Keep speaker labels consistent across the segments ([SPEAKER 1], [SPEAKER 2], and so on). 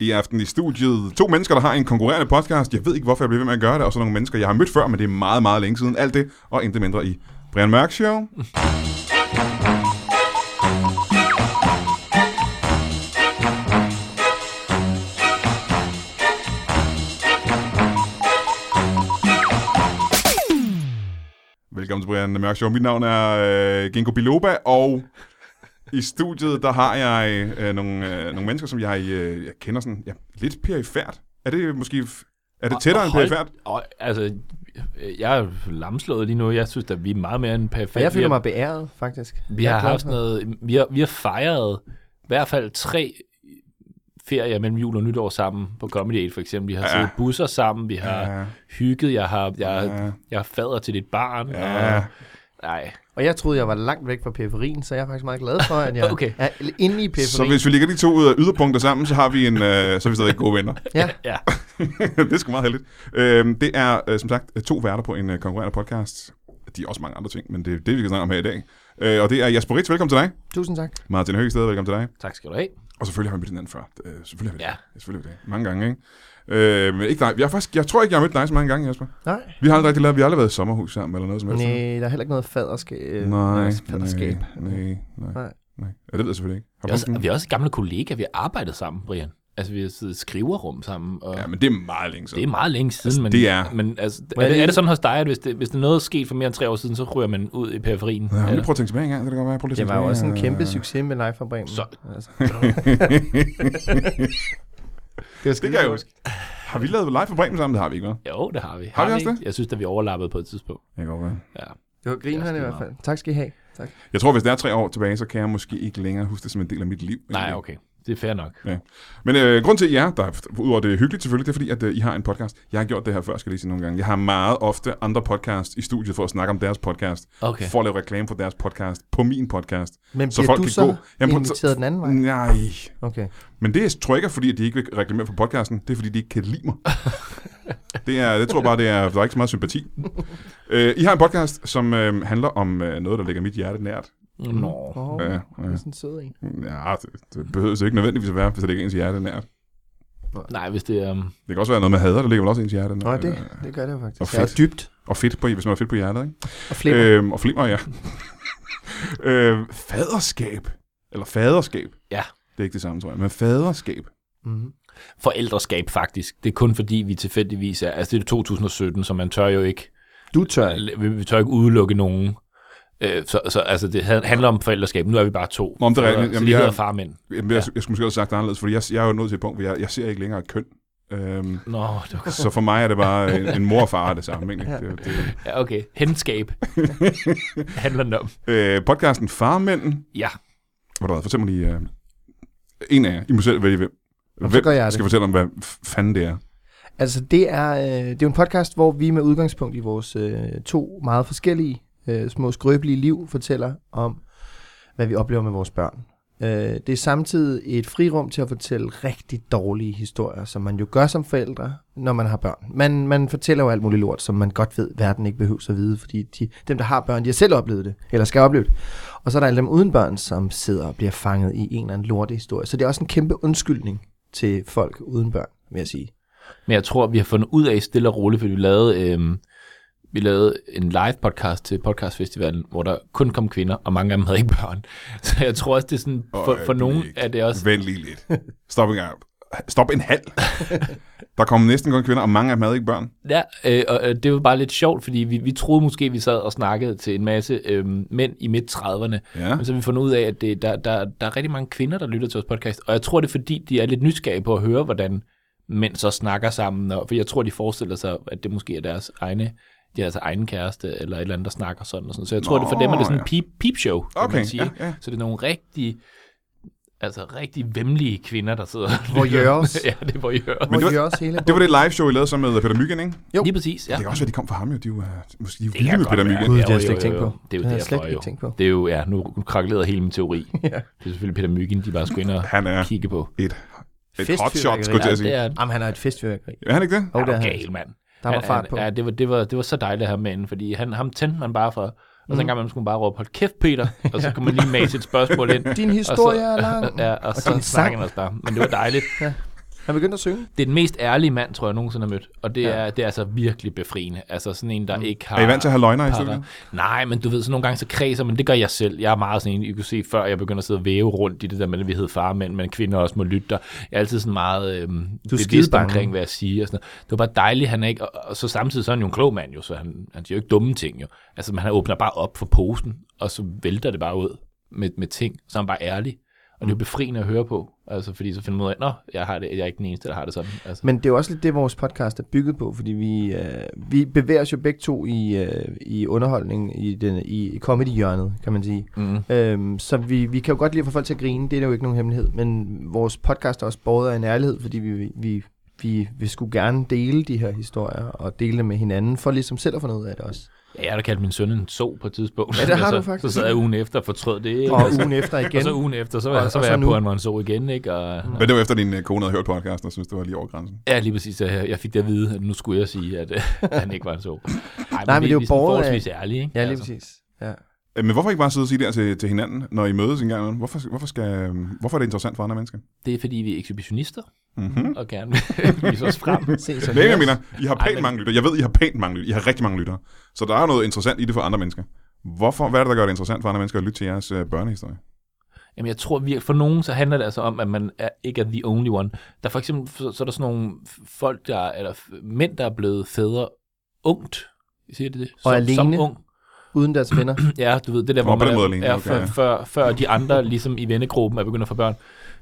[SPEAKER 1] i aften i studiet. To mennesker, der har en konkurrerende podcast. Jeg ved ikke, hvorfor jeg bliver ved med at gøre det, og så nogle mennesker, jeg har mødt før, men det er meget, meget længe siden. Alt det, og intet mindre i Brian Mørk Show. Velkommen til Brian Mørk Show. Mit navn er øh, Genko Biloba, og i studiet, der har jeg øh, nogle, øh, nogle mennesker, som jeg, øh, jeg kender sådan ja, lidt perifært. Er det måske... f- Er det tættere end
[SPEAKER 2] Hold-
[SPEAKER 1] perifært?
[SPEAKER 2] Og, altså, jeg er lamslået lige nu. Jeg synes, at vi er meget mere end
[SPEAKER 3] Og
[SPEAKER 2] perfekt.
[SPEAKER 3] jeg føler
[SPEAKER 2] vi har,
[SPEAKER 3] mig beæret, faktisk.
[SPEAKER 2] vi
[SPEAKER 3] Jeg er
[SPEAKER 2] har
[SPEAKER 3] glad
[SPEAKER 2] haft
[SPEAKER 3] for-
[SPEAKER 2] sådan noget, vi har, vi har fejret i hvert fald tre ferier mellem jul og nytår sammen på Comedy 8 for eksempel. Vi har
[SPEAKER 1] Ja.
[SPEAKER 2] siddet i busser sammen, vi har
[SPEAKER 1] Ja.
[SPEAKER 2] hygget, jeg har, jeg,
[SPEAKER 1] Ja.
[SPEAKER 2] jeg har fader til dit barn.
[SPEAKER 1] Ja.
[SPEAKER 2] Og, nej,
[SPEAKER 3] Og jeg troede, jeg var langt væk fra periferien, så jeg er faktisk meget glad for, at jeg
[SPEAKER 2] Okay.
[SPEAKER 3] er inde i periferien.
[SPEAKER 1] Så hvis vi lægger de to øh, yderpunkter sammen, så har vi en, øh, så er vi stadig gode venner.
[SPEAKER 3] Ja,
[SPEAKER 2] ja.
[SPEAKER 1] det er sgu meget heldigt. Øhm, det er øh, som sagt to værter på en øh, konkurrerende podcast. De er også mange andre ting, men det er det, vi skal snakke om her i dag. Øh, og det er Jasper Ritz, velkommen til dig.
[SPEAKER 3] tusind tak.
[SPEAKER 1] Martin Høgsted, velkommen til dig.
[SPEAKER 2] Tak skal du have.
[SPEAKER 1] Og selvfølgelig har vi mødt hinanden før. Øh, selvfølgelig har vi det.
[SPEAKER 2] Ja.
[SPEAKER 1] Ja, selvfølgelig har vi det. Mange gange, ikke? Øh, men ikke dig. Jeg, har faktisk, jeg tror ikke, jeg har mødt dig så mange gange, Jasper.
[SPEAKER 3] Nej,
[SPEAKER 1] Vi har aldrig rigtig lavet, vi har aldrig været i sommerhus sammen eller noget som helst.
[SPEAKER 3] nej øh, der er heller ikke noget faderskab. øh,
[SPEAKER 1] nej,
[SPEAKER 3] faderskab.
[SPEAKER 1] nej, nej, nej.
[SPEAKER 3] Nej.
[SPEAKER 1] nej. Ja, det ved jeg selvfølgelig ikke. Har du
[SPEAKER 2] Vi er, også,
[SPEAKER 1] haft nogen?
[SPEAKER 2] vi er også gamle kollegaer, vi har arbejdet sammen, Brian. Altså, vi har siddet i skriverrum sammen. Og,
[SPEAKER 1] Ja, men det er meget længe siden.
[SPEAKER 2] Det er meget længe siden, men,
[SPEAKER 1] det er-
[SPEAKER 2] men altså,
[SPEAKER 3] Men
[SPEAKER 2] er, det,
[SPEAKER 3] det-
[SPEAKER 2] er det sådan hos dig, at hvis, det, hvis det noget er sket for mere end tre år siden, så ryger man ud i periferien?
[SPEAKER 1] Ja, men lige
[SPEAKER 2] Eller-
[SPEAKER 1] prøv at tænke tilbage engang, så det kan godt være, prøv lige at
[SPEAKER 3] Det
[SPEAKER 1] tænke
[SPEAKER 3] var jo også en
[SPEAKER 1] tilbage,
[SPEAKER 3] kæmpe
[SPEAKER 1] øh,
[SPEAKER 3] succes med Live fra Bremen.
[SPEAKER 2] Så-
[SPEAKER 3] Altså.
[SPEAKER 1] Det kan jeg huske. Har vi lavet live for Bremen sammen? Det har vi ikke, hva'?
[SPEAKER 2] Jo, det har vi.
[SPEAKER 1] Har vi også
[SPEAKER 2] ikke? Jeg synes, at vi overlappede på et tidspunkt.
[SPEAKER 1] Jeg, godt, være.
[SPEAKER 2] Ja.
[SPEAKER 3] Det var grinerne i hvert fald. Tak skal I have. Tak.
[SPEAKER 1] jeg tror, hvis det er tre år tilbage, så kan jeg måske ikke længere huske det som en del af mit liv.
[SPEAKER 2] Nej, okay. Det er fair nok.
[SPEAKER 1] Men øh, grund til, at I er der, udover det er hyggeligt selvfølgelig, det er fordi, at øh, I har en podcast. Jeg har gjort det her før, skal jeg lige sige nogle gange. Jeg har meget ofte andre podcasts i studiet for at snakke om deres podcast.
[SPEAKER 2] Okay.
[SPEAKER 1] For at lave reklame for deres podcast på min podcast.
[SPEAKER 3] Men
[SPEAKER 1] Så
[SPEAKER 3] bliver
[SPEAKER 1] folk
[SPEAKER 3] du
[SPEAKER 1] kan gå-
[SPEAKER 3] så
[SPEAKER 1] Jamen, prøv- Mm.
[SPEAKER 3] inviteret den anden vej?
[SPEAKER 1] Nej.
[SPEAKER 3] Okay.
[SPEAKER 1] Men det tror jeg ikke er, fordi at de ikke vil reklamere for podcasten. Det er, fordi de ikke kan lide mig. det er, jeg tror bare, det er, der er ikke så meget sympati. øh, I har en podcast, som øh, handler om øh, noget, der ligger mit hjerte nært. Øh,
[SPEAKER 2] Nå.
[SPEAKER 3] Åh,
[SPEAKER 1] Ja, ja.
[SPEAKER 3] det er sådan en sød en.
[SPEAKER 1] Ja, det, det behøver jo ikke nødvendigvis at være, hvis det ligger ens hjerte nært.
[SPEAKER 2] Nej, hvis det er... Um,
[SPEAKER 1] Det kan også være noget med hader, der ligger vel også ens hjerte nært.
[SPEAKER 3] Nå, det,
[SPEAKER 1] Øh,
[SPEAKER 3] det gør det jo faktisk.
[SPEAKER 1] Og
[SPEAKER 3] Og fedt.
[SPEAKER 1] fedt.
[SPEAKER 3] dybt.
[SPEAKER 1] Og fedt på, hvis man har fedt på hjertet, ikke?
[SPEAKER 3] Og flipper. Øh.
[SPEAKER 1] Øhm, og flimmer, ja. øh, faderskab. Eller faderskab.
[SPEAKER 2] Ja.
[SPEAKER 1] Det er ikke det samme, tror jeg. Men faderskab.
[SPEAKER 3] Mm-hmm.
[SPEAKER 2] forældreskab, faktisk. Det er kun fordi, vi tilfældigvis er... Altså, det er 2017, så man tør jo ikke...
[SPEAKER 3] Du tør ikke.
[SPEAKER 2] Vi, vi tør ikke udelukke nogen. Øh, så, så altså, det had- handler om forældreskab. Nu er vi bare to.
[SPEAKER 1] Nå, men det er rigtigt.
[SPEAKER 2] Så
[SPEAKER 1] Jamen,
[SPEAKER 2] vi
[SPEAKER 1] jeg-
[SPEAKER 2] hedder far og mænd.
[SPEAKER 1] Jamen, jeg, jeg skulle måske også have sagt det anderledes, fordi jeg, jeg er jo nået til et punkt, hvor jeg, jeg ser ikke længere et køn. Øhm,
[SPEAKER 2] Nå, det var...
[SPEAKER 1] så for mig er det bare en, en mor og far er det samme, egentlig. Det, er jo- det, er
[SPEAKER 2] Ja, okay. Henskab handler det om.
[SPEAKER 1] jo- øh, podcasten Farmænden.
[SPEAKER 2] Ja.
[SPEAKER 1] Hvor der er, fortæl mig lige... Øh, en af jer. I må selv vælge, hvem.
[SPEAKER 3] Nå, så
[SPEAKER 1] Hvem
[SPEAKER 3] gør jeg det.
[SPEAKER 1] skal fortælle om, hvad f- fanden det er?
[SPEAKER 3] Altså det er, øh, det er jo en podcast, hvor vi med udgangspunkt i vores øh, to meget forskellige øh, små skrøbelige liv fortæller om, hvad vi oplever med vores børn. Øh, det er samtidig et frirum til at fortælle rigtig dårlige historier, som man jo gør som forældre, når man har børn. Man, man fortæller jo alt muligt lort, som man godt ved, verden ikke behøver at vide, fordi de, dem, der har børn, de har selv oplevet det, eller skal opleve det. Og så er der alle dem uden børn, som sidder og bliver fanget i en eller anden lortehistorie. Så det er også en kæmpe undskyldning til folk uden børn, vil jeg sige.
[SPEAKER 2] Men jeg tror, vi har fundet ud af stille og roligt, fordi vi lavede, øh, vi lavede en live podcast til podcastfestivalen, hvor der kun kom kvinder, og mange af dem havde ikke børn. Så jeg tror også, det er sådan, for, for
[SPEAKER 1] Øjeblik.
[SPEAKER 2] nogen er det også...
[SPEAKER 1] Vent lige lidt. Stop en gang. Stop en halv. Der kom næsten kun kvinder, og mange af dem havde ikke børn.
[SPEAKER 2] Ja, øh, og øh, det var bare lidt sjovt, fordi vi, vi troede måske, vi sad og snakkede til en masse øh, mænd i midt-30'erne,
[SPEAKER 1] Ja.
[SPEAKER 2] men så har vi fundet ud af, at det, der, der, der er rigtig mange kvinder, der lytter til vores podcast, og jeg tror, det er fordi, de er lidt nysgerrige på at høre, hvordan mænd så snakker sammen, og, for jeg tror, de forestiller sig, at det måske er deres egne de har altså egen kæreste eller et eller andet, der snakker sådan og sådan. Så jeg tror,
[SPEAKER 1] Nå,
[SPEAKER 2] det for dem er det sådan
[SPEAKER 1] ja.
[SPEAKER 2] en peep, peep show, kan
[SPEAKER 1] Okay,
[SPEAKER 2] man sige.
[SPEAKER 1] ja,
[SPEAKER 2] ikke?
[SPEAKER 1] ja.
[SPEAKER 2] Så det er nogle rigtig, altså rigtig vemmelige kvinder, der sidder og
[SPEAKER 3] Hvor
[SPEAKER 2] lytter.
[SPEAKER 3] Jørgens.
[SPEAKER 2] ja, det er hvor
[SPEAKER 1] Men
[SPEAKER 2] Jørgens.
[SPEAKER 3] Men
[SPEAKER 1] det
[SPEAKER 3] det
[SPEAKER 1] var-
[SPEAKER 3] var, også hele
[SPEAKER 1] Det var det live show, I lavede sammen med Peter Myggen, ikke?
[SPEAKER 3] Jo.
[SPEAKER 2] Lige præcis, ja.
[SPEAKER 1] Det kan også være, de kom fra ham jo. De er jo øh, måske de er jo
[SPEAKER 2] kan
[SPEAKER 1] vilde med
[SPEAKER 2] godt
[SPEAKER 1] Peter
[SPEAKER 2] være.
[SPEAKER 1] Myggen.
[SPEAKER 3] Gud, det
[SPEAKER 2] Jo,
[SPEAKER 3] har jeg slet
[SPEAKER 2] jo, jo, jo. Det er jo derfor,
[SPEAKER 3] ikke tænkt på. Det har jeg slet ikke
[SPEAKER 2] jo.
[SPEAKER 3] tænkt på.
[SPEAKER 2] Det er jo, ja, nu krakleder hele min teori. ja. Det er selvfølgelig Peter Myggen, de bare skulle ind og
[SPEAKER 1] Han er
[SPEAKER 2] kigge på.
[SPEAKER 1] et, et
[SPEAKER 3] Festfyrværkeri.
[SPEAKER 1] hotshot, skulle jeg til at sige.
[SPEAKER 2] det er
[SPEAKER 3] Jamen, han er et festfyrværkeri.
[SPEAKER 1] Er han ikke det?
[SPEAKER 3] Jo,
[SPEAKER 2] han
[SPEAKER 3] det
[SPEAKER 2] er
[SPEAKER 3] er
[SPEAKER 2] jo
[SPEAKER 3] han.
[SPEAKER 2] gal, mand.
[SPEAKER 3] Der var
[SPEAKER 2] Han-
[SPEAKER 3] fart
[SPEAKER 2] han-
[SPEAKER 3] på.
[SPEAKER 2] Ja, det var, det, var, det var så dejligt at have manden, fordi han, ham tændte man bare for.
[SPEAKER 3] Mm.
[SPEAKER 2] Og så en gang imellem skulle man bare råbe, hold kæft, Peter. Og så kunne man lige mase et spørgsmål ind.
[SPEAKER 3] Din historie er lang.
[SPEAKER 2] Ja, og, og så
[SPEAKER 3] din sang.
[SPEAKER 2] snakkede man også bare. Men det var dejligt.
[SPEAKER 3] Ja. Han begyndte at synge.
[SPEAKER 2] Det er den mest ærlige mand, tror jeg, jeg nogensinde har mødt. Og det,
[SPEAKER 3] Ja.
[SPEAKER 2] ja. er, det er altså virkelig befriende. Altså sådan en, der mm. ikke har...
[SPEAKER 1] Er I vant til at have løgner i
[SPEAKER 2] par-
[SPEAKER 1] studiet?
[SPEAKER 2] Nej, men du ved, så nogle gange så kredser, men det gør jeg selv. Jeg er meget sådan en, I kunne se, før jeg begynder at sidde og væve rundt i det der med, at vi hedder farmænd, men kvinder også må lytte. Og jeg er altid sådan meget øh, bevidst
[SPEAKER 3] skidebange.
[SPEAKER 2] omkring, hvad jeg siger. Og sådan noget. Det var bare dejligt, han er ikke... Og, og, så samtidig så er han jo en klog mand, jo, så han, han siger jo ikke dumme ting. Jo. Altså, man, han åbner bare op for posen, og så vælter det bare ud med, med ting, så er han bare ærlig. Og det
[SPEAKER 3] Mm.
[SPEAKER 2] er jo befriende at høre på, altså, fordi så finder man ud af, nå, jeg, har det, jeg er ikke den eneste, der har det sådan. Altså.
[SPEAKER 3] Men det er jo også lidt det, vores podcast er bygget på, fordi vi, øh, vi bevæger os jo begge to i, øh, i underholdning, i, den, i comedy-hjørnet, kan man sige.
[SPEAKER 2] Mm.
[SPEAKER 3] Øhm, så vi, vi kan jo godt lide at få folk til at grine, det er der jo ikke nogen hemmelighed, men vores podcast er også båret af en ærlighed, fordi vi, vi, vi, vi skulle gerne dele de her historier og dele dem med hinanden, for ligesom selv at få noget af det også.
[SPEAKER 2] Ja, jeg har da kaldt min søn en so på et tidspunkt.
[SPEAKER 3] Ja, det har
[SPEAKER 2] så,
[SPEAKER 3] du faktisk.
[SPEAKER 2] Så sad jeg ugen efter og fortrød det. Ikke?
[SPEAKER 3] Og
[SPEAKER 2] Altså,
[SPEAKER 3] ugen efter igen.
[SPEAKER 2] Og så ugen efter, så var,
[SPEAKER 3] Og-
[SPEAKER 2] og, så
[SPEAKER 3] og
[SPEAKER 2] var
[SPEAKER 3] så
[SPEAKER 2] jeg
[SPEAKER 3] nu. Mm.
[SPEAKER 2] på, at man så igen, ikke? Og,
[SPEAKER 1] Men det var efter, din øh, kone havde hørt podcasten og synes det var lige over grænsen.
[SPEAKER 2] ja, lige præcis. så Jeg jeg fik det at vide, at nu skulle jeg sige, at øh, han ikke var en så. Nej,
[SPEAKER 3] men det er jo borget af-
[SPEAKER 2] ligesom forholdsvis ærlige, ikke? Altså,
[SPEAKER 3] Ja, lige præcis. Ja.
[SPEAKER 1] Øh, Men hvorfor ikke bare sidde og sige det her til, til hinanden, når I mødes en gang imellem? Hvorfor, hvorfor, skal, øh, hvorfor er det interessant for andre mennesker?
[SPEAKER 2] Det er, fordi vi er ekshibitionister
[SPEAKER 1] Mm-hmm.
[SPEAKER 2] og gerne vil vise os frem.
[SPEAKER 3] Se, så
[SPEAKER 1] Nej, jeg mener, I har
[SPEAKER 2] Ej,
[SPEAKER 1] pænt
[SPEAKER 2] men-
[SPEAKER 1] mange lytter. Jeg ved, I har pænt mange lytter. I har rigtig mange lyttere. Så der er noget interessant i det for andre mennesker. Hvorfor, hvad er det, der gør det interessant for andre mennesker at lytte til jeres øh, børnehistorie?
[SPEAKER 2] Jamen, jeg tror virkelig, for nogen så handler det altså om, at man er, ikke er the only one. Der er for eksempel, så, så er der sådan nogle folk, der, er- eller f- mænd, der er blevet fædre ungt. Siger det det? Som, Som
[SPEAKER 3] alene.
[SPEAKER 2] ung.
[SPEAKER 3] Uden deres venner.
[SPEAKER 2] Ja, du ved, det der,
[SPEAKER 1] Nå,
[SPEAKER 2] hvor
[SPEAKER 1] på
[SPEAKER 2] man
[SPEAKER 1] den måde
[SPEAKER 2] er,
[SPEAKER 1] alene,
[SPEAKER 2] er
[SPEAKER 1] okay,
[SPEAKER 2] før,
[SPEAKER 1] ja.
[SPEAKER 2] før, før de andre ligesom i vennegruppen er begyndt at få børn,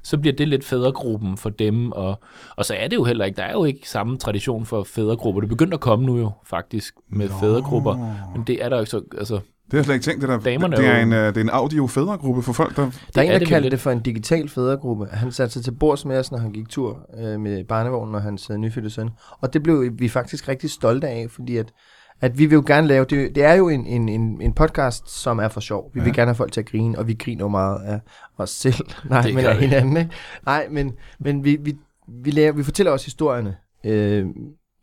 [SPEAKER 2] så bliver det lidt fædregruppen for dem, og, og så er det jo heller ikke, der er jo ikke samme tradition for fædregrupper. Det begynder at komme nu jo, faktisk, med Nå. fædregrupper, men det er der jo ikke så, altså,
[SPEAKER 1] Det har jeg slet ikke tænkt, det der.
[SPEAKER 2] Damerne
[SPEAKER 1] det,
[SPEAKER 2] er
[SPEAKER 1] er
[SPEAKER 2] jo-
[SPEAKER 1] en, øh, det er en audio fædregruppe for folk, der...
[SPEAKER 3] Der er en,
[SPEAKER 2] er
[SPEAKER 3] der
[SPEAKER 2] det vel
[SPEAKER 3] kaldte
[SPEAKER 2] lidt.
[SPEAKER 3] det for en digital fædregruppe. Han satte sig til bords med os, når han gik tur øh, med barnevognen og hans øh, nyfødte søn. Og det blev vi faktisk rigtig stolte af, fordi at, at vi vil jo gerne lave... Det, det er jo en, en, en, en podcast, som er for sjov. Vi ja. vil gerne have folk til at grine, og vi griner jo meget af os selv. Nej,
[SPEAKER 2] Det
[SPEAKER 3] det men
[SPEAKER 2] gør
[SPEAKER 3] af
[SPEAKER 2] vi.
[SPEAKER 3] hinanden, ikke? Nej, men, men vi, vi, vi, laver, vi fortæller også historierne. Øh,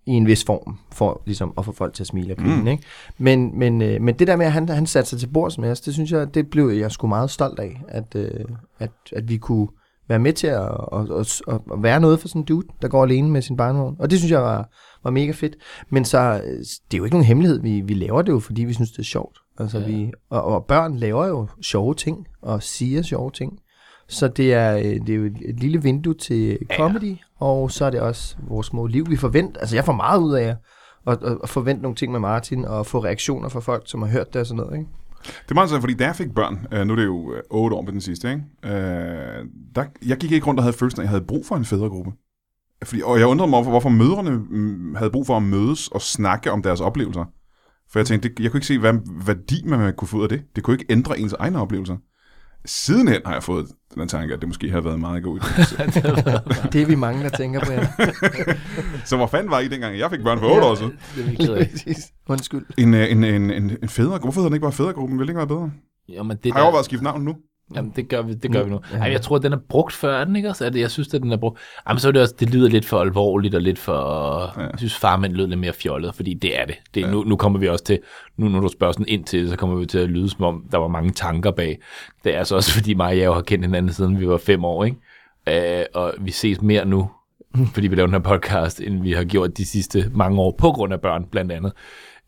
[SPEAKER 3] i en vis form, for ligesom at få folk til at smile og grine, mm. ikke? Men, men, øh, men det der med, at han, han satte sig til bords med os, det synes jeg, det blev jeg sgu meget stolt af, at, øh, at, at vi kunne være med til at, at, at, at være noget for sådan en dude, der går alene med sin barnevogn. Og det synes jeg var, var mega fedt. Men så, øh, det er jo ikke nogen hemmelighed, vi, vi laver det jo, fordi vi synes, det er sjovt. Altså, ja. vi, og, og børn laver jo sjove ting, og siger sjove ting. Så det er, øh, det er jo et, et lille vindue til comedy, ja. og så er det også vores små liv. Vi forventer, altså jeg får meget ud af jer, og, og, og forvente nogle ting med Martin, og få reaktioner fra folk, som har hørt det og sådan noget, ikke?
[SPEAKER 1] Det er meget interessant, fordi da jeg fik børn, øh, nu er det jo øh, 8 år på den sidste, ikke? Øh, der, jeg gik ikke rundt og havde følelsen af, at jeg havde brug for en fædregruppe. Fordi, og jeg undrede mig over, hvorfor mødrene mm, havde brug for at mødes og snakke om deres oplevelser. For jeg tænkte, det, jeg kunne ikke se, hvad værdi man kunne få ud af det. Det kunne ikke ændre ens egne oplevelser. Sidenhen har jeg fået den tanke, at det måske havde været en meget god idé.
[SPEAKER 3] Det er vi mange, der tænker på jer.
[SPEAKER 1] Så hvor fanden var I dengang, jeg fik børn for 8 år siden?
[SPEAKER 2] det er vi ked af.
[SPEAKER 3] Undskyld.
[SPEAKER 1] En, øh, en, en, en, en fædregruppe. Hvorfor hedder den ikke bare fædregruppen? Vil det ikke være bedre?
[SPEAKER 2] Jamen, det,
[SPEAKER 1] Har jeg overvejet at skifte navn nu?
[SPEAKER 2] Jamen, det gør vi, det gør vi nu.
[SPEAKER 3] Ja.
[SPEAKER 2] Ja. Ej, jeg tror, den er brugt før, er den ikke også? Er det, jeg synes, at den er brugt. Jamen, så er det også, det lyder lidt for alvorligt og lidt for... Ja. Jeg synes, farmand lød lidt mere fjollet, fordi det er det. det ja. nu, nu kommer vi også til... Nu, når du spørger sådan ind til det, så kommer vi til at lyde, som om der var mange tanker bag. Det er altså også, fordi mig og jeg jo har kendt hinanden, siden vi var fem år, ikke? Øh, og vi ses mere nu, fordi vi laver den her podcast, end vi har gjort de sidste mange år, på grund af børn, blandt andet.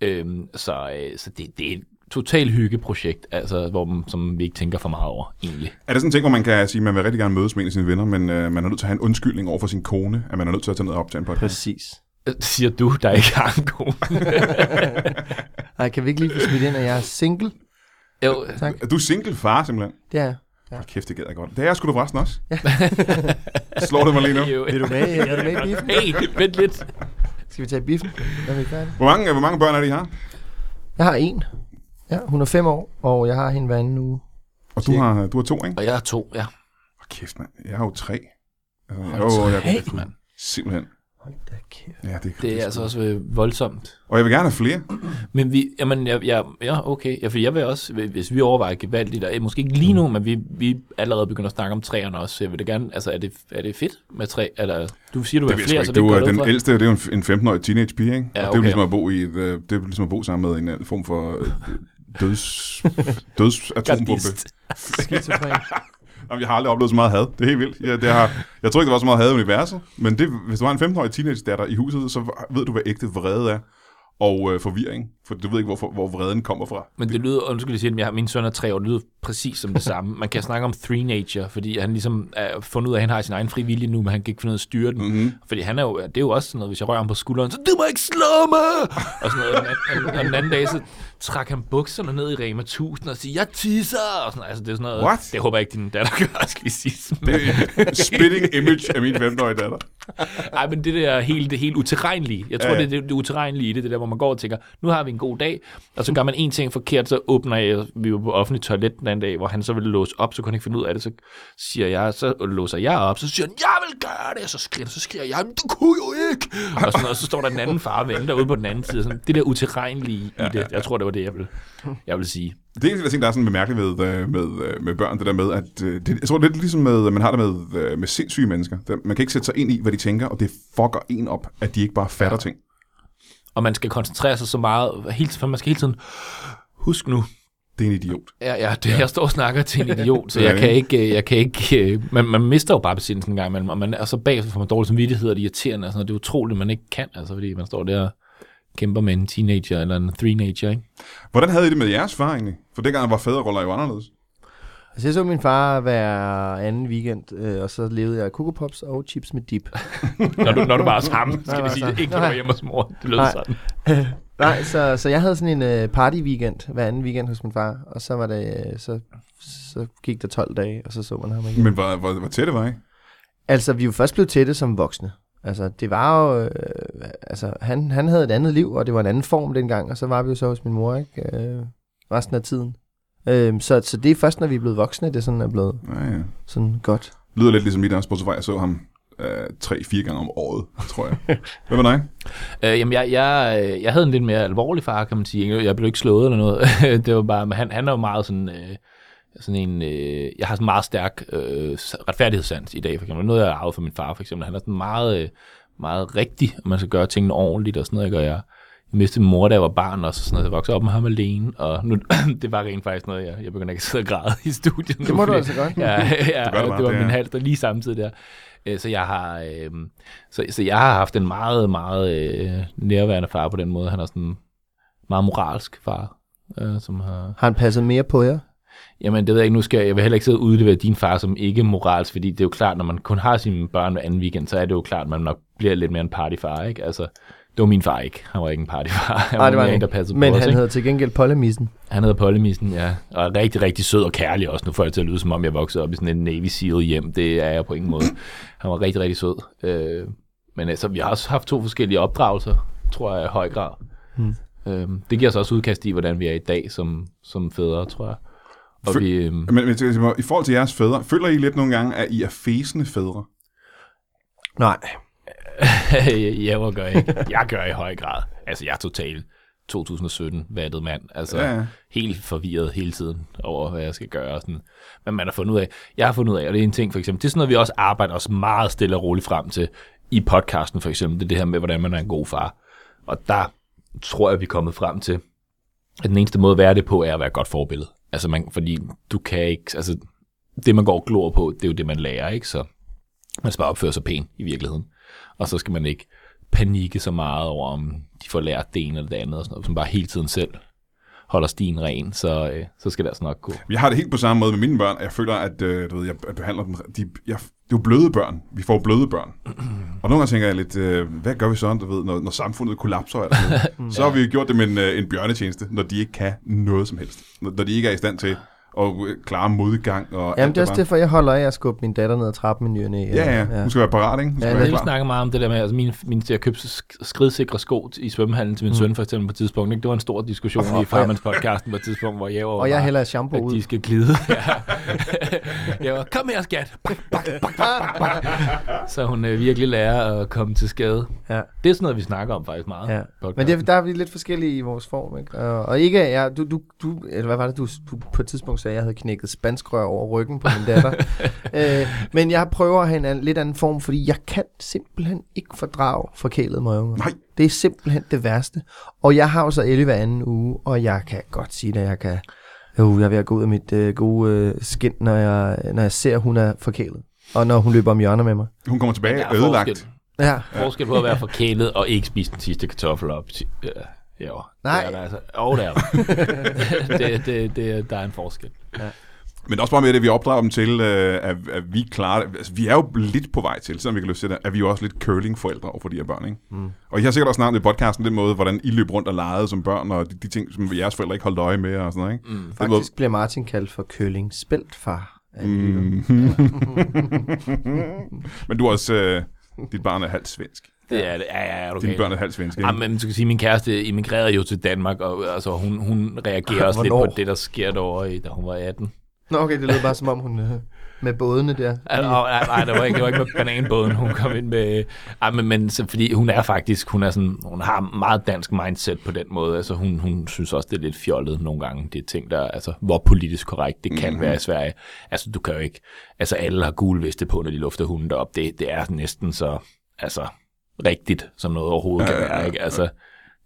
[SPEAKER 2] Øhm, så øh, så det, det er et totalt hyggeprojekt, altså, hvor, man- som vi ikke tænker for meget over, egentlig.
[SPEAKER 1] Er det sådan en ting, hvor man kan sige, at man vil rigtig gerne mødes med en af sine venner, men øh, man er nødt til at have en undskyldning over for sin kone, at man er nødt til at tage ned og optage en podcast?
[SPEAKER 3] Præcis.
[SPEAKER 2] Øh, Siger du, der ikke har en kone?
[SPEAKER 3] Ej, kan vi ikke lige få smidt ind, at jeg er single?
[SPEAKER 2] jo,
[SPEAKER 3] Tak.
[SPEAKER 1] Er du single far, simpelthen?
[SPEAKER 3] Det er jeg.
[SPEAKER 1] Hold kæft, det gider jeg godt. Det er jeg sgu da forresten også. Slår det mig lige nu.
[SPEAKER 2] jo.
[SPEAKER 3] Vil du med, vil du med i biffen?
[SPEAKER 2] Hey, vent lidt.
[SPEAKER 3] Skal vi tage i biffen? Er vi færdige?
[SPEAKER 1] Hvor mange, hvor mange børn er det, I har?
[SPEAKER 3] Jeg har en. Ja, hun er fem år, og jeg har hende hver anden uge.
[SPEAKER 1] Og du har, du har to, ikke?
[SPEAKER 2] Og jeg er to, ja.
[SPEAKER 1] Hold kæft, mand. Jeg har jo tre. Altså, jeg, jo, jeg,
[SPEAKER 2] Hey, mand.
[SPEAKER 1] simpelthen.
[SPEAKER 3] Hold da kæft.
[SPEAKER 1] Ja, det,
[SPEAKER 2] Det er altså også øh, voldsomt.
[SPEAKER 1] Og jeg vil gerne have flere.
[SPEAKER 2] Men vi, jamen, ja, ja, ja okay. Ja, for jeg vil også, hvis vi overvejer gevaldigt, og eh, måske ikke lige nu, men vi, vi allerede begynder at snakke om træerne også. så Jeg vil da gerne, altså er det, er det fedt med træ? Eller, du siger, du vil
[SPEAKER 1] Det
[SPEAKER 2] have
[SPEAKER 1] ved jeg sgu
[SPEAKER 2] flere, så
[SPEAKER 1] ikke.
[SPEAKER 2] det
[SPEAKER 1] Du
[SPEAKER 2] går
[SPEAKER 1] er
[SPEAKER 2] jeg ud
[SPEAKER 1] den
[SPEAKER 2] fra.
[SPEAKER 1] ældste, det er jo en, en 15-årig teenage pige, ikke?
[SPEAKER 2] Ja,
[SPEAKER 1] Og det er jo
[SPEAKER 2] okay.
[SPEAKER 1] ligesom at bo, i et, øh, det er jo ligesom at bo sammen med en øh, form for øh, døds, døds atombombe.
[SPEAKER 2] Gardist.
[SPEAKER 3] Skizofren.
[SPEAKER 1] Jamen, jeg har aldrig oplevet så meget had. Det er helt vildt. Jeg, det har, jeg tror ikke, der var så meget had i universet, men det, hvis du har en 15-årig teenage-datter i huset, så ved du, hvad ægte vrede er og øh, forvirring, for du ved ikke, hvorfor, hvor vreden kommer fra.
[SPEAKER 2] Men det lyder, undskyld, jeg siger det, men jeg har, min søn er tre år, det lyder præcis som det samme. Man kan snakke om three nature, fordi han ligesom er fundet ud af, at han har sin egen frivillige nu, men han kan ikke finde ud af at styre den. Mm-hmm. Fordi han er jo, det er jo også sådan noget, hvis jeg rører ham på skulderen, så du må ikke slå mig! Og sådan noget. Og den anden- Og den anden dag, så trak han bukserne ned i Rema 1000 og siger, jeg tisser! Og sådan, altså, det er sådan noget,
[SPEAKER 1] What?
[SPEAKER 2] det håber jeg ikke, din datter gør, skal vi sige.
[SPEAKER 1] Det er en spitting image af min 15-årige datter.
[SPEAKER 2] Ej, men det der helt, det helt uterrenlige. Jeg tror,
[SPEAKER 1] Ja,
[SPEAKER 2] ja,
[SPEAKER 1] ja.
[SPEAKER 2] ja. det er det, det uterrenlige i det, det der, hvor man går og tænker, nu har vi en god dag, og så gør man en ting forkert, så åbner jeg, vi var på offentlig toilet den anden dag, hvor han så ville låse op, så kunne han ikke finde ud af det, så siger jeg, så låser jeg op, så siger han, jeg vil gøre det, og så skriger, så skriger jeg, men du kunne jo ikke, og, sådan, noget, så står der den anden far og venter ude på den anden side, sådan, det der uterrenlige i det, jeg tror, det var det, jeg ville, jeg ville sige.
[SPEAKER 1] Det er en af de ting, der er sådan bemærkeligt ved, øh, med, øh, med børn, det der med, at øh, det, jeg tror, det er lidt ligesom med, at man har det med, øh, med sindssyge mennesker. Det- Man kan ikke sætte sig ind i, hvad de tænker, og det fucker en op, at de ikke bare fatter ting.
[SPEAKER 2] Og man skal koncentrere sig så meget, hele, for man skal hele tiden, husk nu,
[SPEAKER 1] Det er en idiot.
[SPEAKER 2] Ja, ja, det, jeg står og snakker til en idiot, så
[SPEAKER 1] Ja,
[SPEAKER 2] jeg kan
[SPEAKER 1] ikke?
[SPEAKER 2] ikke, øh, jeg kan ikke øh, man, man mister jo bare besindelsen en gang imellem, og, man, og så bagefter får man dårlig samvittighed, og det er irriterende, og sådan noget. det er utroligt, man ikke kan, altså, fordi man står der og kæmper med en teenager eller en three-nager, ikke?
[SPEAKER 1] Hvordan havde I det med jeres far egentlig? For dengang var fædreroller jo anderledes.
[SPEAKER 3] Altså, jeg så min far hver anden weekend, øh, og så levede jeg Coco Pops og chips med dip.
[SPEAKER 2] Når du, når du bare er sammen, skal
[SPEAKER 3] Nej,
[SPEAKER 2] vi sige,
[SPEAKER 3] altså.
[SPEAKER 2] det ikke når du er hjemme hos mor, det lød
[SPEAKER 3] Nej.
[SPEAKER 2] sådan.
[SPEAKER 3] Nej, så, så jeg havde sådan en øh, party-weekend hver anden weekend hos min far, og så var det, øh, så, så gik der 12 dage, og så så man ham igen.
[SPEAKER 1] Men hvor, hvor, hvor tætte var I?
[SPEAKER 3] Altså, vi er jo først blevet tætte som voksne. Altså, det var jo... Øh, altså, han, han havde et andet liv, og det var en anden form dengang, og så var vi jo så hos min mor, ikke? Øh, resten af tiden. Øh, så, så det er først, når vi er blevet voksne, det sådan er blevet
[SPEAKER 1] Ja, ja.
[SPEAKER 3] sådan godt.
[SPEAKER 1] Lyder lidt ligesom mit også på vej. Jeg så ham øh, tre-fire gange om året, tror jeg. Hvad var dig?
[SPEAKER 2] Øh, jamen, jeg, jeg, øh, jeg havde en lidt mere alvorlig far, kan man sige. Jeg blev ikke slået eller noget. det var bare, men han, han er jo meget sådan... Øh, sådan en, øh, jeg har sådan en meget stærk øh, s- retfærdighedssans i dag, for eksempel. Noget, jeg har arvet fra min far, for eksempel. Han er sådan meget, øh, meget rigtig, og man skal gøre tingene ordentligt og sådan noget, ikke? Og jeg, jeg mistede min mor, da jeg var barn også, og sådan noget. Jeg voksede op med ham alene, og nu, det var rent faktisk noget, jeg, jeg begynder ikke at sidde og græde i studiet nu.
[SPEAKER 3] Det må du
[SPEAKER 2] fordi-
[SPEAKER 3] altså godt.
[SPEAKER 2] Ja, ja,
[SPEAKER 1] gør det
[SPEAKER 2] det,
[SPEAKER 1] bare,
[SPEAKER 2] det var
[SPEAKER 1] det er-
[SPEAKER 2] min hals, der lige samtidig der. Øh, Så jeg har, øh, så, så jeg har haft en meget, meget øh, nærværende far på den måde. Han er sådan en meget moralsk far, øh, som har...
[SPEAKER 3] Har han passet mere på jer?
[SPEAKER 2] Jamen, det ved jeg ikke, nu skal jeg, jeg vil heller ikke sidde og udlevere din far som ikke moralsk, fordi det er jo klart, når man kun har sine børn hver anden weekend, så er det jo klart, at man nok bliver lidt mere en partyfar, ikke? Altså, det var min far ikke. Han var ikke en partyfar. Han
[SPEAKER 3] Nej, det var
[SPEAKER 2] mere
[SPEAKER 3] han
[SPEAKER 2] en, der
[SPEAKER 3] ikke.
[SPEAKER 2] passede
[SPEAKER 3] Men
[SPEAKER 2] på os,
[SPEAKER 3] han
[SPEAKER 2] ikke?
[SPEAKER 3] havde til gengæld pollemissen.
[SPEAKER 2] Han hedder Pollemisen, ja. Og er rigtig, rigtig sød og kærlig også. Nu får jeg det til at lyde, som om jeg voksede op i sådan en Navy SEAL hjem. Det er jeg på ingen måde. Han var rigtig, rigtig sød. Øh, men altså, vi har også haft to forskellige opdragelser, tror jeg, i høj grad.
[SPEAKER 3] Hmm.
[SPEAKER 2] Øh, det giver os også udkast i, hvordan vi er i dag som, som fædre, tror jeg. Og
[SPEAKER 1] Fø-
[SPEAKER 2] vi, øh,
[SPEAKER 1] Men, men til- i forhold til jeres fædre, føler I lidt nogle gange, at I er fæsende fædre?
[SPEAKER 3] Nej.
[SPEAKER 2] jeg hvor gør jeg ikke. Jeg gør i høj grad. Altså, jeg er totalt 2017 vattet mand. Altså,
[SPEAKER 1] Ja, ja.
[SPEAKER 2] helt forvirret hele tiden over, hvad jeg skal gøre. Og sådan. Men man har fundet ud af, jeg har fundet ud af, og det er en ting for eksempel, det er sådan noget, vi også arbejder os meget stille og roligt frem til i podcasten for eksempel, det er det her med, hvordan man er en god far. Og der tror jeg, vi er kommet frem til, at den eneste måde at være det på, er at være et godt forbillede. Altså, man, fordi du kan ikke, altså, det man går og glor på, det er jo det, man lærer, ikke? Så man skal bare opføre sig pænt i virkeligheden. Og så skal man ikke panikke så meget over, om de får lært det ene eller det andet, og sådan noget, som bare hele tiden selv holder stien ren, så, øh, så skal det altså nok gå.
[SPEAKER 1] Jeg har det helt på samme måde med mine børn. Jeg føler, at øh, du ved, jeg behandler dem... De, jeg, det er jo bløde børn. Vi får jo bløde børn. Og nogle gange tænker jeg lidt, øh, hvad gør vi så, du ved, når, når samfundet kollapser? Eller sådan noget? så har vi jo gjort dem en, øh, en bjørnetjeneste, når de ikke kan noget som helst. Når, når de ikke er i stand til at øh, klare modgang. Og
[SPEAKER 3] Jamen,
[SPEAKER 1] alt
[SPEAKER 3] det er også
[SPEAKER 1] bare-
[SPEAKER 3] derfor, jeg holder af at skubbe min datter ned ad trappen i ny og næ.
[SPEAKER 1] Ja, ja. Hun skal være parat, ikke? Hun skal
[SPEAKER 3] Ja,
[SPEAKER 1] være
[SPEAKER 2] Jeg
[SPEAKER 1] klar.
[SPEAKER 2] snakker meget om det der med, altså min, min til at købe sk- skridsikre sko til- i svømmehallen til min mm. søn for eksempel på et tidspunkt. Ikke? Det var en stor diskussion i Farmans-podcasten på et tidspunkt, hvor jeg var
[SPEAKER 3] Og jeg
[SPEAKER 2] bare,
[SPEAKER 3] hælder shampoo
[SPEAKER 2] at de
[SPEAKER 3] ud.
[SPEAKER 2] skal glide. Ja. jeg var, kom her skat! Bak, bak, bak, bak, bak. Så hun øh, virkelig lærer at komme til skade.
[SPEAKER 3] Ja.
[SPEAKER 2] Det er sådan noget, vi snakker om faktisk meget.
[SPEAKER 3] Ja.
[SPEAKER 2] i podcasten.
[SPEAKER 3] Men det, der er vi lidt forskellige i vores form, ikke? Og, og ikke, ja, du, du, du, eller hvad var det, du, du på et tidspunkt sagde, at jeg havde knækket spanskrør over ryggen på min datter. øh, men jeg prøver at have en anden, lidt anden form, fordi jeg kan simpelthen ikke fordrage forkælede møgunger.
[SPEAKER 1] Nej.
[SPEAKER 3] Det er simpelthen det værste. Og jeg har jo så 11 hver anden uge, og jeg kan godt sige det, jeg kan Uh, jeg er ved at gå ud af mit øh, gode øh, skin, når jeg, når jeg ser, at hun er forkælet. Og når hun løber om hjørner med mig.
[SPEAKER 1] Hun kommer tilbage
[SPEAKER 2] Der er
[SPEAKER 1] ødelagt.
[SPEAKER 2] forskel,
[SPEAKER 3] Ja,
[SPEAKER 2] forskel på at være forkælet og ikke spise den sidste kartoffel op. til- øh, Herovre.
[SPEAKER 3] Nej.
[SPEAKER 2] Det er der altså. Og der. er der. det, det, det, er- der er en forskel.
[SPEAKER 1] Men også bare med det, at vi opdrager dem til, øh, at, at vi klarer det. Altså, vi er jo lidt på vej til, selvom vi kan løse det, at vi er jo også lidt curling-forældre over for de her børn, ikke? Mm. Og I har sikkert også snakket om det i podcasten, den måde, hvordan I løb rundt og legede som børn, og de, de ting, som jeres forældre ikke holdt øje med og sådan noget, ikke? Mm.
[SPEAKER 3] faktisk bliver Martin kaldt for Køling Speltfar. Mm.
[SPEAKER 1] Men du er også, øh, dit barn er halvt svensk.
[SPEAKER 2] Det er det. Ja, ja, er du
[SPEAKER 1] Dine
[SPEAKER 2] gal.
[SPEAKER 1] børn er halvt svensk, ikke?
[SPEAKER 2] Ja, men du kan sige, min kæreste emigrerede jo til Danmark, og altså, hun, hun reagerer også lidt
[SPEAKER 3] Ah, Hvornår?
[SPEAKER 2] på det, der sker derovre, i, da hun var 18.
[SPEAKER 3] Nå okay, det lød bare som om hun øh, med bådene der.
[SPEAKER 2] Altså, nej, nej, det var ikke, det var ikke med bananbåden, hun kom ind med. Ej, men, men så, fordi hun er faktisk, hun, er sådan, hun har meget dansk mindset på den måde. Altså, hun, hun synes også, det er lidt fjollet nogle gange. Det er ting, der, altså, hvor politisk korrekt det kan være i Sverige. Altså, du kan jo ikke, altså, alle har gule veste på, når de lufter hunden derop. Det, det er næsten så, altså, rigtigt, som noget overhovedet kan være, ikke? Altså,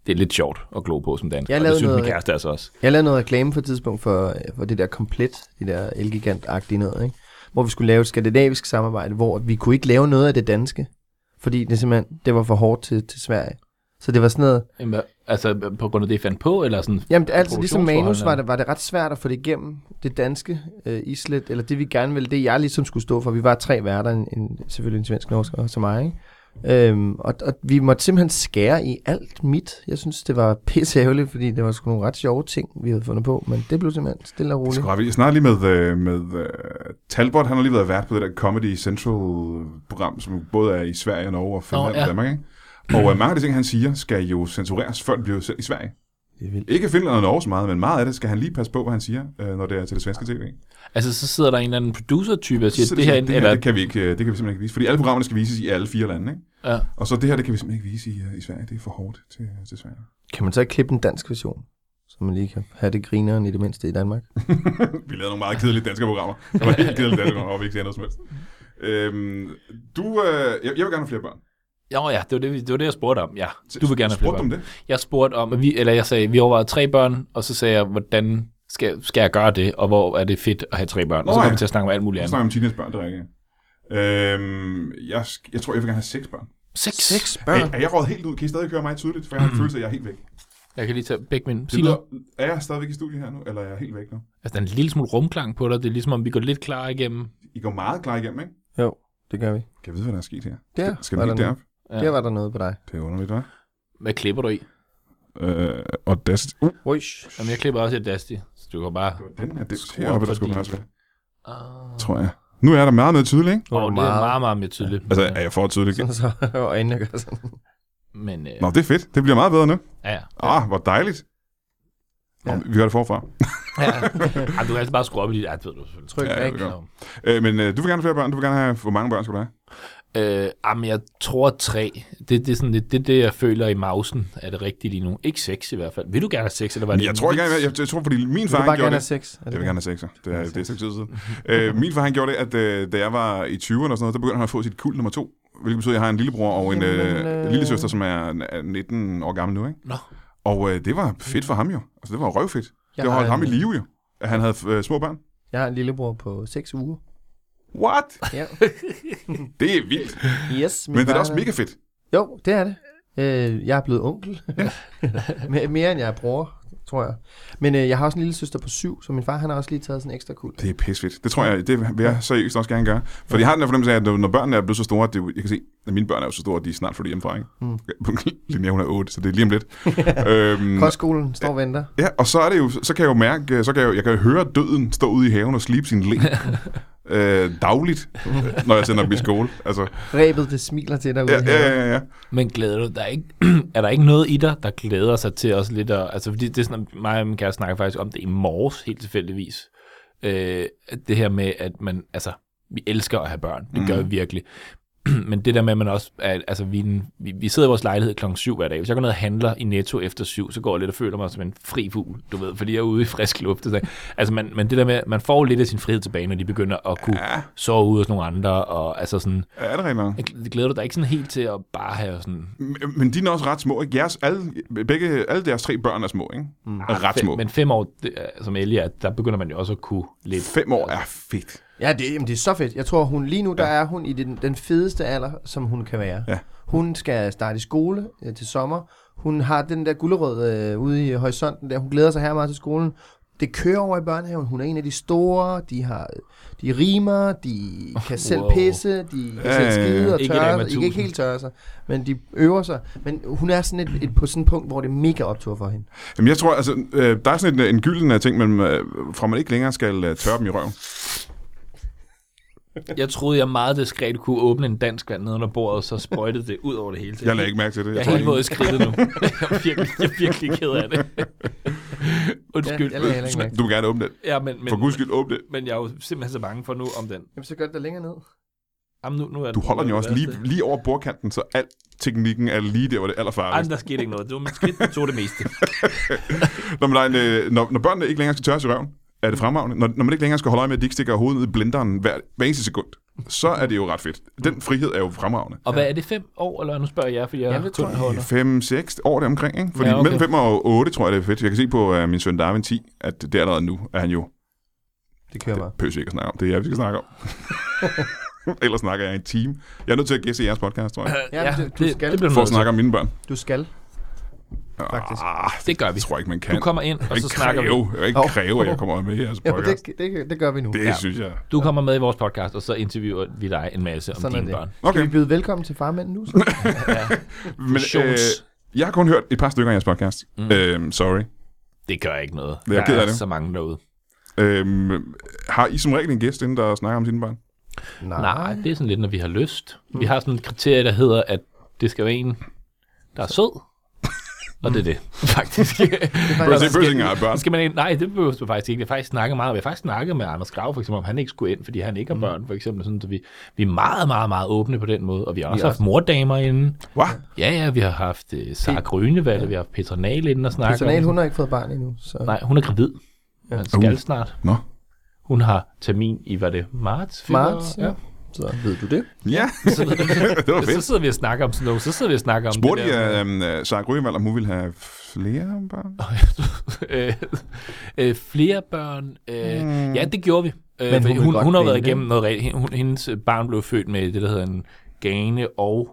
[SPEAKER 2] det er lidt sjovt at glo på som dansk.
[SPEAKER 3] Jeg
[SPEAKER 2] og det
[SPEAKER 3] lavede
[SPEAKER 2] synes min
[SPEAKER 3] noget-
[SPEAKER 2] kæreste altså også.
[SPEAKER 3] Jeg lavede noget reklame for et tidspunkt for, øh, for det der komplet, det der elgigant-agtige noget, ikke? hvor vi skulle lave et skandinavisk samarbejde, hvor vi kunne ikke lave noget af det danske, fordi det simpelthen det var for hårdt til, til Sverige. Så det var sådan noget,
[SPEAKER 2] Jamen, hvad- Altså, på grund af det, I fandt på, eller sådan?
[SPEAKER 3] jamen altså ligesom manus var
[SPEAKER 2] Produktionsforholdene.
[SPEAKER 3] det, var det ret svært at få det igennem det danske øh, islet, eller det vi gerne ville, det jeg ligesom skulle stå for. Vi var tre værter, en, en, selvfølgelig en svensk, norsk og så mig, ikke? Øhm, og, og vi måtte simpelthen skære i alt mit. Jeg synes, det var pisseævligt, fordi det var sgu nogle ret sjove ting, vi havde fundet på, men det blev simpelthen stille og roligt.
[SPEAKER 1] Sgu ret vildt. Jeg snakker lige med, øh, med uh, Talbot. Han har lige været vært på det der Comedy Central-program, som både er i Sverige, Norge og Finland oh,
[SPEAKER 2] Nå,
[SPEAKER 1] ja.
[SPEAKER 2] ja.
[SPEAKER 1] og Danmark. Ikke? Og øh, mange af de ting, han siger, skal jo censureres, før det bliver sendt i Sverige.
[SPEAKER 3] Det er vildt.
[SPEAKER 1] Ikke Finland og Norge så meget, men meget af det skal han lige passe på, hvad han siger, øh, når det er til det svenske tv.
[SPEAKER 2] Altså, så sidder der en eller anden producer-type og siger,
[SPEAKER 1] Så er
[SPEAKER 2] det her,
[SPEAKER 1] sådan, det, her
[SPEAKER 2] eller,
[SPEAKER 1] det, kan vi ikke, øh, det kan vi simpelthen ikke vise, fordi alle programmerne skal vises i alle fire lande. Ikke?
[SPEAKER 2] ja.
[SPEAKER 1] Og så det her, det kan vi simpelthen ikke vise i, øh, i Sverige. Det er for hårdt til, øh, til Sverige.
[SPEAKER 3] Kan man så ikke klippe en dansk version? Så man lige kan have det grineren i det mindste i Danmark.
[SPEAKER 1] vi lavede nogle meget kedelige danske programmer. Det var helt kedelige danske programmer, hvor vi ikke siger noget som helst. Øhm, du, øh, jeg, jeg vil gerne have flere børn.
[SPEAKER 2] Jo, ja, det var det, vi- det var det, jeg spurgte om, ja. Du vil gerne have flere
[SPEAKER 1] Spurgte
[SPEAKER 2] børn.
[SPEAKER 1] dem det?
[SPEAKER 2] Jeg spurgte om, at vi, eller jeg sagde, vi overvejede tre børn, og så sagde jeg, hvordan skal, skal jeg gøre det, og hvor er det fedt at have tre børn? Og så
[SPEAKER 1] Nå,
[SPEAKER 2] kom
[SPEAKER 1] ja.
[SPEAKER 2] vi til at snakke om alt muligt
[SPEAKER 1] Jeg
[SPEAKER 2] andet.
[SPEAKER 1] snakker om teenagebørn, det er rigtigt. Øhm, jeg, sk- jeg tror, jeg vil gerne have seks børn.
[SPEAKER 2] Seks.
[SPEAKER 1] Er, er jeg råd helt ud? Kan I stadig høre mig tydeligt? For jeg har en følelse, af, at jeg er helt væk. Det
[SPEAKER 2] Jeg kan lige tage begge mine. Sig
[SPEAKER 1] lyder,
[SPEAKER 2] noget.
[SPEAKER 1] er jeg stadigvæk i studiet her nu, eller er jeg helt væk nu?
[SPEAKER 2] Altså, der er en lille smule rumklang på dig. Det er ligesom, om vi går lidt klar igennem.
[SPEAKER 1] I går meget klar igennem, ikke?
[SPEAKER 3] Jo, det gør vi.
[SPEAKER 1] Kan jeg vide, hvad der er sket her?
[SPEAKER 3] Der
[SPEAKER 1] Skal- Skal vi
[SPEAKER 3] var
[SPEAKER 1] lige
[SPEAKER 3] der
[SPEAKER 1] derop?
[SPEAKER 2] Ja.
[SPEAKER 3] Der var der noget på dig.
[SPEAKER 1] Det er underligt, hva'?
[SPEAKER 2] Hvad klipper du i?
[SPEAKER 1] Øh, Audacity. Uh,
[SPEAKER 3] Uish.
[SPEAKER 2] Jamen, jeg klipper også i Audacity, så du kan bare...
[SPEAKER 1] det var den her dims
[SPEAKER 2] Skru op
[SPEAKER 1] heroppe, der
[SPEAKER 2] for
[SPEAKER 1] skulle
[SPEAKER 2] din-
[SPEAKER 1] passe ved,
[SPEAKER 2] Åh,
[SPEAKER 1] tror jeg. Nu er der meget mere tydeligt, ikke?
[SPEAKER 2] oh, det er meget, meget mere tydeligt.
[SPEAKER 1] Altså, er jeg for tydelig?
[SPEAKER 3] Sådan så øjnene gør sådan.
[SPEAKER 2] Men, øh,
[SPEAKER 1] Nå, det er fedt. Det bliver meget bedre nu.
[SPEAKER 2] ja, ja.
[SPEAKER 1] Ah, hvor dejligt. Nå,
[SPEAKER 3] Ja.
[SPEAKER 1] vi hører det forfra.
[SPEAKER 2] ja. Ej, du kan altså bare skrue op i dit... Ja, det ved du selvfølgelig.
[SPEAKER 3] Tryk
[SPEAKER 1] Ja,
[SPEAKER 3] ja,
[SPEAKER 1] jeg
[SPEAKER 3] væk.
[SPEAKER 1] vil gøre. Øh, men øh, du vil gerne have flere børn. Du vil gerne have... Hvor mange børn skal du have?
[SPEAKER 2] Øh, jamen, jeg tror tre. Det, det er sådan lidt det, det, jeg føler i mausen, er det rigtigt lige nu. Ikke seks i hvert fald. Vil du gerne have seks, eller var det
[SPEAKER 1] Jeg
[SPEAKER 2] en
[SPEAKER 1] tror ikke,
[SPEAKER 2] vits?
[SPEAKER 1] jeg, jeg, jeg tror, fordi min
[SPEAKER 3] Du
[SPEAKER 1] far,
[SPEAKER 3] vil
[SPEAKER 1] han
[SPEAKER 3] bare
[SPEAKER 1] gjorde
[SPEAKER 3] gerne
[SPEAKER 1] det.
[SPEAKER 3] have sex. Er
[SPEAKER 1] Jeg
[SPEAKER 3] det
[SPEAKER 1] vil gerne have sekser. Det er, det er et stykke tid siden. øh, min far, han gjorde det, at øh, da jeg var i 20'erne og sådan noget, der begyndte han at få sit kul nummer to. Hvilket betyder, at jeg har en lillebror og en
[SPEAKER 3] Jamen,
[SPEAKER 1] øh,
[SPEAKER 3] øh.
[SPEAKER 1] lille søster, som er er 19 år gammel nu. Ikke?
[SPEAKER 2] Nå.
[SPEAKER 1] Og øh, det var fedt for ham jo. Altså, det var røvfedt.
[SPEAKER 3] Jeg
[SPEAKER 1] det
[SPEAKER 3] har
[SPEAKER 1] holdt ham i
[SPEAKER 3] en-
[SPEAKER 1] live jo, at han havde øh, små børn.
[SPEAKER 3] Jeg har en lillebror på 6 uger.
[SPEAKER 1] What?
[SPEAKER 3] Ja.
[SPEAKER 1] Det er vildt.
[SPEAKER 3] Yes, min
[SPEAKER 1] Men det er da
[SPEAKER 3] far-
[SPEAKER 1] også mega fedt.
[SPEAKER 3] Jo, det er det. Øh, jeg er blevet onkel. M- Mere end jeg er bror, tror jeg. Men øh, jeg har også en lille søster på syv, så min far han har også lige taget sådan en ekstra kul.
[SPEAKER 1] Det er pissefedt. Det tror jeg, det vil jeg seriøst også gerne gøre. For jeg har den der fornemmelse af, at når når børnene er blevet så store, at det, er jo- jeg kan se, at mine børn er jo så store, at de er snart flyttet hjemmefra, ikke? Mm. Linnea, hun er 8, så det er lige om lidt. øhm,
[SPEAKER 3] Kostskolen står og venter.
[SPEAKER 1] ja, og så er det jo, så kan jeg jo mærke, øh, så kan jeg, jo, jeg kan jo høre døden stå ude i haven og slibe sin læ. øh, dagligt, øh, når jeg sender dem i skole. Altså,
[SPEAKER 3] Rebet, det smiler til dig. ude
[SPEAKER 1] ja,
[SPEAKER 3] i haven.
[SPEAKER 1] ja, ja, ja.
[SPEAKER 2] Men glæder du, der er, ikke, er der ikke noget i dig, der glæder sig til også lidt at, altså fordi det er sådan, at mig og min kæreste snakker faktisk om det i morges, helt tilfældigvis. Øh, at det her med, at man, altså, vi elsker at have børn. Det gør vi virkelig. men det der med, at man også... Er, altså, vi, er en- vi, vi sidder i vores lejlighed klokken 7 hver dag. Hvis jeg går ned og handler i Netto efter 7, så går jeg lidt og føler mig som en fri fugl, du ved, fordi jeg er ude i frisk luft. Så, altså, man, men det der med, at man får lidt af sin frihed tilbage, når de begynder at kunne
[SPEAKER 1] Ja,
[SPEAKER 2] sove ude hos nogle andre, og altså sådan...
[SPEAKER 1] ja, er det rigtigt nok?
[SPEAKER 2] Jeg gl- glæder du dig ikke sådan helt til at bare have sådan...
[SPEAKER 1] Men- Men dine er også ret små, ikke? Jeres, alle, begge, alle deres tre børn er små, ikke? Mm. Er ret små.
[SPEAKER 2] Fem, men fem år, det, er- som Ellie er, der begynder man jo også at kunne lidt.
[SPEAKER 1] Fem år er fedt.
[SPEAKER 3] Ja, det, jamen, det er så fedt. Jeg tror, hun lige nu, der er hun i den, den fedeste alder, som hun kan være.
[SPEAKER 1] Ja.
[SPEAKER 3] Hun skal starte i skole øh, til sommer. Hun har den der gullerød øh, ude i horisonten der. Hun glæder sig her meget til skolen. Det kører over i børnehaven. Hun er en af de store. De har de rimer, de kan selv
[SPEAKER 2] Wow.
[SPEAKER 3] pisse, de kan
[SPEAKER 1] Ja, ja, ja.
[SPEAKER 3] selv skide og
[SPEAKER 2] Ikke
[SPEAKER 3] tørre
[SPEAKER 2] Rema
[SPEAKER 3] sig. De kan ikke
[SPEAKER 2] 1000.
[SPEAKER 3] helt tørre sig, men de øver sig. Men hun er sådan et, et, på sådan et punkt, hvor det er mega optur for hende.
[SPEAKER 1] Jamen, jeg tror, altså, øh, der er sådan en, en gylden af ting, men øh, fra man ikke længere skal øh, tørre dem i røven.
[SPEAKER 2] Jeg troede, jeg meget diskret kunne åbne en dansk vand ned under bordet, så sprøjtede det ud over det hele. Så
[SPEAKER 1] Jeg lagde ikke mærke til det.
[SPEAKER 2] Jeg
[SPEAKER 1] Jeg
[SPEAKER 2] er
[SPEAKER 1] tror
[SPEAKER 2] helt
[SPEAKER 1] ikke,
[SPEAKER 2] våd i skridtet nu. Jeg er virkelig, jeg er virkelig ked af det. Undskyld.
[SPEAKER 3] Ja, jeg lagde heller ikke mærke til
[SPEAKER 1] du må gerne åbne det.
[SPEAKER 2] ja men, men,
[SPEAKER 1] For guds skyld, åbne det.
[SPEAKER 2] men jeg er jo simpelthen så bange for nu om den.
[SPEAKER 3] Jamen, så gør det da længere ned.
[SPEAKER 2] Jamen, nu, nu er
[SPEAKER 1] Du holder den jo
[SPEAKER 2] nu er
[SPEAKER 1] også
[SPEAKER 2] det
[SPEAKER 1] lige,
[SPEAKER 2] værste.
[SPEAKER 1] lige over bordkanten, så al teknikken er lige der, hvor det er
[SPEAKER 2] Ej,
[SPEAKER 1] allerfarligst.
[SPEAKER 2] men der skete ikke noget. Det var mit skridt, der tog det meste.
[SPEAKER 1] Når, man, der er en, øh, når, når børnene ikke længere skal tørres i røven, er
[SPEAKER 2] Mm.
[SPEAKER 1] det fremragende. Når, når man ikke længere skal holde øje med, at de ikke stikker hovedet ned i blenderen hver, hver eneste sekund, så er det jo ret fedt.
[SPEAKER 2] Mm.
[SPEAKER 1] Den frihed er jo fremragende.
[SPEAKER 2] Og hvad er det, fem år? Eller nu spørger jeg, fordi jeg
[SPEAKER 3] Ja,
[SPEAKER 2] er
[SPEAKER 3] det tror
[SPEAKER 2] tund
[SPEAKER 3] jeg.
[SPEAKER 2] hånder.
[SPEAKER 1] 5-6 år deromkring, ikke? Fordi
[SPEAKER 2] Ja,
[SPEAKER 1] ja,
[SPEAKER 2] okay.
[SPEAKER 1] okay. mellem 5 og 8, tror jeg, det er fedt. Jeg kan se på uh, min søn Darwin 10, at det er allerede nu, at han jo
[SPEAKER 3] Det kører bare.
[SPEAKER 1] pøs vi ikke at snakke om. Det er jeg, vi skal snakke om. Ellers snakker jeg i en time. Jeg er nødt til at gæsse i jeres podcast, tror jeg.
[SPEAKER 3] Ja, men du- du
[SPEAKER 2] det,
[SPEAKER 3] skal-
[SPEAKER 2] det, bliver
[SPEAKER 1] For at
[SPEAKER 2] noget.
[SPEAKER 1] snakke om mine børn.
[SPEAKER 3] Du skal. Faktisk.
[SPEAKER 1] Ah,
[SPEAKER 2] Det gør vi.
[SPEAKER 1] det tror jeg ikke, man kan.
[SPEAKER 2] Du kommer ind, og så
[SPEAKER 1] ikke
[SPEAKER 2] snakker vi.
[SPEAKER 1] kræve, vi. ikke
[SPEAKER 3] Hov.
[SPEAKER 1] kræve, at jeg kommer med i jeres
[SPEAKER 3] Ja,
[SPEAKER 1] podcast.
[SPEAKER 3] det, det, det gør vi nu.
[SPEAKER 1] Det
[SPEAKER 2] Ja.
[SPEAKER 1] synes jeg.
[SPEAKER 2] Du kommer med i vores podcast, og så interviewer vi dig en masse om
[SPEAKER 3] Sådan er
[SPEAKER 2] dine
[SPEAKER 3] det.
[SPEAKER 2] børn.
[SPEAKER 3] Skal
[SPEAKER 1] Okay,
[SPEAKER 3] vi byde velkommen til farmanden nu? Så?
[SPEAKER 1] men øh,
[SPEAKER 2] Shows.
[SPEAKER 1] jeg har kun hørt et par stykker af jeres podcast. Mm. Øhm, sorry.
[SPEAKER 2] Det gør ikke noget.
[SPEAKER 1] Jeg er ked
[SPEAKER 2] der
[SPEAKER 1] af
[SPEAKER 2] er
[SPEAKER 1] det.
[SPEAKER 2] så mange derude.
[SPEAKER 1] Øhm, har I som regel en gæst inden, der snakker om sine børn?
[SPEAKER 2] Nej, det er sådan lidt, når vi har lyst. Vi har sådan et kriterie, der hedder, at det skal være en, der er sød. Og det er det, faktisk.
[SPEAKER 1] Bøs,
[SPEAKER 2] Så altså, skal-
[SPEAKER 1] bøs, har børn.
[SPEAKER 2] Så skal man ind. Nej, det behøver du faktisk ikke. Vi har faktisk snakket meget om. Vi har faktisk snakket med Anders Grav, for eksempel, om han ikke skulle ind, fordi han ikke har børn, for eksempel. Sådan, så vi, vi er meget, meget, meget åbne på den måde. Og vi har også haft mordamer inde.
[SPEAKER 1] Hvad?
[SPEAKER 2] Ja, ja, vi har haft uh, Sara Grønevalg, ja. vi har haft Petronal inde og snakke
[SPEAKER 3] Personal,
[SPEAKER 2] om.
[SPEAKER 3] hun har ikke fået barn endnu. Så.
[SPEAKER 2] Nej, hun er gravid. Ja. Han skal
[SPEAKER 1] Uh.
[SPEAKER 2] uh. snart.
[SPEAKER 1] Nå.
[SPEAKER 2] Hun har termin i, hvad er det, marts? februar?
[SPEAKER 3] Marts, ja. Så ved du det.
[SPEAKER 1] Ja, det var
[SPEAKER 2] Så
[SPEAKER 1] fedt.
[SPEAKER 2] sidder vi og snakker om sådan noget. Så sidder vi og snakker om
[SPEAKER 1] Spurgte
[SPEAKER 2] det
[SPEAKER 1] I
[SPEAKER 2] der.
[SPEAKER 1] øh, Sarah Grønvald, om hun ville have flere børn?
[SPEAKER 2] Øh, øh, flere børn. Øh,
[SPEAKER 3] Hmm.
[SPEAKER 2] mm. Ja, det gjorde vi. Øh,
[SPEAKER 3] hun
[SPEAKER 2] Men hun,
[SPEAKER 3] ville
[SPEAKER 2] hun,
[SPEAKER 3] godt
[SPEAKER 2] hun har været
[SPEAKER 3] vælge.
[SPEAKER 2] igennem noget rigtigt. Hun, hendes barn blev født med det, der hedder en gane og...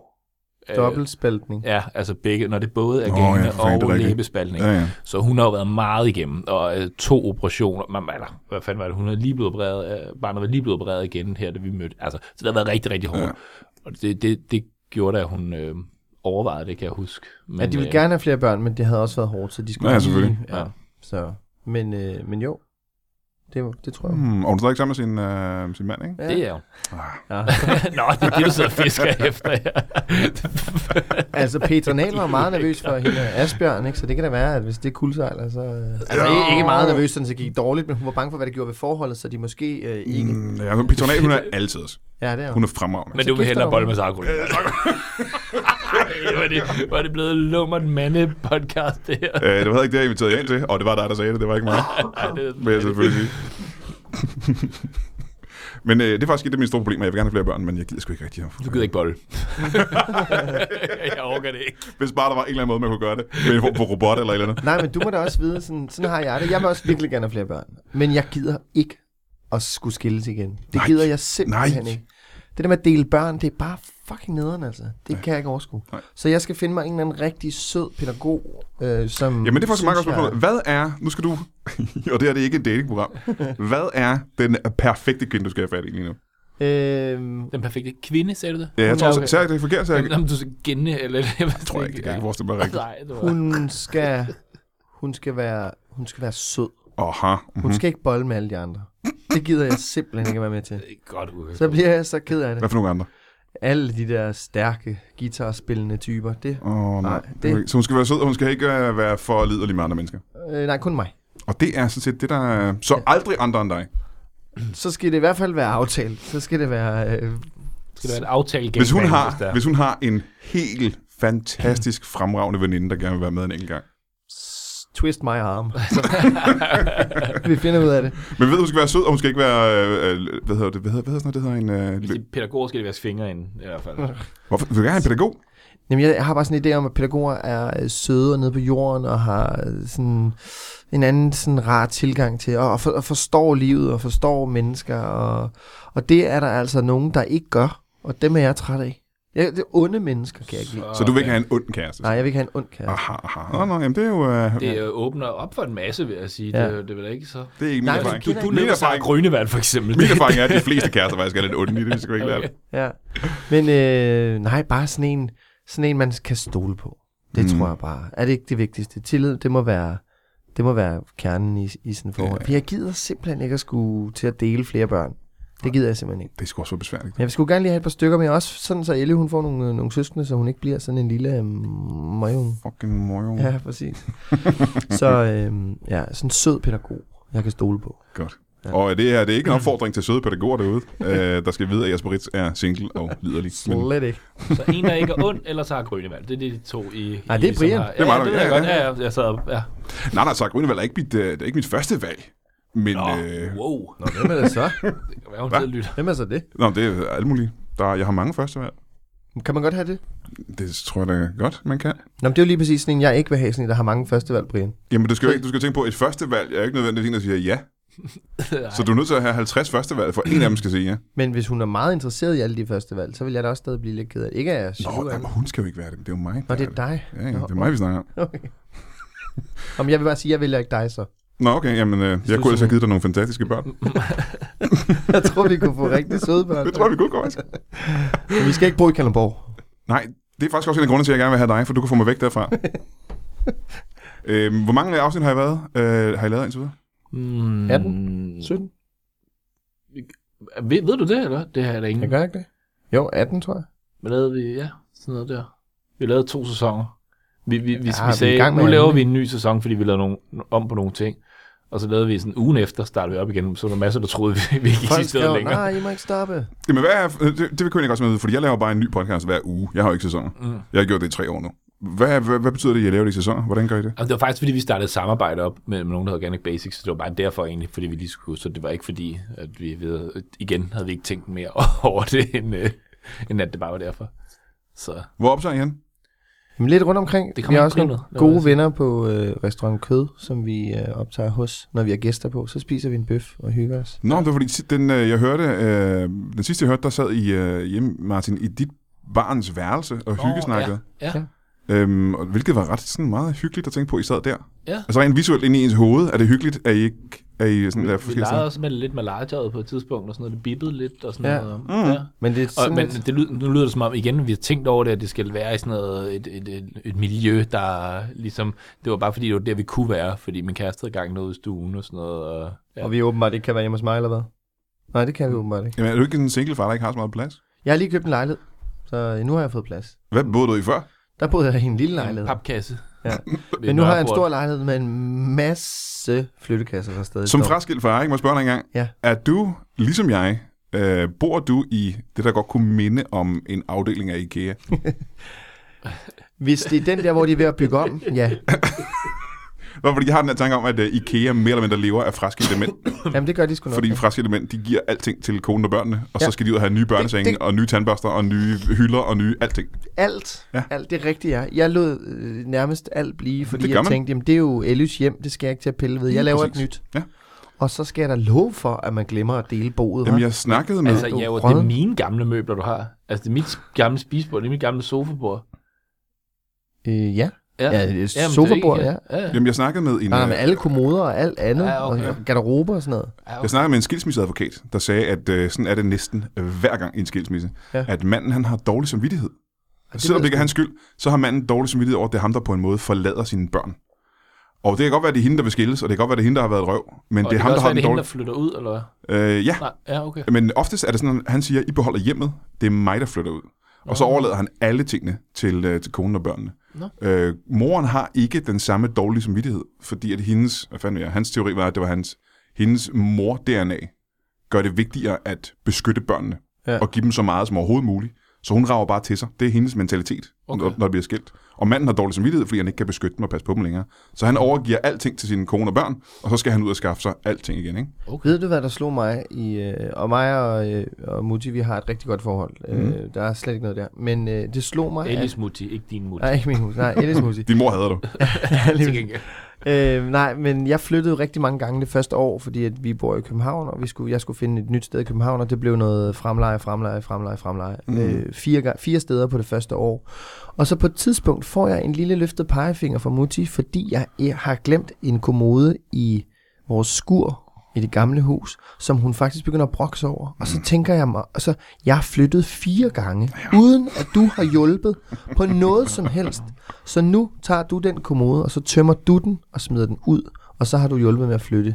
[SPEAKER 2] Øh,
[SPEAKER 3] Dobbeltspaltning.
[SPEAKER 2] Ja, altså begge, når det både er
[SPEAKER 1] Nå,
[SPEAKER 2] gane
[SPEAKER 1] ja, for fanden, det er
[SPEAKER 2] og
[SPEAKER 1] rigtigt.
[SPEAKER 2] læbespaltning.
[SPEAKER 1] Ja, ja.
[SPEAKER 2] Så hun har jo været meget igennem, og øh, to operationer, man, eller, hvad fanden var det, hun er lige blevet opereret, øh, barnet var lige blevet opereret igen her, da vi mødte. Altså, så det har været rigtig, rigtig hårdt. Ja. Og det, det, det gjorde da, at hun øh, overvejede det, kan jeg huske. Men, øh,
[SPEAKER 3] Ja, de ville gerne have flere børn, men det havde også været hårdt, så de skulle
[SPEAKER 1] Ja,
[SPEAKER 3] lige-
[SPEAKER 1] selvfølgelig.
[SPEAKER 3] Ja,
[SPEAKER 2] Ja.
[SPEAKER 3] så. Men, øh, men jo, det, var- det tror jeg.
[SPEAKER 1] Hmm, og hun er stadig sammen med sin, øh, sin mand, ikke?
[SPEAKER 2] Øh, det er jo.
[SPEAKER 3] Ja.
[SPEAKER 2] Nå, det er det, du sidder og fisker efter. Ja.
[SPEAKER 3] altså, Peter Nahl var meget nervøs for hende og Asbjørn, ikke? så det kan da være, at hvis det kuldsejler, så... øh, Altså, ikke, ikke meget nervøs, sådan, så det gik dårligt, men hun var bange for, hvad det gjorde ved forholdet, så de måske øh, ikke...
[SPEAKER 1] Mm, ja, men Petronat, hun er altid. os.
[SPEAKER 3] Ja, det er
[SPEAKER 1] Hun
[SPEAKER 3] hun.
[SPEAKER 1] er fremragende.
[SPEAKER 2] Men du vil
[SPEAKER 3] gifter
[SPEAKER 2] hellere
[SPEAKER 3] du
[SPEAKER 2] bolle med Sarko. Ej, var det, var det blevet lummert mande-podcast, det her?
[SPEAKER 1] Øh, det var heller ikke det, jeg inviterede jer ind til, og det var dig, der sagde det, det var ikke mig.
[SPEAKER 2] Ej, det,
[SPEAKER 1] Vil jeg selvfølgelig sige. men øh, det er faktisk et af mine store problemer. Jeg vil gerne have flere børn, men jeg gider sgu ikke rigtig.
[SPEAKER 2] du gider ikke bolle. jeg overgår det ikke.
[SPEAKER 1] Hvis bare der var en eller anden måde, man kunne gøre det. Med en form for robot eller et eller andet.
[SPEAKER 3] Nej, men du må da også vide, sådan, sådan har jeg det. Jeg vil også virkelig gerne have flere børn, men jeg gider ikke at skulle skilles igen. Det
[SPEAKER 1] Nej.
[SPEAKER 3] gider jeg simpelthen
[SPEAKER 1] Nej.
[SPEAKER 3] Nej. ikke. Det der med at dele børn, det er bare fucking nederen, altså. Det kan jeg ikke overskue.
[SPEAKER 1] Nej.
[SPEAKER 3] Så jeg skal finde mig en eller anden rigtig sød pædagog, øh, som...
[SPEAKER 1] Jamen det er faktisk et meget godt
[SPEAKER 3] synes,
[SPEAKER 1] spørgsmål. Hvad er, nu skal du, og det her det er ikke et datingprogram. Hvad er den perfekte kvinde, du skal have fat i lige nu?
[SPEAKER 3] jeg- Øh,
[SPEAKER 2] Den perfekte kvinde, sagde du det?
[SPEAKER 1] Ja, jeg tror,
[SPEAKER 2] Ja,
[SPEAKER 1] okay. særligt det er forkert, så jeg,
[SPEAKER 2] Jamen, om du skal genne, eller... Jeg
[SPEAKER 1] tror jeg ikke, det kan jeg ikke forestille mig rigtigt.
[SPEAKER 2] Nej, det var...
[SPEAKER 3] hun skal... Hun skal være... Hun skal være sød.
[SPEAKER 1] Aha.
[SPEAKER 3] Hun skal ikke bolle med alle de andre. Det gider jeg simpelthen ikke at være med til.
[SPEAKER 2] Det er Godt ud.
[SPEAKER 3] Så bliver jeg så ked af
[SPEAKER 1] Hvad
[SPEAKER 3] det.
[SPEAKER 1] for nogle andre?
[SPEAKER 3] Alle de der stærke guitarspillende typer, det...
[SPEAKER 1] Åh, nej.
[SPEAKER 3] Nej, det-
[SPEAKER 1] Så hun skal være sød, og hun skal ikke øh, være for liderlig med andre mennesker.
[SPEAKER 3] Øh, nej, kun mig.
[SPEAKER 1] Og det er sådan set det, der... Så aldrig andre end dig.
[SPEAKER 3] så skal det i hvert fald være aftalt. Så skal det være
[SPEAKER 2] Skal
[SPEAKER 3] øh,
[SPEAKER 2] du have et aftale
[SPEAKER 1] Hvis hun,
[SPEAKER 2] gangbang,
[SPEAKER 1] har,
[SPEAKER 2] der-
[SPEAKER 1] hvis hun har en helt fantastisk fremragende veninde, der gerne vil være med en enkelt gang.
[SPEAKER 3] Twist my arm. vi finder ud af det.
[SPEAKER 1] Men ved, hun skal være sød, og hun skal ikke være... Øh, øh, hvad hedder det? Hvad hedder, hvad hedder sådan noget? Det hedder en...
[SPEAKER 2] Hvis
[SPEAKER 1] Øh,
[SPEAKER 2] de er pædagoger, skal de vaske fingre ind, i hvert fald.
[SPEAKER 1] hvorfor? Vil du gerne have en pædagog?
[SPEAKER 3] Jamen, jeg har bare sådan en idé om, at pædagoger er øh, søde og nede på jorden, og har øh, sådan en anden sådan rar tilgang til, og, og, for, og forstår livet, og forstår mennesker, og, og det er der altså nogen, der ikke gør, og dem er jeg træt af. Jeg, det er onde mennesker, kan jeg ikke lide.
[SPEAKER 1] Så du vil ikke have en ond kæreste?
[SPEAKER 3] Nej, jeg vil ikke have en ond kæreste.
[SPEAKER 1] Aha, aha. Nå, nå, jamen det er jo... Øh,
[SPEAKER 2] Det øh, åbner op for en masse, vil jeg sige.
[SPEAKER 3] Ja.
[SPEAKER 2] Ja. Det, det er da ikke så...
[SPEAKER 1] det er ikke min
[SPEAKER 3] Nej, du
[SPEAKER 1] erfaring.
[SPEAKER 3] kender ikke
[SPEAKER 1] min, erfaring
[SPEAKER 2] Grønevand, for eksempel.
[SPEAKER 1] min erfaring er, at de fleste kærester faktisk er lidt onde i det, vi skal jo ikke okay.
[SPEAKER 2] Okay.
[SPEAKER 1] være.
[SPEAKER 3] Ja. Men øh, nej, bare sådan en, sådan en, man kan stole på. Det
[SPEAKER 1] Mm.
[SPEAKER 3] mm. tror jeg bare. Er det ikke det vigtigste? Tillid, det må være, det må være kernen i, i sådan et forhold.
[SPEAKER 1] Ja.
[SPEAKER 3] Ja. For jeg gider simpelthen ikke at skulle til at dele flere børn. Det gider jeg simpelthen ikke.
[SPEAKER 1] Det er sgu også være besværligt.
[SPEAKER 3] Men jeg skulle gerne lige have et par stykker med, også sådan så Elle, hun får nogle, øh, nogle søskende, så hun ikke bliver sådan en lille øh, møgung.
[SPEAKER 1] Fucking mojo. Ja.
[SPEAKER 3] Ja, præcis. så øh, ja, sådan en sød pædagog, jeg kan stole på.
[SPEAKER 1] Godt.
[SPEAKER 3] Ja.
[SPEAKER 1] Og det her, det er ikke en opfordring til søde pædagoger derude, øh, der skal vide, at Jesper Ritz er single og liderlig. Men
[SPEAKER 3] Slet ikke.
[SPEAKER 2] Så en, der ikke er ond, eller tager Grønevand. Det er de to i...
[SPEAKER 3] Nej, det er
[SPEAKER 2] i, som
[SPEAKER 3] Brian.
[SPEAKER 2] Har, ja,
[SPEAKER 1] Det er mig, der-
[SPEAKER 2] det ved jeg
[SPEAKER 1] ja,
[SPEAKER 2] godt.
[SPEAKER 1] ja.
[SPEAKER 2] Ja, ja, jeg sad op. Ja.
[SPEAKER 1] Nej, nej, Sark Grønevald er ikke mit, øh, det er ikke mit første valg. Men, nå, øh,
[SPEAKER 2] Wow.
[SPEAKER 3] Nå, hvem er det så?
[SPEAKER 2] Det kan være, hun sidder og lytter.
[SPEAKER 3] Hvem er så det?
[SPEAKER 1] nå, det er alt muligt. Der, jeg har mange første valg.
[SPEAKER 3] Kan man godt have det?
[SPEAKER 1] Det tror jeg da godt, man kan.
[SPEAKER 3] Nå, men det er jo lige præcis sådan en, jeg ikke vil have sådan en, der har mange førstevalg, Brian.
[SPEAKER 1] Jamen, du skal jo ikke, du skal tænke på, at et første valg er ikke nødvendigvis en, der siger ja. Så
[SPEAKER 2] Nej.
[SPEAKER 1] du er nødt til at have 50 første valg, for en af dem skal sige ja.
[SPEAKER 3] Men hvis hun er meget interesseret i alle de førstevalg, så vil jeg da også stadig blive lidt ked af det. Ikke at jeg
[SPEAKER 1] Nå,
[SPEAKER 3] er jaloux af
[SPEAKER 1] nej,
[SPEAKER 3] det.
[SPEAKER 1] men hun skal jo ikke være det. Det er jo mig. der
[SPEAKER 3] Nå, det
[SPEAKER 1] er
[SPEAKER 3] er dig.
[SPEAKER 1] Ja, ja,
[SPEAKER 3] Nå,
[SPEAKER 1] det er mig, vi snakker om.
[SPEAKER 3] Okay. Nå, men jeg vil bare sige, at jeg vælger ikke dig så.
[SPEAKER 1] Nå, okay, jamen, øh, jeg kunne ellers have givet dig nogle fantastiske børn.
[SPEAKER 3] Jeg tror, vi kunne få rigtig søde børn.
[SPEAKER 1] Det tror jeg, vi kunne gå, altså.
[SPEAKER 3] Men vi skal ikke bo i Kalundborg.
[SPEAKER 1] Nej, det er faktisk også en af grundene til, at jeg gerne vil have dig, for du kan få mig væk derfra. øhm, hvor mange afsnit har I været? Øh, har I lavet indtil videre?
[SPEAKER 2] Mm,
[SPEAKER 3] Er den? 17?
[SPEAKER 2] Ved, ved du det, eller? Det har jeg da ingen.
[SPEAKER 3] Jeg gør ikke det. Jo, 18, tror jeg.
[SPEAKER 2] Hvad lavede vi? Ja, sådan noget der. Vi lavede to sæsoner. Vi, vi, vi,
[SPEAKER 3] Ja,
[SPEAKER 2] ja, vi
[SPEAKER 3] vi er i
[SPEAKER 2] sagde,
[SPEAKER 3] gang med
[SPEAKER 2] nu laver
[SPEAKER 3] anden.
[SPEAKER 2] vi en ny sæson, fordi vi lavede nogle, om på nogle ting. Og så lavede vi sådan ugen efter, startede vi op igen, så var der masser, der troede, vi, vi ikke eksisterede længere.
[SPEAKER 3] nej, I må ikke stoppe.
[SPEAKER 1] Jamen, hvad er, det, det vil jeg også med, fordi jeg laver bare en ny podcast hver uge. Jeg har jo ikke sæsoner.
[SPEAKER 2] Mm.
[SPEAKER 1] Jeg har gjort det i tre år nu. Hvad, hvad, hvad betyder det, at jeg laver det i sæsoner? Hvordan gør I det?
[SPEAKER 2] Altså, det var faktisk, fordi vi startede et samarbejde op med, med nogen, der hedder Organic Basics, så det var bare derfor egentlig, fordi vi lige skulle, så det var ikke fordi, at vi ved, igen havde vi ikke tænkt mere over det, end, øh, end at det bare var derfor. Så
[SPEAKER 1] Hvor optager I hen?
[SPEAKER 3] Jamen, lidt rundt omkring.
[SPEAKER 2] Det
[SPEAKER 3] vi
[SPEAKER 2] kommer
[SPEAKER 3] har
[SPEAKER 2] i
[SPEAKER 3] også nogle
[SPEAKER 2] april, lad
[SPEAKER 3] gode
[SPEAKER 2] os-
[SPEAKER 3] venner på øh, restaurant Kød, som vi øh, optager hos, når vi har gæster på. Så spiser vi en bøf og hygger os.
[SPEAKER 1] Nå, det var fordi, si- den, øh, jeg hørte, øh, den sidste, jeg hørte, der sad I øh, hjemme, Martin, i dit barns værelse og
[SPEAKER 2] Nå,
[SPEAKER 1] hyggesnakkede.
[SPEAKER 2] ja, ja.
[SPEAKER 1] Øhm, og hvilket var ret sådan meget hyggeligt at tænke på, I sad der.
[SPEAKER 2] Ja.
[SPEAKER 1] Altså rent visuelt ind i ens hoved, er det hyggeligt, at I ikke er I sådan der
[SPEAKER 2] vi
[SPEAKER 1] forskellige
[SPEAKER 2] legede
[SPEAKER 1] steder?
[SPEAKER 2] også med lidt med legetøjet på et tidspunkt, og sådan noget, det bippede lidt, og sådan
[SPEAKER 3] Ja.
[SPEAKER 2] noget.
[SPEAKER 1] Mm.
[SPEAKER 2] Ja.
[SPEAKER 3] Men det er sådan
[SPEAKER 2] Og, men
[SPEAKER 3] lidt-
[SPEAKER 2] det lyder, nu lyder det som om, igen, vi har tænkt over det, at det skal være i sådan noget, et, et, et, et miljø, der ligesom, det var bare fordi, det var der, vi kunne være, fordi min kæreste havde gang noget i stuen og sådan noget. Og, ja.
[SPEAKER 3] Og vi åbenbart ikke kan være hjemme hos mig, eller hvad? Nej, det kan
[SPEAKER 1] Mm.
[SPEAKER 3] vi åbenbart ikke.
[SPEAKER 1] Jamen, er du ikke sådan en single far, der ikke har så meget plads?
[SPEAKER 3] Jeg har lige købt en lejlighed, så øh, nu har jeg fået plads.
[SPEAKER 1] Hvad boede du i før?
[SPEAKER 3] Der boede jeg i en lille lejlighed.
[SPEAKER 2] en papkasse.
[SPEAKER 3] Ja.
[SPEAKER 2] Ved
[SPEAKER 3] Men nu har jeg en
[SPEAKER 2] Nørreport.
[SPEAKER 3] stor lejlighed med en masse flyttekasser, der stadig
[SPEAKER 1] Som
[SPEAKER 3] står.
[SPEAKER 1] fraskilt far, ikke? Må jeg spørge dig engang.
[SPEAKER 3] Ja.
[SPEAKER 1] Er du, ligesom jeg, øh, bor du i det, der godt kunne minde om en afdeling af IKEA?
[SPEAKER 3] Hvis det er den der, hvor de er ved at bygge om, ja.
[SPEAKER 1] Nå, fordi jeg har den her tanke om, at øh, IKEA mere eller mindre lever af fraskilte mænd.
[SPEAKER 3] Jamen, det gør de sgu nok.
[SPEAKER 1] Fordi fraskilte mænd, de giver alting til konen og børnene, og ja.
[SPEAKER 3] Ja.
[SPEAKER 1] så skal de ud og have nye børnesenge,
[SPEAKER 3] Det-
[SPEAKER 1] og nye tandbørster, og nye hylder, og nye alting.
[SPEAKER 3] Alt,
[SPEAKER 1] Ja.
[SPEAKER 3] ja. alt det rigtige er. Jeg lod øh, nærmest alt blive, fordi
[SPEAKER 1] Det gør
[SPEAKER 3] jeg
[SPEAKER 1] man.
[SPEAKER 3] tænkte, jamen, det er jo Elys hjem, det skal jeg ikke til at pille ved. Jeg laver
[SPEAKER 1] præcis.
[SPEAKER 3] et nyt.
[SPEAKER 1] Ja.
[SPEAKER 3] Og så skal jeg da love for, at man glemmer at dele boet.
[SPEAKER 1] Jamen,
[SPEAKER 3] hva'?
[SPEAKER 1] jeg snakkede med...
[SPEAKER 2] Altså,
[SPEAKER 3] Du
[SPEAKER 2] ja, jo, det
[SPEAKER 3] prøvede.
[SPEAKER 2] er mine gamle møbler, du har. Altså, det er mit gamle spisebord, det er mit gamle sofabord.
[SPEAKER 3] øh, ja. Ja, det er
[SPEAKER 2] men
[SPEAKER 3] sofabord,
[SPEAKER 2] ikke- ja. ja.
[SPEAKER 1] Jamen, jeg snakkede med en...
[SPEAKER 3] Nej, nej, men
[SPEAKER 1] øh,
[SPEAKER 3] alle kommoder og alt andet,
[SPEAKER 2] Ja, okay.
[SPEAKER 3] og garderober og sådan noget.
[SPEAKER 2] ja
[SPEAKER 1] Jeg
[SPEAKER 2] okay.
[SPEAKER 1] snakkede med en skilsmisseadvokat, der sagde, at øh, sådan er det næsten øh, hver gang i en skilsmisse, ja.
[SPEAKER 3] Ja.
[SPEAKER 1] at manden han har dårlig samvittighed. Og selvom det ikke er hans skyld, så har manden dårlig samvittighed over, at det er ham, der på en måde forlader sine børn. Og det kan godt være, at det er hende, der vil skilles, og det kan godt være, at det er hende, der har været et røv. Men
[SPEAKER 2] Og
[SPEAKER 1] det er
[SPEAKER 2] kan
[SPEAKER 1] ham, der
[SPEAKER 2] også
[SPEAKER 1] har
[SPEAKER 2] være,
[SPEAKER 1] den
[SPEAKER 2] det er hende,
[SPEAKER 1] dårlige...
[SPEAKER 2] der flytter ud, eller hvad?
[SPEAKER 1] Øh, ja,
[SPEAKER 2] Nej, ja, okay.
[SPEAKER 1] men oftest er det sådan, at han siger, I beholder hjemmet, det er mig, der flytter ud. Og så overlader han alle tingene til, øh, til konen og børnene.
[SPEAKER 2] Nå.
[SPEAKER 1] Øh, moren har ikke den samme dårlige samvittighed, fordi at hendes, hvad fanden ved jeg, hans teori var, at det var hans, hendes mor-DNA gør det vigtigere at beskytte børnene.
[SPEAKER 3] Ja.
[SPEAKER 1] ja. og give dem så meget som overhovedet muligt. Så hun rager bare til sig. Det er hendes mentalitet, okay.
[SPEAKER 2] Okay.
[SPEAKER 1] når, når det bliver skilt. Og manden har dårlig samvittighed, fordi han ikke kan beskytte dem og passe på dem længere. Så han overgiver alting til sine kone og børn, og så skal han ud og skaffe sig alting igen. Ikke?
[SPEAKER 3] Ved du, hvad der slog mig? I, øh, og mig og, øh, og Mutti, vi har et rigtig godt forhold. Mm.
[SPEAKER 1] Mhm.
[SPEAKER 3] Øh, der er slet ikke noget der. Men øh, det slog mig...
[SPEAKER 2] Ellis Mutti, ikke din
[SPEAKER 3] At,
[SPEAKER 2] Mutti.
[SPEAKER 3] nej, ikke min hus. Nej, Ellis Mutti.
[SPEAKER 1] Din mor hader dig.
[SPEAKER 3] Ja, lige
[SPEAKER 2] Til
[SPEAKER 3] præcis.
[SPEAKER 2] gengæld.
[SPEAKER 3] øh, nej, men jeg flyttede jo rigtig mange gange det første år, fordi at vi bor i København, og vi skulle, jeg skulle finde et nyt sted i København, og det blev noget fremleje, fremleje, fremleje, fremleje.
[SPEAKER 1] Mhm.
[SPEAKER 3] Mm. Øh, fire, ga- fire steder på det første år. Og så på et tidspunkt får jeg en lille løftet pegefinger fra Mutti, fordi jeg, jeg har glemt en kommode i vores skur i det gamle hus, som hun faktisk begynder at brokse over. Og så
[SPEAKER 1] Mm.
[SPEAKER 3] tænker jeg mig, altså, jeg har flyttet fire gange, uden at du har hjulpet på noget som helst. Så nu tager du den kommode, og så tømmer du den og smider den ud, og så har du hjulpet med at flytte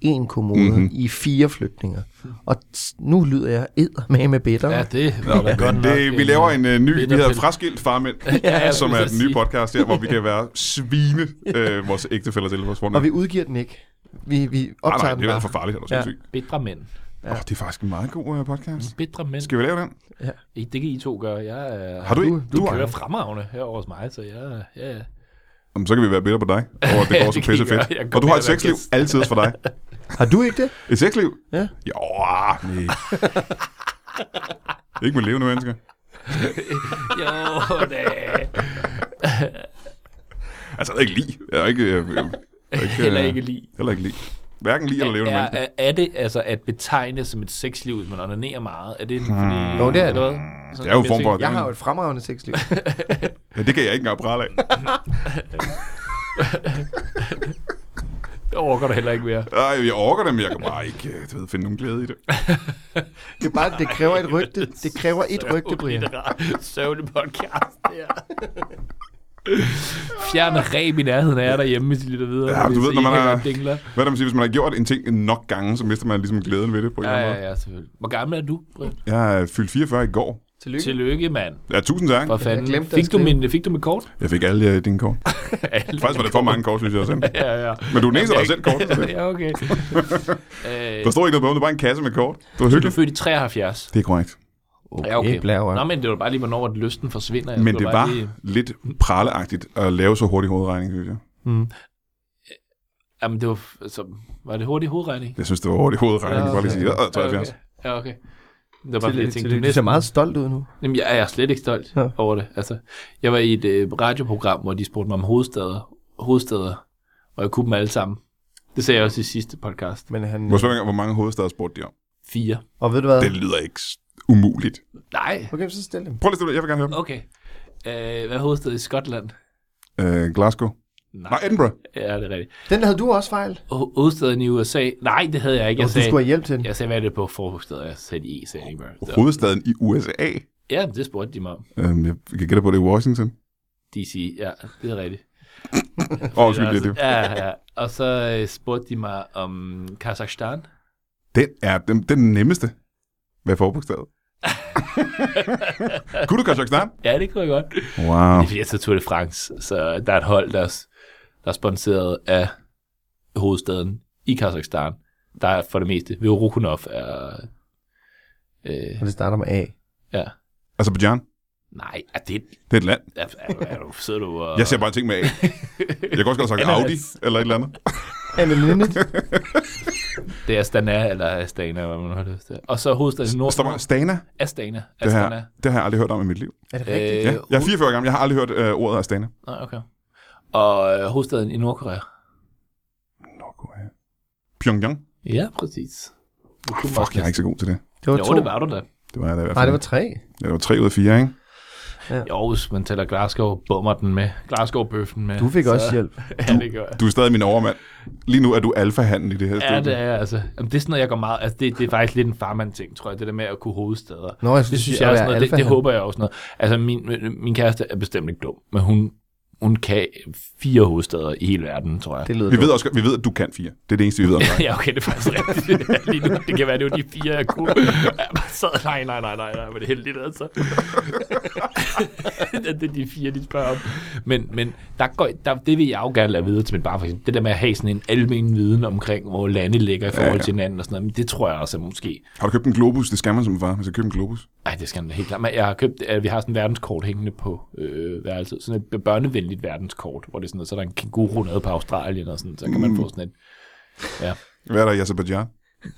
[SPEAKER 3] en kommode
[SPEAKER 1] Mhm.
[SPEAKER 3] mm-hmm. i fire flytninger. Og t- nu lyder jeg eddermame med bitter.
[SPEAKER 2] Ja,
[SPEAKER 3] Ja.
[SPEAKER 2] det var da godt nok.
[SPEAKER 1] Det, vi laver en uh, ny,
[SPEAKER 2] lidt
[SPEAKER 1] vi hedder
[SPEAKER 2] opfældet.
[SPEAKER 1] Fraskilt Farmænd,
[SPEAKER 2] Ja,
[SPEAKER 1] ja,
[SPEAKER 2] jeg
[SPEAKER 1] som
[SPEAKER 2] skulle
[SPEAKER 1] er
[SPEAKER 2] til
[SPEAKER 1] den
[SPEAKER 2] at
[SPEAKER 1] nye
[SPEAKER 2] sige.
[SPEAKER 1] podcast her, hvor vi kan være svine øh, vores ægtefælder til vores runde.
[SPEAKER 3] Og vi udgiver den ikke. Vi, vi
[SPEAKER 1] Nej,
[SPEAKER 3] optager
[SPEAKER 1] nej,
[SPEAKER 3] den
[SPEAKER 1] det er
[SPEAKER 3] bare.
[SPEAKER 1] for farligt, eller
[SPEAKER 3] Ja.
[SPEAKER 1] ja.
[SPEAKER 2] Bitre mænd.
[SPEAKER 1] ja. oh, det er faktisk en meget god uh, podcast.
[SPEAKER 2] Bitre mænd.
[SPEAKER 1] Skal vi lave den?
[SPEAKER 2] Ikke, det kan I to gøre. Jeg, øh,
[SPEAKER 1] Har du, du,
[SPEAKER 2] du,
[SPEAKER 1] du,
[SPEAKER 2] du
[SPEAKER 1] har-
[SPEAKER 2] kører fremragende herovre hos mig, så jeg... Ja, ja.
[SPEAKER 1] Jamen, så kan vi være bedre på dig. Og det
[SPEAKER 2] Ja,
[SPEAKER 1] går
[SPEAKER 2] det
[SPEAKER 1] så
[SPEAKER 2] kan
[SPEAKER 1] pisse
[SPEAKER 2] I gøre.
[SPEAKER 1] fedt.
[SPEAKER 2] Jeg kommer
[SPEAKER 1] Og du har et
[SPEAKER 2] til at være
[SPEAKER 1] sexliv
[SPEAKER 2] gæst.
[SPEAKER 1] altid for dig.
[SPEAKER 3] Har du ikke det?
[SPEAKER 1] Et sexliv?
[SPEAKER 3] Ja.
[SPEAKER 1] Jo, ah, nej. Ikke med levende mennesker.
[SPEAKER 2] Jo, da.
[SPEAKER 1] Altså, jeg er ikke lige. Jeg er ikke... Jeg, jeg, jeg, jeg,
[SPEAKER 2] Heller ikke lige.
[SPEAKER 1] Heller ikke lige. Hverken lige eller levende
[SPEAKER 2] Er,
[SPEAKER 1] mennesker.
[SPEAKER 2] er, er det altså at betegne som et sexliv, hvis man onanerer meget? Er det fordi...
[SPEAKER 3] Jo, det er det.
[SPEAKER 2] eller hvad?
[SPEAKER 1] Hmm. Det er jo en form for...
[SPEAKER 3] Jeg har jo et fremragende sexliv.
[SPEAKER 1] Ja, det kan jeg ikke engang prale af.
[SPEAKER 2] Det overgår du heller ikke mere.
[SPEAKER 1] Ej, jeg orker det, men jeg kan bare ikke øh, du ved, finde nogen glæde i det.
[SPEAKER 3] Det, er bare, det kræver et rygte. Det kræver et rygte, Brian.
[SPEAKER 2] Søvne podcast, det her. Fjern en ræb i nærheden af jer derhjemme, hvis I lytter videre.
[SPEAKER 1] Ja,
[SPEAKER 2] Hvis
[SPEAKER 1] du ved,
[SPEAKER 2] I
[SPEAKER 1] når man
[SPEAKER 2] ikke
[SPEAKER 1] er-
[SPEAKER 2] godt Dingler.
[SPEAKER 1] Hvad er det, man siger? Hvis man har gjort en ting nok gange, så mister man ligesom glæden ved det på en
[SPEAKER 2] Ja,
[SPEAKER 1] eller anden
[SPEAKER 2] ja, ja, selvfølgelig. Hvor gammel er du, Brian?
[SPEAKER 1] måde. Jeg er fyldt 44 i går.
[SPEAKER 3] Tillykke.
[SPEAKER 2] Tillykke, mand.
[SPEAKER 1] Ja, tusind tak.
[SPEAKER 2] For fanden.
[SPEAKER 3] glemte at
[SPEAKER 2] fik, du
[SPEAKER 3] skrive.
[SPEAKER 2] min, fik du mit kort?
[SPEAKER 1] Jeg fik alle øh, dine kort. Faktisk var det for mange kort, synes jeg, jeg sendte.
[SPEAKER 2] ja, ja.
[SPEAKER 1] Men du er den eneste, der har sendt kort.
[SPEAKER 2] ja, okay.
[SPEAKER 1] Der
[SPEAKER 2] øh,
[SPEAKER 1] stod ikke noget på dem, det var bare en kasse med kort. Det var
[SPEAKER 2] du er
[SPEAKER 1] hyggeligt.
[SPEAKER 2] født i 73.
[SPEAKER 1] Det er korrekt.
[SPEAKER 2] Ja, okay.
[SPEAKER 3] Blære, Mm.
[SPEAKER 2] Nå, men det var bare lige, hvornår at lysten forsvinder. Jeg
[SPEAKER 1] Men
[SPEAKER 2] skulle
[SPEAKER 1] det
[SPEAKER 2] bare
[SPEAKER 1] var
[SPEAKER 2] Lige...
[SPEAKER 1] lidt praleagtigt at lave så hurtig hovedregning, synes jeg.
[SPEAKER 3] Mm.
[SPEAKER 2] Jamen, det var, altså, var det hurtig hovedregning?
[SPEAKER 1] Jeg synes, det var hurtig hovedregning.
[SPEAKER 2] Ja,
[SPEAKER 1] Ja, okay. Bare lige sige,
[SPEAKER 3] okay.
[SPEAKER 1] "Åh, 73.
[SPEAKER 2] Ja, okay. Det var bare, fordi jeg
[SPEAKER 3] Tillykke,
[SPEAKER 2] tænkte, du
[SPEAKER 3] tillykke. Du ser
[SPEAKER 2] næsten...
[SPEAKER 3] meget stolt ud nu.
[SPEAKER 2] Jamen, jeg jeg er slet ikke stolt
[SPEAKER 3] Ja.
[SPEAKER 2] ja. over det. Altså, jeg var i et øh, radioprogram, hvor de spurgte mig om hovedsteder, hovedsteder, og jeg kunne dem alle sammen. Det sagde jeg også i sidste podcast.
[SPEAKER 3] Men han,
[SPEAKER 1] Må jeg spørge engang, hvor mange hovedstader spurgte de om?
[SPEAKER 2] Fire.
[SPEAKER 3] og ved du hvad?
[SPEAKER 1] Det lyder ikke s- umuligt.
[SPEAKER 2] Nej.
[SPEAKER 3] Okay, så stil dem.
[SPEAKER 1] Prøv lige at stille, jeg vil gerne høre dem.
[SPEAKER 2] Okay. Øh, hvad er hovedstedet i Skotland?
[SPEAKER 1] Øh, Glasgow. Nej, Edinburgh.
[SPEAKER 2] Ja, det er rigstedet
[SPEAKER 3] Den havde du også fejl.
[SPEAKER 2] Ho- hovedstaden i USA? Nej, det havde jeg ikke.
[SPEAKER 3] Jo,
[SPEAKER 2] Jeg
[SPEAKER 3] du skulle
[SPEAKER 2] sagde,
[SPEAKER 3] have hjælp til den.
[SPEAKER 2] jeg sagde hvad er det på forhovedsteder? Jeg sagde i, sagde jeg ikke. bare. Så-
[SPEAKER 1] Hovedstaden i USA.
[SPEAKER 2] Ja, det spurgte de mig om.
[SPEAKER 1] Øhm, jeg kan gætte på, det er Washington.
[SPEAKER 2] DC, ja, det er rigtigt.
[SPEAKER 1] Åh, oh, undskyld, det
[SPEAKER 2] altså-
[SPEAKER 1] er det.
[SPEAKER 2] Ja, ja. Og så øh, spurgte de mig om Kazakhstan.
[SPEAKER 1] Den er den, den nemmeste. Hvad er forbogstavet? Kunne du Kazakhstan?
[SPEAKER 2] Ja, det kunne jeg godt.
[SPEAKER 1] Wow.
[SPEAKER 2] Det er fordi, jeg tager Tour de France, så der er et hold, der, er- der er sponsoreret af hovedstaden i Kazakhstan. Der er for det meste, ved Rokunov er... Øh,
[SPEAKER 3] Og det starter med A.
[SPEAKER 2] ja.
[SPEAKER 1] Azerbaijan.
[SPEAKER 2] Nej, er det...
[SPEAKER 1] Altså, Det er et land.
[SPEAKER 2] Er, er, er du, sidder du og...
[SPEAKER 1] Jeg ser bare ting med A. Jeg kunne også godt have sagt Audi eller et eller andet.
[SPEAKER 3] Anne Linnet.
[SPEAKER 2] Det er Astana, eller Astana, hvad man har lyst til. Og så hovedstaden i
[SPEAKER 1] Der
[SPEAKER 2] Nord...
[SPEAKER 1] står bare Stana.
[SPEAKER 2] Astana.
[SPEAKER 1] Det her,
[SPEAKER 2] Astana.
[SPEAKER 1] det har jeg aldrig hørt om i mit liv.
[SPEAKER 3] Er det rigtigt?
[SPEAKER 2] Øh,
[SPEAKER 1] Ja, jeg er 44 gammel. Jeg har aldrig hørt øh, ordet Astana.
[SPEAKER 2] Nej, okay. Og øh, hovedstaden i Nordkorea.
[SPEAKER 1] Nordkorea. Pyongyang.
[SPEAKER 2] Ja, præcis. Du kunne
[SPEAKER 1] Fuck,
[SPEAKER 2] også
[SPEAKER 1] jeg er
[SPEAKER 2] næsten-
[SPEAKER 1] ikke så god til det.
[SPEAKER 3] Det var
[SPEAKER 2] Jo,
[SPEAKER 3] to.
[SPEAKER 2] det var du da.
[SPEAKER 1] Det var jeg da i hvert
[SPEAKER 3] Nej,
[SPEAKER 1] fald.
[SPEAKER 3] det var tre.
[SPEAKER 1] ja, det var 3 ud af 4, ikke?
[SPEAKER 2] Jo, hvis man tæller Glasgow, bummer den med. Glasgow-bøffen med.
[SPEAKER 3] Du fik også hjælp.
[SPEAKER 2] Ja, det gør jeg.
[SPEAKER 1] Du er stadig min overmand. Lige nu er du alfahanden i det her
[SPEAKER 2] Ja,
[SPEAKER 1] studie.
[SPEAKER 2] det er jeg, altså. Jamen, det er sådan noget, jeg går meget... Altså, det, det er faktisk lidt en farmand-ting, tror jeg, det der med at kunne hovedsteder.
[SPEAKER 3] Nå, jeg
[SPEAKER 2] Det synes jeg, også noget, det, det håber jeg også noget. Altså, min, min kæreste er bestemt ikke dum, men hun, hun kan fire hovedsteder i hele verden, tror jeg.
[SPEAKER 3] Det lyder
[SPEAKER 1] Vi ved, også, vi ved, at du kan fire. Det er det eneste, vi ved om dig.
[SPEAKER 2] Ja, okay, det er faktisk rigtigt. Ja, Lige nu, det kan være, det var de fire, jeg kunne. Jeg bare sad, nej, nej, nej, nej, nej, hvor er det heldigt, altså. det er de fire, de spørger om. Men, men der går, der, det vil jeg jo gerne lade videre til min bare for eksempel. Det der med at have sådan en almen viden omkring, hvor lande ligger i forhold ja, ja. til hinanden og sådan noget, men det tror jeg også er måske.
[SPEAKER 1] Har du købt en globus? Det skal man som far. Man skal købe en globus.
[SPEAKER 2] Nej, det skal den da helt klart. Men jeg har købt, øh, vi har sådan et verdenskort hængende på øh, værelset. Sådan et børnevenligt verdenskort, hvor det er sådan noget, så er der en kænguru nede på Australien og sådan, så kan man få sådan et Ja.
[SPEAKER 1] Hvad er der i Azerbaijan?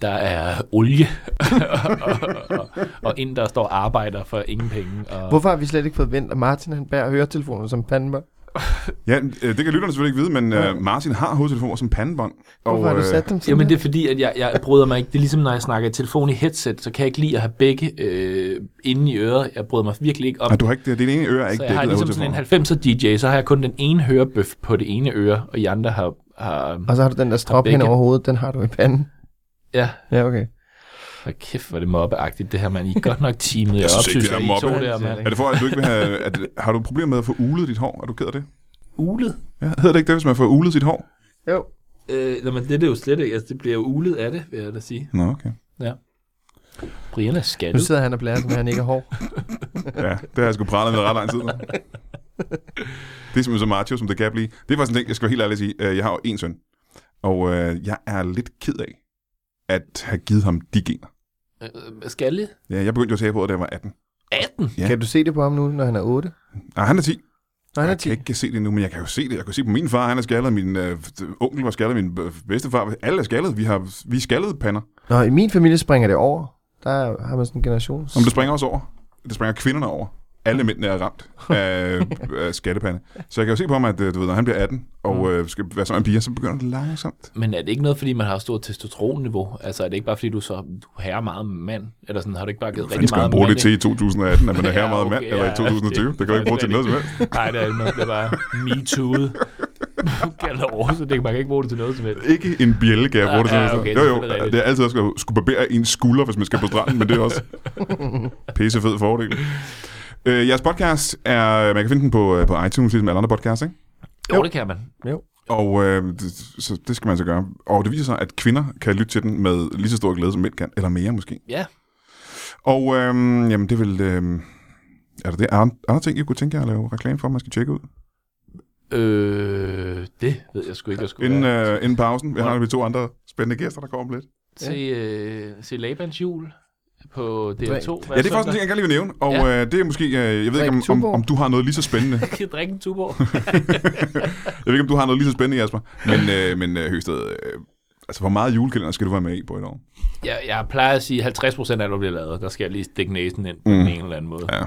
[SPEAKER 2] Der er olie, og, og, og en, der står og arbejder for ingen penge. Og,
[SPEAKER 3] Hvorfor har vi slet ikke fået vendt, at Martin han bærer høretelefoner som pandemør?
[SPEAKER 1] Ja, øh, det kan lytterne selvfølgelig ikke vide, men øh, Martin har hovedtelefoner som pandebånd.
[SPEAKER 3] Hvorfor har du
[SPEAKER 1] øh,
[SPEAKER 3] sat dem sådan
[SPEAKER 2] Jamen
[SPEAKER 3] her?
[SPEAKER 2] det er fordi, at jeg, jeg bryder mig ikke. Det er ligesom, når jeg snakker i telefon i headset, så kan jeg ikke lide at have begge øh, inde i øret. Jeg bryder mig virkelig ikke om
[SPEAKER 1] Nej, du har ikke det. Det ene øre er ikke
[SPEAKER 2] så jeg har
[SPEAKER 1] dækket af
[SPEAKER 2] ligesom sådan en
[SPEAKER 1] hovedtelefoner.
[SPEAKER 2] 90'er DJ, så har jeg kun den ene hørebøf på det ene øre, og de andre har... har
[SPEAKER 3] Og så har du den der strop
[SPEAKER 2] begge.
[SPEAKER 3] hen over hovedet, den har du i panden.
[SPEAKER 2] ja,
[SPEAKER 3] Ja, okay.
[SPEAKER 2] for kæft, hvor er det mobbeagtigt, det her, man. I er godt nok teamet. Jeg,
[SPEAKER 1] synes ikke,
[SPEAKER 2] opsys,
[SPEAKER 1] det er
[SPEAKER 2] at I to
[SPEAKER 1] mobbe.
[SPEAKER 2] der,
[SPEAKER 1] Er
[SPEAKER 2] mand.
[SPEAKER 1] det for, at du ikke vil have... At, har du problemer med at få ulet dit hår? Er du ked af det?
[SPEAKER 2] Ulet?
[SPEAKER 1] Ja, hedder det ikke det, hvis man får ulet sit hår?
[SPEAKER 3] Jo.
[SPEAKER 2] Øh, nej, men det er det jo slet ikke. Altså, det bliver jo ulet af det, vil jeg da sige.
[SPEAKER 1] Nå, okay.
[SPEAKER 2] Brian er
[SPEAKER 3] Nu
[SPEAKER 2] skattet.
[SPEAKER 3] sidder han og blærer, som han ikke er hård.
[SPEAKER 1] Ja, det har jeg sgu pralet med ret lang tid. nu. Det er simpelthen så macho, som det kan blive. Det er faktisk en ting, jeg skal være helt ærlig at sige. Øh, Jeg har jo en søn, og øh, jeg er lidt ked af at have givet ham de gener.
[SPEAKER 2] Øh, skalle?
[SPEAKER 1] Ja, jeg begyndte jo at tage på, det, da jeg var 18.
[SPEAKER 2] 18?
[SPEAKER 1] Ja.
[SPEAKER 3] Kan du se det på ham nu, når han er 8?
[SPEAKER 1] Nej, han er 10.
[SPEAKER 3] Når han er
[SPEAKER 1] Jeg
[SPEAKER 3] 10?
[SPEAKER 1] kan ikke se det nu, men jeg kan jo se det. Jeg kan jo se på min far, han er skaldet, min øh, onkel var skaldet, min øh, bedstefar, alle er skaldet. Vi har vi er skaldede pander.
[SPEAKER 3] Nå, i min familie springer det over. Der er- har man sådan en generation.
[SPEAKER 1] Om det springer også over. Det springer kvinderne over. Alle mændene er ramt af, øh, af skattepande. Så jeg kan jo se på ham, at øh, du ved, når han bliver 18
[SPEAKER 2] Mm.
[SPEAKER 1] og øh, skal være sammen med en pige, så begynder det langsomt.
[SPEAKER 2] Men er det ikke noget, fordi man har stort testosteronniveau? Altså er det ikke bare, fordi du så du herrer meget mand? Eller sådan, har du ikke bare givet
[SPEAKER 1] Fanden
[SPEAKER 2] rigtig
[SPEAKER 1] skal
[SPEAKER 2] meget
[SPEAKER 1] man bruge det
[SPEAKER 2] mand?
[SPEAKER 1] til i 2018, at man er
[SPEAKER 2] Ja,
[SPEAKER 1] her meget mand,
[SPEAKER 2] okay,
[SPEAKER 1] eller
[SPEAKER 2] ja,
[SPEAKER 1] i 2020. Det, kan
[SPEAKER 2] det-
[SPEAKER 1] du ikke bruge til noget som helst.
[SPEAKER 2] ikke? Nej, det er det. Man bliver bare me-too'et. Gælder over, så det, man kan ikke bruge det til noget som helst.
[SPEAKER 1] Ikke en bjælle, kan jeg bruge det til
[SPEAKER 2] Ja,
[SPEAKER 1] noget. som
[SPEAKER 2] okay,
[SPEAKER 1] helst. jo,
[SPEAKER 2] det er
[SPEAKER 1] jo,
[SPEAKER 2] rigtigt.
[SPEAKER 1] det er altid også at skulle barbere en skulder, hvis man skal på stranden, men det er også pissefed fordel. Øh, jeres podcast er, man kan finde den på, øh, på iTunes, ligesom alle andre podcasts, ikke?
[SPEAKER 2] Jo, det kan man.
[SPEAKER 1] Og øh, det, så det skal man så gøre. Og det viser sig, at kvinder kan lytte til den med lige så stor glæde, som mænd kan. Eller mere måske.
[SPEAKER 2] Ja.
[SPEAKER 1] Og øh, jamen, det er vel... Øh, er der det? Er der andre ting, I kunne tænke jer at lave reklame for, man skal tjekke ud?
[SPEAKER 2] Øh, det ved jeg sgu ikke, jeg skulle
[SPEAKER 1] Inden,
[SPEAKER 2] være.
[SPEAKER 1] øh, inden pausen. Vi har vi to andre spændende gæster, der kommer om lidt.
[SPEAKER 2] Se, øh, se Labans jul på DR2.
[SPEAKER 1] Ja, det er faktisk en ting, jeg gerne lige vil nævne. Og ja. øh, det er måske... Øh, jeg ved ikke, om, om, om du har noget lige så spændende.
[SPEAKER 2] Jeg kan drikke en tuborg.
[SPEAKER 1] jeg ved ikke, om du har noget lige så spændende, Jasper. Men, øh, men øh, Høsted, øh, altså hvor meget julekalender skal du være med i på et år?
[SPEAKER 2] Jeg, jeg plejer at sige, at 50% af alt, hvad der bliver lavet, der skal jeg lige stikke næsen ind på mm. den ene eller anden måde.
[SPEAKER 1] Ja.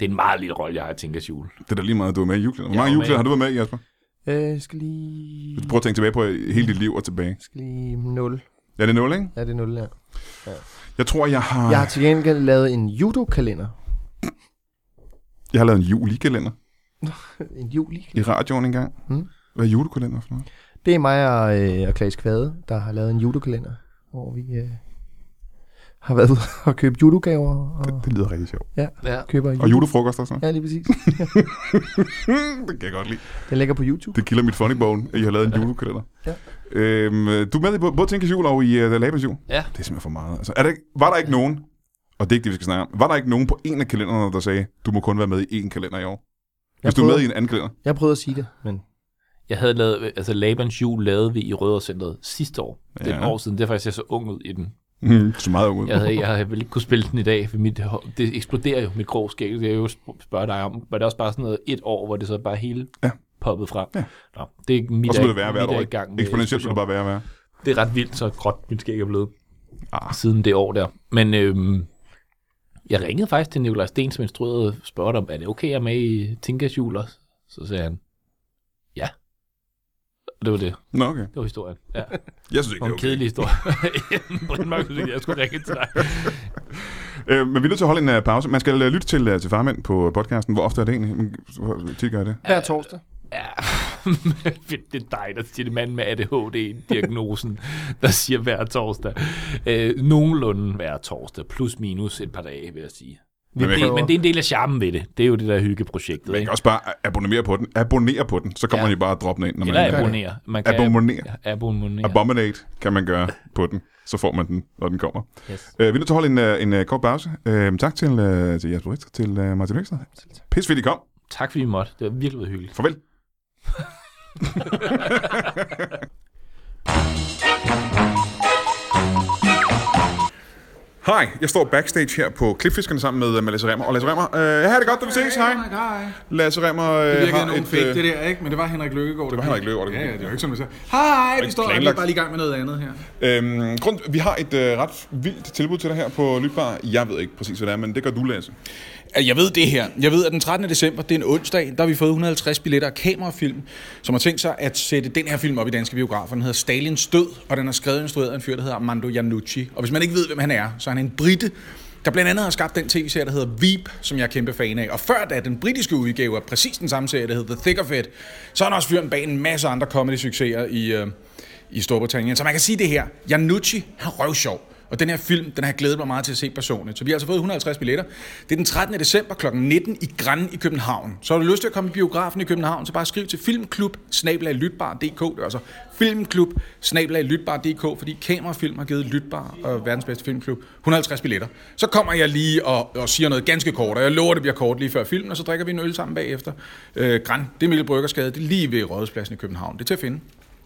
[SPEAKER 2] Det er en meget lille rolle, jeg har i Tinkas jul.
[SPEAKER 1] Det er da lige meget, at du er med i julekalender. Hvor mange
[SPEAKER 2] Jeg er med.
[SPEAKER 1] julekalender har du været med i, Jasper?
[SPEAKER 3] Øh, jeg skal lige...
[SPEAKER 1] Hvis du prøver at tænke tilbage på øh, hele dit liv og tilbage.
[SPEAKER 3] jeg skal lige 0.
[SPEAKER 1] Ja, det er nul, ikke?
[SPEAKER 3] Ja, det er 0 der.
[SPEAKER 1] Jeg tror, jeg har,
[SPEAKER 3] Jeg har til gengæld lavet en judo-kalender.
[SPEAKER 1] jeg har lavet en julikalender
[SPEAKER 3] En juli
[SPEAKER 1] i radioen engang.
[SPEAKER 3] Mm.
[SPEAKER 1] Hvad er julekalender for noget?
[SPEAKER 3] Det er mig og, øh, og Klaas Kvade, der har lavet en judokalender, hvor vi øh, har været ude og købe judogaver og
[SPEAKER 1] Det lyder rigtig sjovt.
[SPEAKER 2] Ja.
[SPEAKER 3] køber
[SPEAKER 1] Og julefrokoster og sådan noget.
[SPEAKER 3] Ja, lige præcis.
[SPEAKER 1] Mm, det kan jeg godt lide.
[SPEAKER 3] Den ligger på YouTube.
[SPEAKER 1] Det kilder mit funny bone, at I har lavet en julekalender.
[SPEAKER 3] Ja.
[SPEAKER 1] Øhm, øh, du er med i både, både Tænkes Jul og i uh, Labas Jul.
[SPEAKER 2] Ja.
[SPEAKER 1] Det er simpelthen for meget. Altså, er der ikke, var der ikke nogen, og det er ikke det, vi skal snakke om, var der ikke nogen på en af kalenderne, der sagde, du må kun være med i én kalender i år? Hvis du er med i en anden kalender.
[SPEAKER 3] jeg prøvede at sige det, men
[SPEAKER 2] Jeg havde lavet, altså Labans jul lavede vi i Rødovrecenteret sidste år. Det er et
[SPEAKER 1] Ja.
[SPEAKER 2] år siden, det er faktisk, jeg så ung ud i den.
[SPEAKER 1] Mm, så meget ung ud.
[SPEAKER 2] Jeg havde, jeg havde vel ikke kunne spille den i dag, for mit, hår- det eksploderer jo, mit grå skæg. Det kan jeg jo sp- spørge dig om. Var det også bare sådan noget et år, hvor det så bare hele
[SPEAKER 1] Ja.
[SPEAKER 2] poppet frem?
[SPEAKER 1] Ja.
[SPEAKER 2] Nå, det er ikke mit
[SPEAKER 1] Og så blev
[SPEAKER 2] er-
[SPEAKER 1] det værre
[SPEAKER 2] mit
[SPEAKER 1] hvert
[SPEAKER 2] er
[SPEAKER 1] år.
[SPEAKER 2] i gang
[SPEAKER 1] ikke?
[SPEAKER 2] med
[SPEAKER 1] Eksponentielt blev det bare værre og værre.
[SPEAKER 2] det er ret vildt, så gråt mit skæg er blevet
[SPEAKER 1] Ah.
[SPEAKER 2] ah. siden det år der. Men øhm, jeg ringede faktisk til Nikolaj Sten, som instruerede og spurgte om, er det okay, jeg er med i Tinkas jul også? Så sagde han, ja. Og det var det.
[SPEAKER 1] Nå, okay.
[SPEAKER 2] Det var historien. Ja. Det
[SPEAKER 1] Jeg synes ikke,
[SPEAKER 2] var
[SPEAKER 1] det
[SPEAKER 2] en
[SPEAKER 1] er
[SPEAKER 2] okay.
[SPEAKER 1] okay.
[SPEAKER 2] kedelig historie. Brian Mørk synes ikke, jeg skulle ringe til dig.
[SPEAKER 1] Øh, men vi er nødt til at holde en uh, pause. Man skal uh, lytte til, uh, til Farmand på podcasten. Hvor ofte er det egentlig? Men, Hvor tit gør jeg det?
[SPEAKER 3] hver torsdag.
[SPEAKER 2] Ja. Fedt, det er dig, der siger det. Mand med ADHD-diagnosen, der siger hver torsdag. Øh, nogenlunde hver torsdag, plus minus et par dage, vil jeg sige.
[SPEAKER 3] Vi
[SPEAKER 1] Men-
[SPEAKER 2] Det,
[SPEAKER 3] prøver.
[SPEAKER 2] men det er en del af charmen ved det. Det er jo det der hyggeprojektet.
[SPEAKER 1] Man
[SPEAKER 2] ikke?
[SPEAKER 1] kan også bare abonnere på den. Abonnere på den, så kommer
[SPEAKER 2] Ja.
[SPEAKER 1] de bare og dropper den ind, når man
[SPEAKER 2] Eller
[SPEAKER 1] abonnere.
[SPEAKER 2] abonnere. Man kan
[SPEAKER 1] Abonnere.
[SPEAKER 2] abonnere.
[SPEAKER 1] Abominate kan man gøre på den. Så får man den, når den kommer.
[SPEAKER 2] Yes.
[SPEAKER 1] Øh, vi er nødt til at holde en, øh, en øh, kort pause. Øh, tak til, øh, til Jasper Richter, til øh, Martin Løgstad. Pis fedt, I kom.
[SPEAKER 2] Tak fordi I måtte. Det var virkelig hyggeligt.
[SPEAKER 1] Farvel. Hej, jeg står backstage her på Klipfiskerne sammen med øh, med Lasse Remmer. Og Lasse Remmer, øh, ja, det er godt, da vi ses. Hej.
[SPEAKER 4] Hej.
[SPEAKER 1] Lasse Remmer øh,
[SPEAKER 4] oh Det
[SPEAKER 1] har
[SPEAKER 4] virkede nogen
[SPEAKER 1] et...
[SPEAKER 4] fake,
[SPEAKER 1] øh,
[SPEAKER 4] det der, ikke? Men det var Henrik Løkkegaard. Det
[SPEAKER 1] var Henrik Løkkegaard, der
[SPEAKER 4] Ja,
[SPEAKER 1] gik.
[SPEAKER 4] ja, det var ikke sådan, vi sagde. Hej, vi
[SPEAKER 1] ikke
[SPEAKER 4] står og er
[SPEAKER 1] planlagt.
[SPEAKER 4] bare lige i gang med noget andet her.
[SPEAKER 1] Øhm, grund, vi har et øh, ret vildt tilbud til dig her på Lytbar. Jeg ved ikke præcis, hvad det er, men det gør du, Lasse.
[SPEAKER 4] Jeg ved det her. Jeg ved, at den 13. december, det er en onsdag, der har vi fået 150 billetter af kamerafilm, som har tænkt sig at sætte den her film op i danske biografer. Den hedder Stalins Død, og den er skrevet og instrueret af en fyr, der hedder Armando Iannucci. Og hvis man ikke ved, hvem han er, så er han en brite, der blandt andet har skabt den tv-serie, der hedder Veep, som jeg er kæmpe fan af. Og før da, den britiske udgave af præcis den samme serie, der hedder The Thick of It, så er han også fyren bag en masse andre comedy-succeser i, øh, i Storbritannien. Så man kan sige det her. Janucci, han er røvsjov. Og den her film, den har jeg glædet mig meget til at se personligt. Så vi har altså fået 150 billetter. Det er den 13. december kl. 19 i Græn i København. Så har du lyst til at komme i biografen i København, så bare skriv til filmklub lytbar.dk. Det er altså filmklub lytbar.dk, fordi Kamerafilm har givet Lytbar og verdens bedste filmklub 150 billetter. Så kommer jeg lige og, og siger noget ganske kort, og jeg lover, det bliver kort lige før filmen, og så drikker vi en øl sammen bagefter. Øh, Græn, det er Mikkel Bryggersgade, det er lige ved Rådhuspladsen i København. Det er til at finde.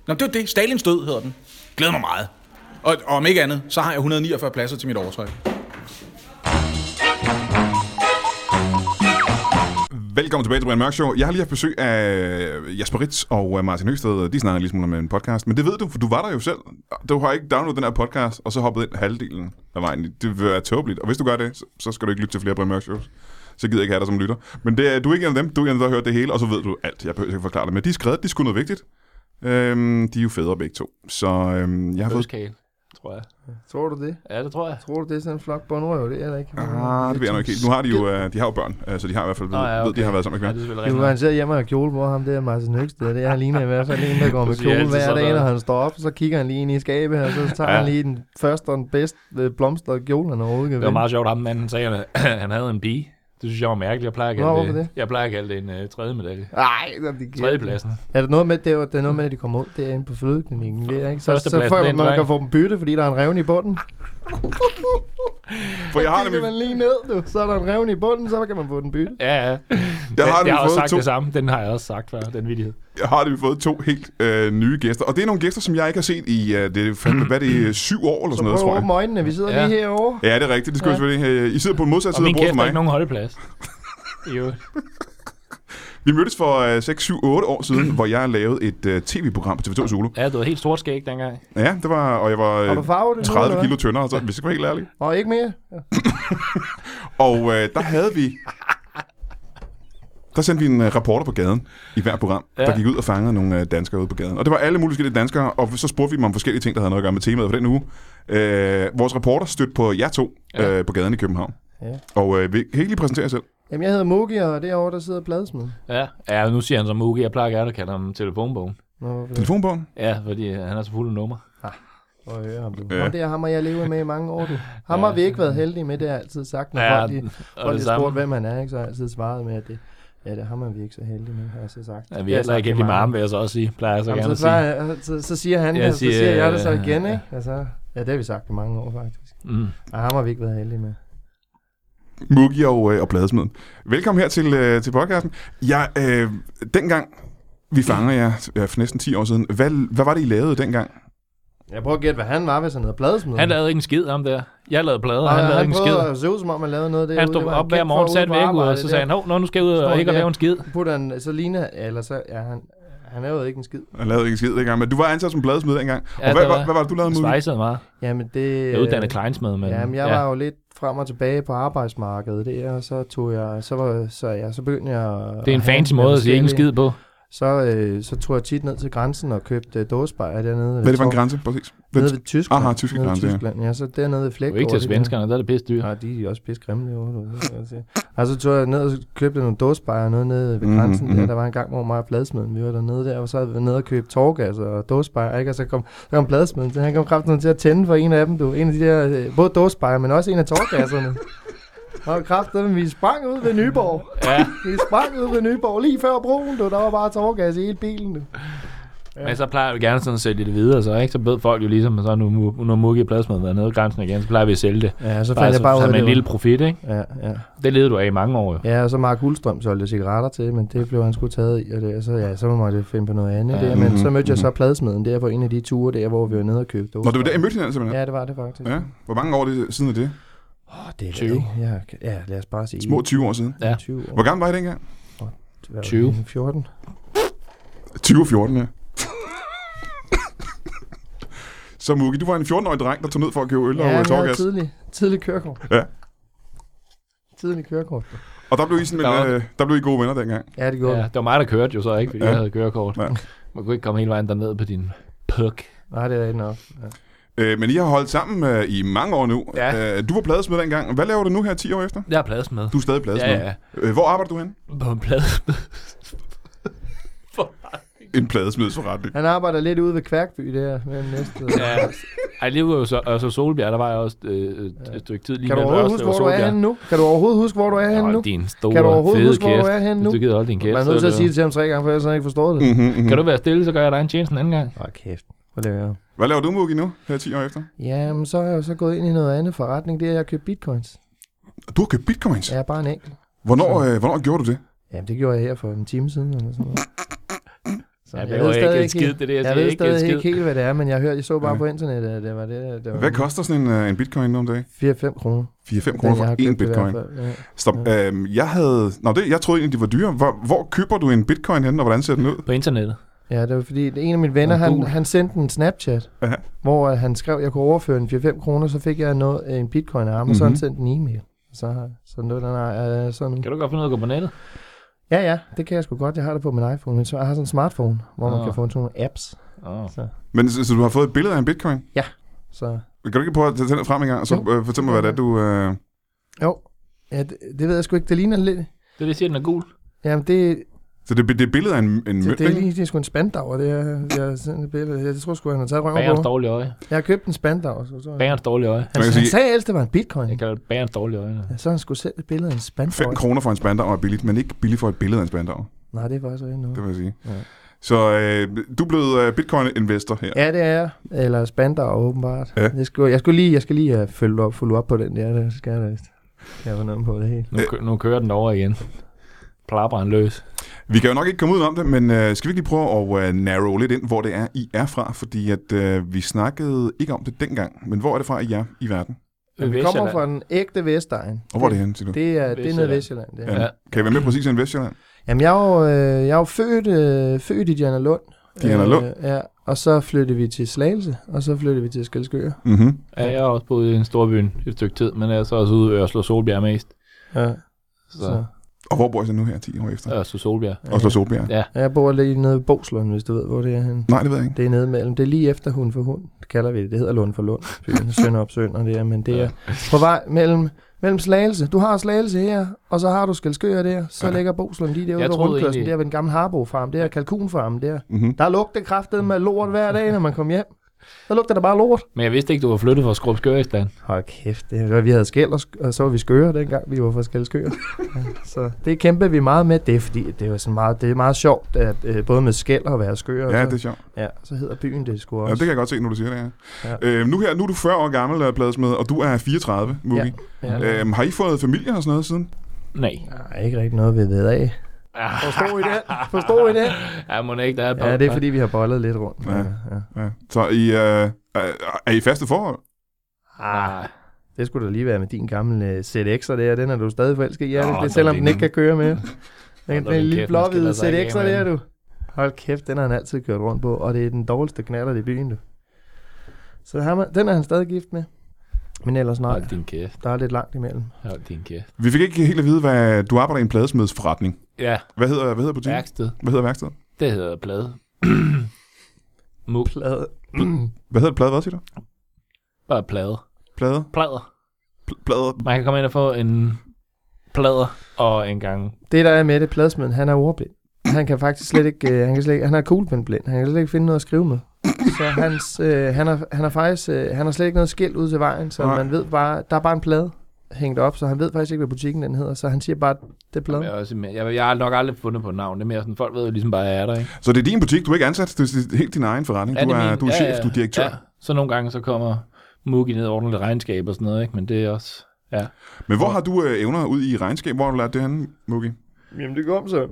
[SPEAKER 4] Nå, det var det. Stalins død hedder den. Glæder mig meget. Og, og om ikke andet, så har jeg 149 pladser til mit overtræk.
[SPEAKER 1] Velkommen tilbage til Brian Mørk Show. Jeg har lige haft besøg af Jasper Ritz og øh, Martin Høgsted. De snakker lige smule om øh, en podcast, men det ved du, for du var der jo selv. Du har ikke downloadet den her podcast, og så hoppet ind halvdelen af vejen. Det vil være tåbeligt, og hvis du gør det, så- så skal du ikke lytte til flere Brian Mørk Shows. Så gider jeg ikke have dig som lytter. Men det, er- du er ikke en af dem, du er en af dem, der har hørt det hele, og så ved du alt. Jeg behøver ikke forklare det, men de er skrevet, de skulle noget vigtigt. Øhm, de er jo fædre begge to. Så øhm, jeg har fået...
[SPEAKER 2] Bøskale, tror jeg.
[SPEAKER 3] Tror du det?
[SPEAKER 2] Ja, det tror jeg.
[SPEAKER 3] Tror du det er sådan en flok bundrøv? Det er der ikke.
[SPEAKER 1] Ah, det ved jeg nok ikke helt. Nu har de jo, øh, de har jo børn, øh, så de har i hvert fald ved,
[SPEAKER 2] Nå, ja,
[SPEAKER 1] ved, de
[SPEAKER 2] okay.
[SPEAKER 1] har været sammen med kvinder.
[SPEAKER 2] Ja, det er selvfølgelig
[SPEAKER 3] Nu var
[SPEAKER 2] rigtigt.
[SPEAKER 3] han sidder hjemme og har kjole på ham, det er Martin Høgsted, det er han ligner i hvert fald en, der går med
[SPEAKER 2] Du siger
[SPEAKER 3] kjole
[SPEAKER 2] altid
[SPEAKER 3] hver
[SPEAKER 2] sådan
[SPEAKER 3] dag,
[SPEAKER 2] noget.
[SPEAKER 3] når han står op, så kigger han lige ind i skabet, og så tager
[SPEAKER 2] Ja.
[SPEAKER 3] han lige den første og den bedste øh, blomstrede kjole, han overhovedet kan
[SPEAKER 2] Det var
[SPEAKER 3] vinde.
[SPEAKER 2] meget sjovt, ham manden sagde, at han havde en pige. Det synes jeg var mærkeligt. Jeg plejer at
[SPEAKER 3] Nå,
[SPEAKER 2] kalde,
[SPEAKER 3] hvorfor det?
[SPEAKER 2] det, jeg plejer at kalde det en uh, tredje medalje.
[SPEAKER 3] Ej, det er det
[SPEAKER 2] Tredjepladsen.
[SPEAKER 3] Er der noget med, det er, jo- det er noget med, at de kommer ud derinde på fødeklinikken? Det er, ikke? Så, så
[SPEAKER 2] Førstepladsen,
[SPEAKER 3] får
[SPEAKER 2] det er
[SPEAKER 3] man,
[SPEAKER 2] en
[SPEAKER 3] man
[SPEAKER 2] dreng.
[SPEAKER 3] kan få dem bytte, fordi der er en revne i bunden.
[SPEAKER 1] For jeg har
[SPEAKER 3] Kigger man
[SPEAKER 1] nemlig,
[SPEAKER 3] lige ned, du. så er der en revne i bunden, så kan man få den byttet.
[SPEAKER 2] Ja, ja.
[SPEAKER 1] jeg har
[SPEAKER 2] jeg
[SPEAKER 1] nemlig
[SPEAKER 2] har
[SPEAKER 1] fået
[SPEAKER 2] også sagt
[SPEAKER 1] to
[SPEAKER 2] det samme. Den har jeg også sagt før, den vidighed.
[SPEAKER 1] jeg har nemlig fået to helt øh, nye gæster. Og det er nogle gæster, som jeg ikke har set i, øh, det er fandme, hvad er det er, syv år eller
[SPEAKER 3] Så
[SPEAKER 1] sådan noget,
[SPEAKER 3] prøv
[SPEAKER 1] tror
[SPEAKER 3] at
[SPEAKER 1] jeg.
[SPEAKER 3] åbne øjnene, vi sidder
[SPEAKER 2] Ja.
[SPEAKER 3] lige herovre.
[SPEAKER 1] Ja, det er rigtigt. Det skulle ja. selvfølgelig øh, I sidder på en modsat
[SPEAKER 2] Og
[SPEAKER 1] side af
[SPEAKER 2] min
[SPEAKER 1] bordet
[SPEAKER 2] kæft
[SPEAKER 1] som
[SPEAKER 2] er ikke
[SPEAKER 1] mig.
[SPEAKER 2] nogen holdeplads. Jo.
[SPEAKER 1] Vi mødtes for øh, 6, 7, 8 år siden, hvor jeg lavede et øh, tv-program på TV2 Zulu.
[SPEAKER 2] Ja, du var helt sort skæg dengang.
[SPEAKER 1] Ja, det var, og jeg var
[SPEAKER 3] Har du
[SPEAKER 1] øh,
[SPEAKER 3] farve det
[SPEAKER 1] 30 kilo tyndere, så, hvis jeg var helt ærlig.
[SPEAKER 3] Og ikke mere.
[SPEAKER 1] Og øh, der havde vi... Der sendte vi en øh, reporter på gaden i hver program, ja.
[SPEAKER 2] Ja.
[SPEAKER 1] der gik ud og fangede nogle øh, danskere ude på gaden. Og det var alle mulige forskellige danskere, og så spurgte vi dem om forskellige ting, der havde noget at gøre med temaet for den uge. Øh, vores reporter stødte på jer to
[SPEAKER 2] Ja.
[SPEAKER 1] øh, på gaden i København. Ja.
[SPEAKER 3] Ja.
[SPEAKER 1] Og øh, vi kan I ikke lige præsentere jer selv.
[SPEAKER 3] Jamen, jeg hedder Mogi, og derovre, der sidder pladesmed.
[SPEAKER 2] Ja, ja nu siger han som Mugi. Jeg plejer gerne at kalde ham telefonbogen.
[SPEAKER 3] Nå, hvorfor det?
[SPEAKER 1] Telefonbogen?
[SPEAKER 2] Ja, fordi øh, han er så fuld af nummer.
[SPEAKER 3] Prøv at høre ham. du.
[SPEAKER 1] Ja.
[SPEAKER 3] Og det er ham, og jeg lever med i mange år. Du. Ham har vi ikke været heldige med, det har jeg altid sagt. Når
[SPEAKER 2] Ja,
[SPEAKER 3] folk de,
[SPEAKER 2] og det
[SPEAKER 3] folk de spurgte,
[SPEAKER 2] samme.
[SPEAKER 3] hvem han er, ikke, så har jeg altid svaret med, at det, ja, det er ham, er vi ikke så heldige med, har jeg så sagt.
[SPEAKER 2] Ja, vi er heller ikke helt i marmen, vil jeg så også sige. Plejer jeg så
[SPEAKER 3] Så,
[SPEAKER 2] gerne
[SPEAKER 3] Jamen,
[SPEAKER 2] at
[SPEAKER 3] så,
[SPEAKER 2] sige.
[SPEAKER 3] svarer, jeg- så, så siger han
[SPEAKER 2] Jeg
[SPEAKER 3] det, og så
[SPEAKER 2] siger,
[SPEAKER 3] siger jeg det så
[SPEAKER 2] øh,
[SPEAKER 3] igen,
[SPEAKER 2] ja.
[SPEAKER 3] ikke? Altså, ja, det har vi sagt i mange år, faktisk.
[SPEAKER 2] Mm.
[SPEAKER 3] Og ham har vi ikke været heldige med.
[SPEAKER 1] Mugi og, øh, og Bladesmeden. Velkommen her til, øh, til podcasten. Jeg, øh, dengang vi fanger jer øh, for næsten 10 år siden, hvad, hvad var det, I lavede dengang?
[SPEAKER 3] Jeg prøver at gætte, hvad han var, hvis han havde pladesmed.
[SPEAKER 2] Han lavede ikke en skid om der. Jeg lavede plader,
[SPEAKER 3] og
[SPEAKER 2] han lavede
[SPEAKER 3] han
[SPEAKER 2] ikke en skid.
[SPEAKER 3] prøvede at se ud, som om han lavede noget derude.
[SPEAKER 2] Han
[SPEAKER 3] Det
[SPEAKER 2] stod
[SPEAKER 3] var
[SPEAKER 2] op hver
[SPEAKER 3] kendt for
[SPEAKER 2] morgen,
[SPEAKER 3] ude
[SPEAKER 2] satte
[SPEAKER 3] på
[SPEAKER 2] væk ud, og
[SPEAKER 3] arbejde
[SPEAKER 2] så
[SPEAKER 3] der.
[SPEAKER 2] sagde han, hov, nå, nu skal jeg ud
[SPEAKER 3] Står
[SPEAKER 2] og ikke at
[SPEAKER 3] der.
[SPEAKER 2] lave en skid.
[SPEAKER 3] putter han, så ligner, eller så, ja, han, han lavede ikke en skid.
[SPEAKER 1] Jeg lavede ikke en skid dengang, men du var ansat som bladesmed dengang.
[SPEAKER 2] Ja,
[SPEAKER 1] Ja, og
[SPEAKER 2] der
[SPEAKER 1] hvad, var,
[SPEAKER 2] var-
[SPEAKER 1] hvad var det, du lavede, Mugi?
[SPEAKER 2] Svejsede meget.
[SPEAKER 3] Jamen det...
[SPEAKER 2] Jeg er uddannet kleinsmed, men...
[SPEAKER 3] Jamen jeg var jo lidt frem og tilbage på arbejdsmarkedet der, og så tog jeg, så var, så ja, så begyndte jeg... at
[SPEAKER 2] Det er en
[SPEAKER 3] handle
[SPEAKER 2] fancy
[SPEAKER 3] med
[SPEAKER 2] måde at sige ikke en
[SPEAKER 3] forskellige.
[SPEAKER 2] skid på.
[SPEAKER 3] Så, øh, så tog jeg tit ned til grænsen og købte øh, dåsebajer dernede.
[SPEAKER 1] Hvad er det for en grænse, præcis? Hvad-
[SPEAKER 3] Nede ved Tyskland.
[SPEAKER 1] Aha, tyske
[SPEAKER 3] Nede ved
[SPEAKER 1] grænse, ja.
[SPEAKER 3] Tyskland, ja. Så dernede ved
[SPEAKER 2] Det
[SPEAKER 3] Flæk.
[SPEAKER 2] er jo ikke til svenskerne, der er det pisse dyrt.
[SPEAKER 3] Nej, Ah, de er også pisse grimme derovre. du ved, kan jeg sige. Og så tog jeg ned og købte nogle dåsebajer og noget nede ved
[SPEAKER 1] Mhm,
[SPEAKER 3] grænsen. Mm-hmm.
[SPEAKER 1] mhm.
[SPEAKER 3] Der, der var en gang, hvor mig og Bladsmeden, vi var dernede der, og så havde vi været nede og købe torgas og dåsebajer, ikke? Og så kom, så kom Bladsmeden, så han kom kraften til at tænde for en af dem, du. En af de der, øh, både dåsebajer, men også en af torgasserne. Og kræfterne, vi sprang ud ved Nyborg.
[SPEAKER 2] Ja.
[SPEAKER 3] Vi sprang ud ved Nyborg lige før broen, du. Der var bare tårgas i hele bilen, du.
[SPEAKER 2] Ja. Men så plejer vi gerne sådan at sælge det videre, så, ikke? så ved folk jo ligesom, at så nu, nu, nu Mugge i pladsmaden været nede ved grænsen igen, så plejer vi at sælge det.
[SPEAKER 3] Ja, så
[SPEAKER 2] Bare,
[SPEAKER 3] fandt
[SPEAKER 2] så,
[SPEAKER 3] jeg bare ud af
[SPEAKER 2] med
[SPEAKER 3] det.
[SPEAKER 2] en lille profit, ikke?
[SPEAKER 3] Ja, ja.
[SPEAKER 2] Det levede du af i mange år jo.
[SPEAKER 3] Ja, og så Mark Hulstrøm solgte cigaretter til, men det blev han sgu taget i, og det, så, ja, så måtte jeg finde på noget andet
[SPEAKER 2] Ja.
[SPEAKER 3] ja. der. Men så mødte jeg så pladesmeden der på en af de ture der, hvor vi var nede og købte.
[SPEAKER 1] Mhm. Nå, det var der, I mødte hinanden simpelthen?
[SPEAKER 3] Ja, det var det faktisk.
[SPEAKER 1] Ja. Hvor mange år er det siden af det?
[SPEAKER 3] Åh, det er
[SPEAKER 2] 20.
[SPEAKER 3] 20. Ja, ja, lad os bare sige.
[SPEAKER 1] Små 20 år siden.
[SPEAKER 2] Ja.
[SPEAKER 3] 20 år.
[SPEAKER 1] Hvor gammel var I dengang?
[SPEAKER 3] Hvad var det?
[SPEAKER 2] 20.
[SPEAKER 3] 14.
[SPEAKER 1] 20 og 14, ja. Så Mugge, du var en 14-årig dreng, der tog ned for at købe øl
[SPEAKER 3] Ja,
[SPEAKER 1] og
[SPEAKER 3] men jeg havde
[SPEAKER 1] tårgas.
[SPEAKER 3] tidlig, tidlig kørekort.
[SPEAKER 1] Ja.
[SPEAKER 3] Tidlig kørekort.
[SPEAKER 1] Og der blev, I sådan,
[SPEAKER 2] Der
[SPEAKER 1] der,
[SPEAKER 2] var-
[SPEAKER 1] øh, der blev I gode venner dengang.
[SPEAKER 3] Ja, det gjorde
[SPEAKER 2] ja.
[SPEAKER 3] ja.
[SPEAKER 2] Det var mig, der kørte jo så, ikke? Fordi
[SPEAKER 1] Ja.
[SPEAKER 2] ja. jeg havde kørekort.
[SPEAKER 1] Ja.
[SPEAKER 2] Ja. Man kunne ikke komme hele vejen derned på din perk.
[SPEAKER 3] Nej, det er rigtigt nok. Ja.
[SPEAKER 1] Øh, men I har holdt sammen øh, i mange år nu.
[SPEAKER 2] Ja.
[SPEAKER 1] Øh, du var pladesmed dengang. Hvad laver du nu her 10 år efter?
[SPEAKER 2] Jeg er pladsmad.
[SPEAKER 1] Du er stadig
[SPEAKER 2] ja,
[SPEAKER 1] pladesmed.
[SPEAKER 2] ja, ja.
[SPEAKER 1] Øh, hvor arbejder du hen?
[SPEAKER 2] På en pladsmad.
[SPEAKER 1] En pladesmedsforretning.
[SPEAKER 3] Han arbejder lidt ude ved Kværkby der, med næste.
[SPEAKER 2] Ja. Ej, det var jo så, og så Solbjerg, der var jeg også øh, et, et stykke tid lige
[SPEAKER 3] Kan du
[SPEAKER 2] mellem
[SPEAKER 3] overhovedet huske,
[SPEAKER 2] Ørsted og
[SPEAKER 3] hvor du er
[SPEAKER 2] Solbjerg.
[SPEAKER 3] henne nu? Kan du overhovedet huske, hvor du er henne nu?
[SPEAKER 2] Hold din store,
[SPEAKER 3] Kan du overhovedet
[SPEAKER 2] fede
[SPEAKER 3] huske, hvor
[SPEAKER 2] kæft.
[SPEAKER 3] du er henne nu?
[SPEAKER 2] Hvis du gider holde din kæft,
[SPEAKER 3] Man er nødt til at
[SPEAKER 2] så
[SPEAKER 3] sige
[SPEAKER 2] er
[SPEAKER 3] det til ham tre gange, for ellers har han ikke forstået det.
[SPEAKER 1] Mm-hmm,
[SPEAKER 2] det-
[SPEAKER 1] mm-hmm.
[SPEAKER 2] Kan du være stille, så gør jeg dig en tjeneste en anden gang.
[SPEAKER 3] Åh, kæft. Hvor laver jeg?
[SPEAKER 1] Hvad laver du, Mugge, nu her 10 år efter?
[SPEAKER 3] Jamen, så er jeg jo så gået ind i noget andet forretning. Det er, at jeg har købt bitcoins.
[SPEAKER 1] Du har købt bitcoins.
[SPEAKER 3] Jeg
[SPEAKER 1] Ja.
[SPEAKER 3] er bare en enkelt.
[SPEAKER 1] Hvornår, øh, hvornår gjorde du det?
[SPEAKER 3] Jamen, det gjorde jeg her for en time siden, eller sådan noget. Så
[SPEAKER 2] Jeg ved ikke en skid,
[SPEAKER 3] helt-
[SPEAKER 2] det der, jeg
[SPEAKER 3] jeg
[SPEAKER 2] siger
[SPEAKER 3] ved
[SPEAKER 2] ikke en
[SPEAKER 3] stadig ikke
[SPEAKER 2] skid.
[SPEAKER 3] helt, hvad det er, men jeg hørte, jeg så bare
[SPEAKER 1] Ja.
[SPEAKER 3] på internettet, at det var det. det var
[SPEAKER 1] Hvad koster sådan en, øh, en bitcoin nu om dagen?
[SPEAKER 3] 4-5 kroner.
[SPEAKER 1] 4-5 kroner
[SPEAKER 3] Den, jeg
[SPEAKER 1] for
[SPEAKER 3] har
[SPEAKER 1] en
[SPEAKER 3] købt i hvert
[SPEAKER 1] bitcoin.
[SPEAKER 3] fald, Ja.
[SPEAKER 1] Stop. Øhm, jeg havde... Nå, det, jeg troede egentlig, de var dyre. Hvor, hvor køber du en bitcoin henne, og hvordan ser den ud?
[SPEAKER 2] På internettet.
[SPEAKER 3] Ja, det var fordi, en af mine venner,
[SPEAKER 2] Og
[SPEAKER 3] han,
[SPEAKER 2] gul.
[SPEAKER 3] han sendte en Snapchat,
[SPEAKER 1] Aha.
[SPEAKER 3] hvor øh, han skrev, at jeg kunne overføre en 4-5 kroner, så fik jeg noget, en bitcoin af ham, og så
[SPEAKER 1] Mhm.
[SPEAKER 3] han sendte en e-mail. Så, har- så nu, den er, øh, sådan,
[SPEAKER 2] Kan du godt finde ud af at gå på nettet?
[SPEAKER 3] ja, ja, det kan jeg sgu godt. Jeg har det på min iPhone, men så jeg har sådan en smartphone, hvor man
[SPEAKER 2] Nå.
[SPEAKER 3] kan få sådan nogle apps.
[SPEAKER 2] Oh.
[SPEAKER 1] Men så, så du har fået et billede af en bitcoin?
[SPEAKER 3] Så
[SPEAKER 1] Kan du ikke prøve at tage den frem en gang, og så
[SPEAKER 3] Jo.
[SPEAKER 1] øh, fortæl mig, hvad det er, du... Øh...
[SPEAKER 3] jo, ja, det, det ved jeg sgu ikke. Det ligner lidt...
[SPEAKER 2] Det er det, siger, den er gul.
[SPEAKER 3] Jamen, det,
[SPEAKER 1] Så det, det er billedet af en, en
[SPEAKER 3] det,
[SPEAKER 1] mønt,
[SPEAKER 3] det, er
[SPEAKER 1] ikke?
[SPEAKER 3] lige, det er sgu en spandauer, det her. Jeg, sådan et billede. jeg tror sgu, han har taget
[SPEAKER 2] Bagerens
[SPEAKER 3] røven på.
[SPEAKER 2] dårlige øje.
[SPEAKER 3] Jeg har købt en spandauer. Så, så. Han,
[SPEAKER 2] Bagerens dårlige øje.
[SPEAKER 1] Man kan
[SPEAKER 3] han
[SPEAKER 1] sige-
[SPEAKER 3] sagde ellers, det var en bitcoin.
[SPEAKER 2] Jeg kalder det bagerens dårlige øje. nu.
[SPEAKER 3] Ja, så har han skulle selv et billede af
[SPEAKER 1] 5
[SPEAKER 3] en spandauer.
[SPEAKER 1] kroner for en spandauer er billigt, men ikke billigt for et billede af en spandauer,
[SPEAKER 3] Nej, det er faktisk ikke noget.
[SPEAKER 1] det vil jeg sige.
[SPEAKER 3] Ja.
[SPEAKER 1] Så øh, du er blevet øh, bitcoin-investor her.
[SPEAKER 3] Ja, det er jeg. Eller spandauer, åbenbart.
[SPEAKER 1] Ja.
[SPEAKER 3] Ja. Jeg, skulle, jeg, skulle lige, jeg skal lige have følge op, følge op på den der, det skal jeg da vist. Jeg var nede på det hele.
[SPEAKER 2] Nu, kø- nu kører den over igen. Plapper han løs.
[SPEAKER 1] Vi kan jo nok ikke komme ud om det, men øh, skal vi ikke lige prøve at øh, narrow lidt ind, hvor det er, I er fra? Fordi at øh, vi snakkede ikke om det dengang, men hvor er det fra, I er i verden?
[SPEAKER 3] Men vi kommer fra den ægte Vestegn.
[SPEAKER 1] Og hvor er det henne, siger du?
[SPEAKER 3] Det er, det er nede i Vestjylland. Det er.
[SPEAKER 1] Ja.
[SPEAKER 2] Ja.
[SPEAKER 1] Øhm, Kan I være med præcis i en Vestjylland?
[SPEAKER 3] Jamen, jeg er jo, øh, jeg er jo født, øh, født i Diana Lund.
[SPEAKER 1] Diana Lund?
[SPEAKER 3] Øh, ja, og så flyttede vi til Slagelse, og så flyttede vi til Skelskør.
[SPEAKER 1] Mm-hmm.
[SPEAKER 2] Ja, jeg har også boet i en storby et stykke tid, men jeg er så også ude i Ørslo Solbjerg mest.
[SPEAKER 3] Ja,
[SPEAKER 2] Så,
[SPEAKER 1] Og hvor bor I så nu her 10 år efter?
[SPEAKER 2] så. Ørslo Solbjerg.
[SPEAKER 3] ja,
[SPEAKER 1] Og så Solbjerg?
[SPEAKER 2] Øh, Ja.
[SPEAKER 3] ja. Jeg bor lige nede i Boslund, hvis du ved, hvor det er henne.
[SPEAKER 1] Nej, det ved jeg ikke.
[SPEAKER 3] Det er nede mellem. Det er lige efter Hund for Hund, det kalder vi det. Det hedder Lund for Lund. Byen Sønder op Sønder, det er, men det er på vej mellem, mellem Slagelse. Du har Slagelse her, og så har du Skelskør der. Så
[SPEAKER 1] Ja.
[SPEAKER 3] ligger Boslund lige derude
[SPEAKER 2] Jeg
[SPEAKER 3] ved
[SPEAKER 2] troede
[SPEAKER 3] rundkørslen,
[SPEAKER 2] egentlig-
[SPEAKER 3] der ved den gamle Harbo-farm, der er kalkunfarmen der.
[SPEAKER 1] Mm-hmm.
[SPEAKER 3] Der lugter kraftet med lort hver dag, når man kommer hjem. Der lugter der bare lort.
[SPEAKER 2] Men jeg vidste ikke, du var flyttet fra Skrup Skør i stand.
[SPEAKER 3] Hold kæft, det var, vi havde skæld, og, sk- og så var vi skøre, dengang vi var fra Skelskør. Ja, så det kæmpede vi meget med. Det er fordi, det, var sådan meget, det er meget sjovt, at, øh, både med skæld og at være skør. og
[SPEAKER 1] Ja,
[SPEAKER 2] Øh,
[SPEAKER 3] så-
[SPEAKER 1] det er sjovt.
[SPEAKER 3] ja, så hedder byen det sgu
[SPEAKER 1] Ja,
[SPEAKER 3] også.
[SPEAKER 1] det kan jeg godt se, når du siger det her. Ja.
[SPEAKER 3] Ja.
[SPEAKER 1] Øh, nu, her, nu er du 40 år gammel, øh, pladesmed, og du er 34, Mugi.
[SPEAKER 3] Ja.
[SPEAKER 1] Ja. Øhm, har I fået familie og sådan noget siden?
[SPEAKER 2] Nej.
[SPEAKER 3] Nej, ikke rigtig noget, vi ved af. Forstår I det? Forstår I det?
[SPEAKER 2] Ja, må det ikke, der er et par-
[SPEAKER 3] Ja, det er fordi, vi har bollet lidt rundt.
[SPEAKER 1] Ja.
[SPEAKER 3] Ja. Ja.
[SPEAKER 1] Ja. Så I, øh, er, er I faste forhold?
[SPEAKER 2] Ah,
[SPEAKER 3] Det skulle da lige være med din gamle øh, ZX'er der. Den er du stadig forelsket i,
[SPEAKER 2] Åh,
[SPEAKER 3] oh,
[SPEAKER 2] den
[SPEAKER 3] det, selvom
[SPEAKER 2] er
[SPEAKER 3] den ikke kan køre med. Den,
[SPEAKER 2] er
[SPEAKER 3] den
[SPEAKER 2] din
[SPEAKER 3] lille
[SPEAKER 2] kæft, den
[SPEAKER 3] blåhvide
[SPEAKER 2] skiller sig ikke af
[SPEAKER 3] ZX'er
[SPEAKER 2] med
[SPEAKER 3] der,
[SPEAKER 2] den.
[SPEAKER 3] du. Hold kæft, den har han altid kørt rundt på, og det er den dårligste knaller i byen, du. Så ham, er- den er han stadig gift med. Men ellers nej,
[SPEAKER 2] hold din kæft.
[SPEAKER 3] der er lidt langt imellem.
[SPEAKER 2] Hold din kæft.
[SPEAKER 1] Vi fik ikke helt at vide, hvad du arbejder i en pladesmedsforretning.
[SPEAKER 2] Ja,
[SPEAKER 1] Hvad hedder, hvad hedder butikken?
[SPEAKER 2] værksted.
[SPEAKER 1] Hvad hedder værkstedet?
[SPEAKER 2] Det hedder plade. Mug.
[SPEAKER 3] Plade.
[SPEAKER 1] Hvad hedder plade? Hvad siger du?
[SPEAKER 2] Bare plade.
[SPEAKER 1] Plade?
[SPEAKER 2] Plader.
[SPEAKER 1] Pl- plade?
[SPEAKER 2] Man kan komme ind og få en plader og en gang.
[SPEAKER 3] Det der er med det, pladsmanden, han er ordblind. Han kan faktisk slet ikke, øh, han, kan slet ikke han er kuglepindblind. Han kan slet ikke finde noget at skrive med. Så hans, øh, han, har, han, har faktisk, øh, han har slet ikke noget skilt ud til vejen, så
[SPEAKER 1] Nej.
[SPEAKER 3] man ved bare, der er bare en plade. hængt op, så han ved faktisk ikke, hvad butikken den hedder, så han siger bare, det er
[SPEAKER 2] Jamen, Jeg,
[SPEAKER 3] bladet.
[SPEAKER 2] er også med. Jeg, jeg har nok aldrig fundet på et navn. Det er mere sådan, folk ved jo ligesom bare, at jeg er der, ikke?
[SPEAKER 1] Så det er din butik, du er ikke ansat, det er helt din egen forretning.
[SPEAKER 2] Ja,
[SPEAKER 1] du,
[SPEAKER 2] det
[SPEAKER 1] er,
[SPEAKER 2] min-
[SPEAKER 1] du er chef, du er direktør.
[SPEAKER 2] Ja. Så nogle gange, så kommer Mugi ned og ordner lidt regnskab og sådan noget, ikke? Men det er også... Ja.
[SPEAKER 1] Men hvor har du øh, evner ud i regnskab? Hvor har du lært det henne, Mugi?
[SPEAKER 3] Jamen det kom så.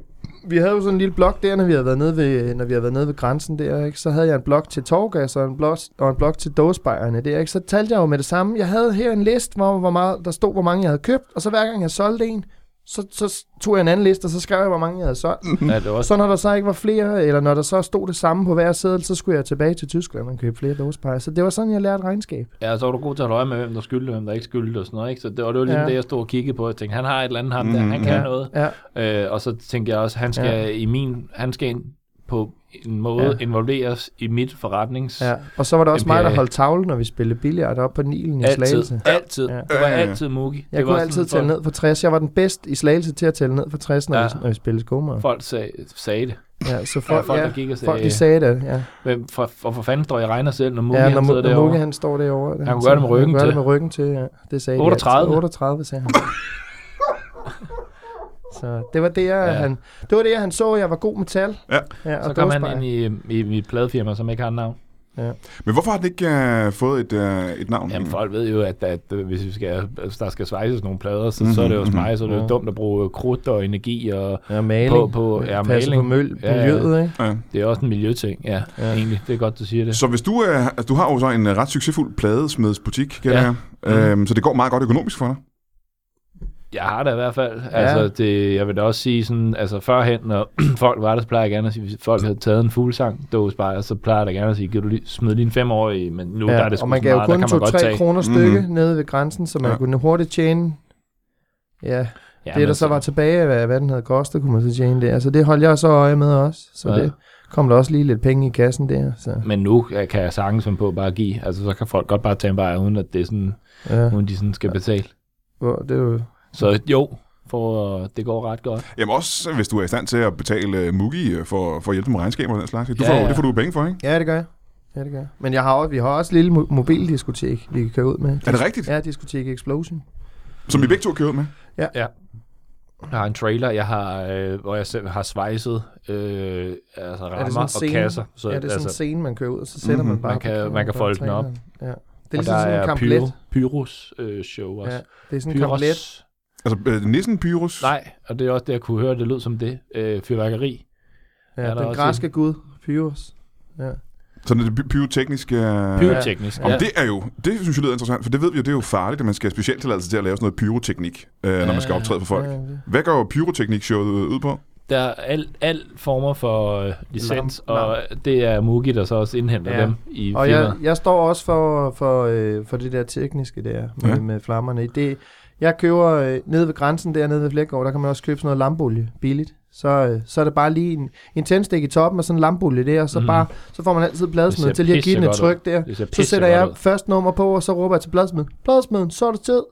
[SPEAKER 3] Vi havde jo sådan en lille blok der, når vi havde været nede ved, når vi havde været nede ved grænsen der, ikke? så havde jeg en blok til torgas og en blok, og en blok til dåsbejerne der, ikke? så talte jeg jo med det samme. Jeg havde her en liste, hvor, hvor meget, der stod, hvor mange jeg havde købt, og så hver gang jeg solgte en, så, så tog jeg en anden liste, og så skrev jeg, hvor mange jeg havde solgt.
[SPEAKER 1] Mm.
[SPEAKER 2] ja det er
[SPEAKER 3] Og
[SPEAKER 2] også...
[SPEAKER 3] så når der så ikke var flere, eller når der så stod det samme på hver seddel, så skulle jeg tilbage til Tyskland og købe flere dåsepejer. Så det var sådan, jeg lærte regnskab.
[SPEAKER 2] Ja, så var du god til at holde øje med, hvem der skyldte, og hvem der ikke skyldte og sådan noget, ikke? Så det var, det var ligesom
[SPEAKER 3] Ja.
[SPEAKER 2] det, jeg stod og kiggede på. Jeg tænkte, han har et eller andet ham der,
[SPEAKER 1] Mhm,
[SPEAKER 2] han kan
[SPEAKER 3] ja.
[SPEAKER 2] noget.
[SPEAKER 3] Ja,
[SPEAKER 2] Øh, og så tænkte jeg også, han skal ja. i min... Han skal ind på en måde
[SPEAKER 3] Ja.
[SPEAKER 2] ja. involveres i mit forretnings...
[SPEAKER 3] ja. Og så var der også
[SPEAKER 2] Jamen,
[SPEAKER 3] mig, der
[SPEAKER 2] jeg-
[SPEAKER 3] holdt tavlen, når vi spillede billiard op på Nilen i Slagelse.
[SPEAKER 2] Altid. Altid.
[SPEAKER 3] Ja.
[SPEAKER 2] Ja. Det var
[SPEAKER 1] Ja, ja, ja.
[SPEAKER 2] altid Mugi.
[SPEAKER 3] Jeg
[SPEAKER 2] det var
[SPEAKER 3] kunne
[SPEAKER 2] sådan,
[SPEAKER 3] altid
[SPEAKER 2] folk-
[SPEAKER 3] tælle ned fra 60. Jeg var den bedste i Slagelse til at tælle ned fra 60, når,
[SPEAKER 2] Ja.
[SPEAKER 3] ja. vi, når vi spillede skomager.
[SPEAKER 2] Folk sag, sagde det.
[SPEAKER 3] Ja, så
[SPEAKER 2] Folk,
[SPEAKER 3] folk,
[SPEAKER 2] folk
[SPEAKER 3] ja,
[SPEAKER 2] der gik og sagde,
[SPEAKER 3] folk de sagde det. Ja,
[SPEAKER 2] hvem, for, for, for fanden står jeg og regner selv, når Mugi
[SPEAKER 3] ja
[SPEAKER 2] ja,
[SPEAKER 3] når,
[SPEAKER 2] han sidder
[SPEAKER 3] Mu- når Mugge
[SPEAKER 2] derovre.
[SPEAKER 3] han står derovre. Han,
[SPEAKER 2] kunne gøre det med ryggen
[SPEAKER 3] han kunne gøre
[SPEAKER 2] til.
[SPEAKER 3] det med ryggen til, ja. Det sagde de
[SPEAKER 2] 38.
[SPEAKER 3] altid. 38, sagde han. så det var det, jeg,
[SPEAKER 2] Ja.
[SPEAKER 3] ja. han, det var det, jeg, han så, jeg var god med tal.
[SPEAKER 1] Ja.
[SPEAKER 3] ja
[SPEAKER 2] Så kom han ind i, i mit pladefirma, som ikke har et navn.
[SPEAKER 1] Men hvorfor har den ikke øh, fået et, øh, et navn?
[SPEAKER 2] Jamen,
[SPEAKER 1] egentlig?
[SPEAKER 2] folk ved jo, at, at øh, hvis vi skal, hvis der skal svejses nogle plader, så,
[SPEAKER 1] Mhm,
[SPEAKER 2] mm-hmm. så er det jo hos
[SPEAKER 1] mhm.
[SPEAKER 2] mig, så er det jo
[SPEAKER 3] Ja.
[SPEAKER 2] dumt at bruge krudt og energi, og
[SPEAKER 3] Ja, maling.
[SPEAKER 2] På- på- ja,
[SPEAKER 3] Passer på
[SPEAKER 2] maling.
[SPEAKER 3] møl,
[SPEAKER 2] Ja, ja.
[SPEAKER 3] miljøet, ikke?
[SPEAKER 1] Ja.
[SPEAKER 2] det er også en miljøting, ja,
[SPEAKER 3] Ja.
[SPEAKER 2] ja. egentlig. Det er godt, du siger det.
[SPEAKER 1] Så hvis du, øh, altså, du har jo så en øh, ret succesfuld pladesmedsbutik, kan
[SPEAKER 2] Ja. Mhm.
[SPEAKER 1] ja. øhm, så det går meget godt økonomisk for dig.
[SPEAKER 2] Jeg har det i hvert fald. Altså, det, jeg vil da også sige sådan, altså førhen, når folk var der, så plejer jeg gerne at sige, hvis folk havde taget en fuglesang, dåsebajer, så plejer jeg da gerne at sige, kan du lige smide din fem år i, men nu ja, der er det sgu
[SPEAKER 3] og man
[SPEAKER 2] så
[SPEAKER 3] gav jo
[SPEAKER 2] meget, der
[SPEAKER 3] kun
[SPEAKER 2] kan man godt
[SPEAKER 3] 2-3
[SPEAKER 2] tage.
[SPEAKER 3] kroner
[SPEAKER 1] Mhm.
[SPEAKER 3] stykke mm-hmm. nede ved grænsen, så man
[SPEAKER 1] Ja.
[SPEAKER 3] ja. kunne hurtigt tjene... Ja,
[SPEAKER 2] Ja,
[SPEAKER 3] det der så var tilbage af, hvad, hvad den havde kostet, kunne man så tjene der. Så det holdt jeg så øje med også. Så ja.
[SPEAKER 2] Ja.
[SPEAKER 3] det kom der også lige lidt penge i kassen der. Så,
[SPEAKER 2] Men nu øh, kan jeg sagtens finde på at bare give. Altså, så kan folk godt bare tage en bajer, uden at det er sådan,
[SPEAKER 3] ja.
[SPEAKER 2] uden de sådan skal betale.
[SPEAKER 3] Hvor, det er jo...
[SPEAKER 2] Så jo, for øh, det går ret godt.
[SPEAKER 1] Jamen også, øh, hvis du er i stand til at betale øh, Mugi øh, for, for at hjælpe med regnskaber og den slags. Du
[SPEAKER 2] Ja,
[SPEAKER 1] får,
[SPEAKER 2] ja.
[SPEAKER 1] Det får du jo penge for, ikke?
[SPEAKER 3] Ja, det gør jeg. Ja, det gør jeg. Men jeg har også, vi har også et lille mo- mobildiskotek, vi kan køre ud med.
[SPEAKER 1] Er det rigtigt? Ja.
[SPEAKER 3] Ja, diskotek Explosion.
[SPEAKER 1] Som I begge to kører med?
[SPEAKER 2] Jeg har en trailer, jeg har, øh, hvor jeg selv har svejset øh, altså
[SPEAKER 3] er det
[SPEAKER 2] rammer
[SPEAKER 3] sådan en
[SPEAKER 2] og
[SPEAKER 3] scene?
[SPEAKER 2] kasser. Så,
[SPEAKER 3] Ja, det er sådan en
[SPEAKER 2] altså,
[SPEAKER 3] scene, man kører ud, og så sætter
[SPEAKER 1] Mhm.
[SPEAKER 3] man bare...
[SPEAKER 2] Man kan-
[SPEAKER 3] på-
[SPEAKER 2] man kan
[SPEAKER 3] på
[SPEAKER 2] folde den op.
[SPEAKER 3] traileren. Ja. Det er
[SPEAKER 2] og
[SPEAKER 3] ligesom
[SPEAKER 2] der
[SPEAKER 3] sådan en
[SPEAKER 2] er
[SPEAKER 3] kamplet.
[SPEAKER 2] pyro, Pyros øh, show også.
[SPEAKER 3] Ja, det er sådan en
[SPEAKER 2] Pyros.
[SPEAKER 3] kamplet.
[SPEAKER 1] Altså øh, Nissen Pyrus?
[SPEAKER 2] Nej, og det er også det, jeg kunne høre, det lød som det. Øh, fyrværkeri.
[SPEAKER 3] Ja,
[SPEAKER 2] Er der
[SPEAKER 3] den
[SPEAKER 2] også
[SPEAKER 3] græske gud, Pyros.
[SPEAKER 1] Sådan det py- pyrotekniske... Øh...
[SPEAKER 2] Pyroteknisk.
[SPEAKER 1] Om det er jo, det synes jeg lyder interessant, for det ved vi jo, det er jo farligt, at man skal have specialtilladelse til at lave sådan noget pyroteknik, øh, når man skal optræde for folk.
[SPEAKER 3] Ja, det-
[SPEAKER 1] Hvad går pyroteknik-showet ud på?
[SPEAKER 2] Der er al, al former for øh, licens,
[SPEAKER 3] Larm, larm.
[SPEAKER 2] og det er Mugi, der så også indhenter
[SPEAKER 3] Ja.
[SPEAKER 2] ja. dem i
[SPEAKER 3] Og
[SPEAKER 2] firmaet.
[SPEAKER 3] jeg, jeg står også for, for, øh, for det der tekniske der med,
[SPEAKER 1] Ja.
[SPEAKER 3] ja. med flammerne. Det, jeg køber øh, nede ved grænsen der, nede ved Flækgaard, der kan man også købe sådan noget lampolie billigt. Så, øh, så er det bare lige en, en tændstik i toppen og sådan en lampolie der, og så,
[SPEAKER 2] Mhm.
[SPEAKER 3] mm. bare, så får man altid bladesmed
[SPEAKER 2] Det ser
[SPEAKER 3] til lige at give den et
[SPEAKER 2] pissegodt ud.
[SPEAKER 3] tryk der.
[SPEAKER 2] Det ser
[SPEAKER 3] Så sætter jeg
[SPEAKER 2] pissegodt ud.
[SPEAKER 3] først nummer på, og så råber jeg til bladsmeden. Bladsmeden, så er det tid.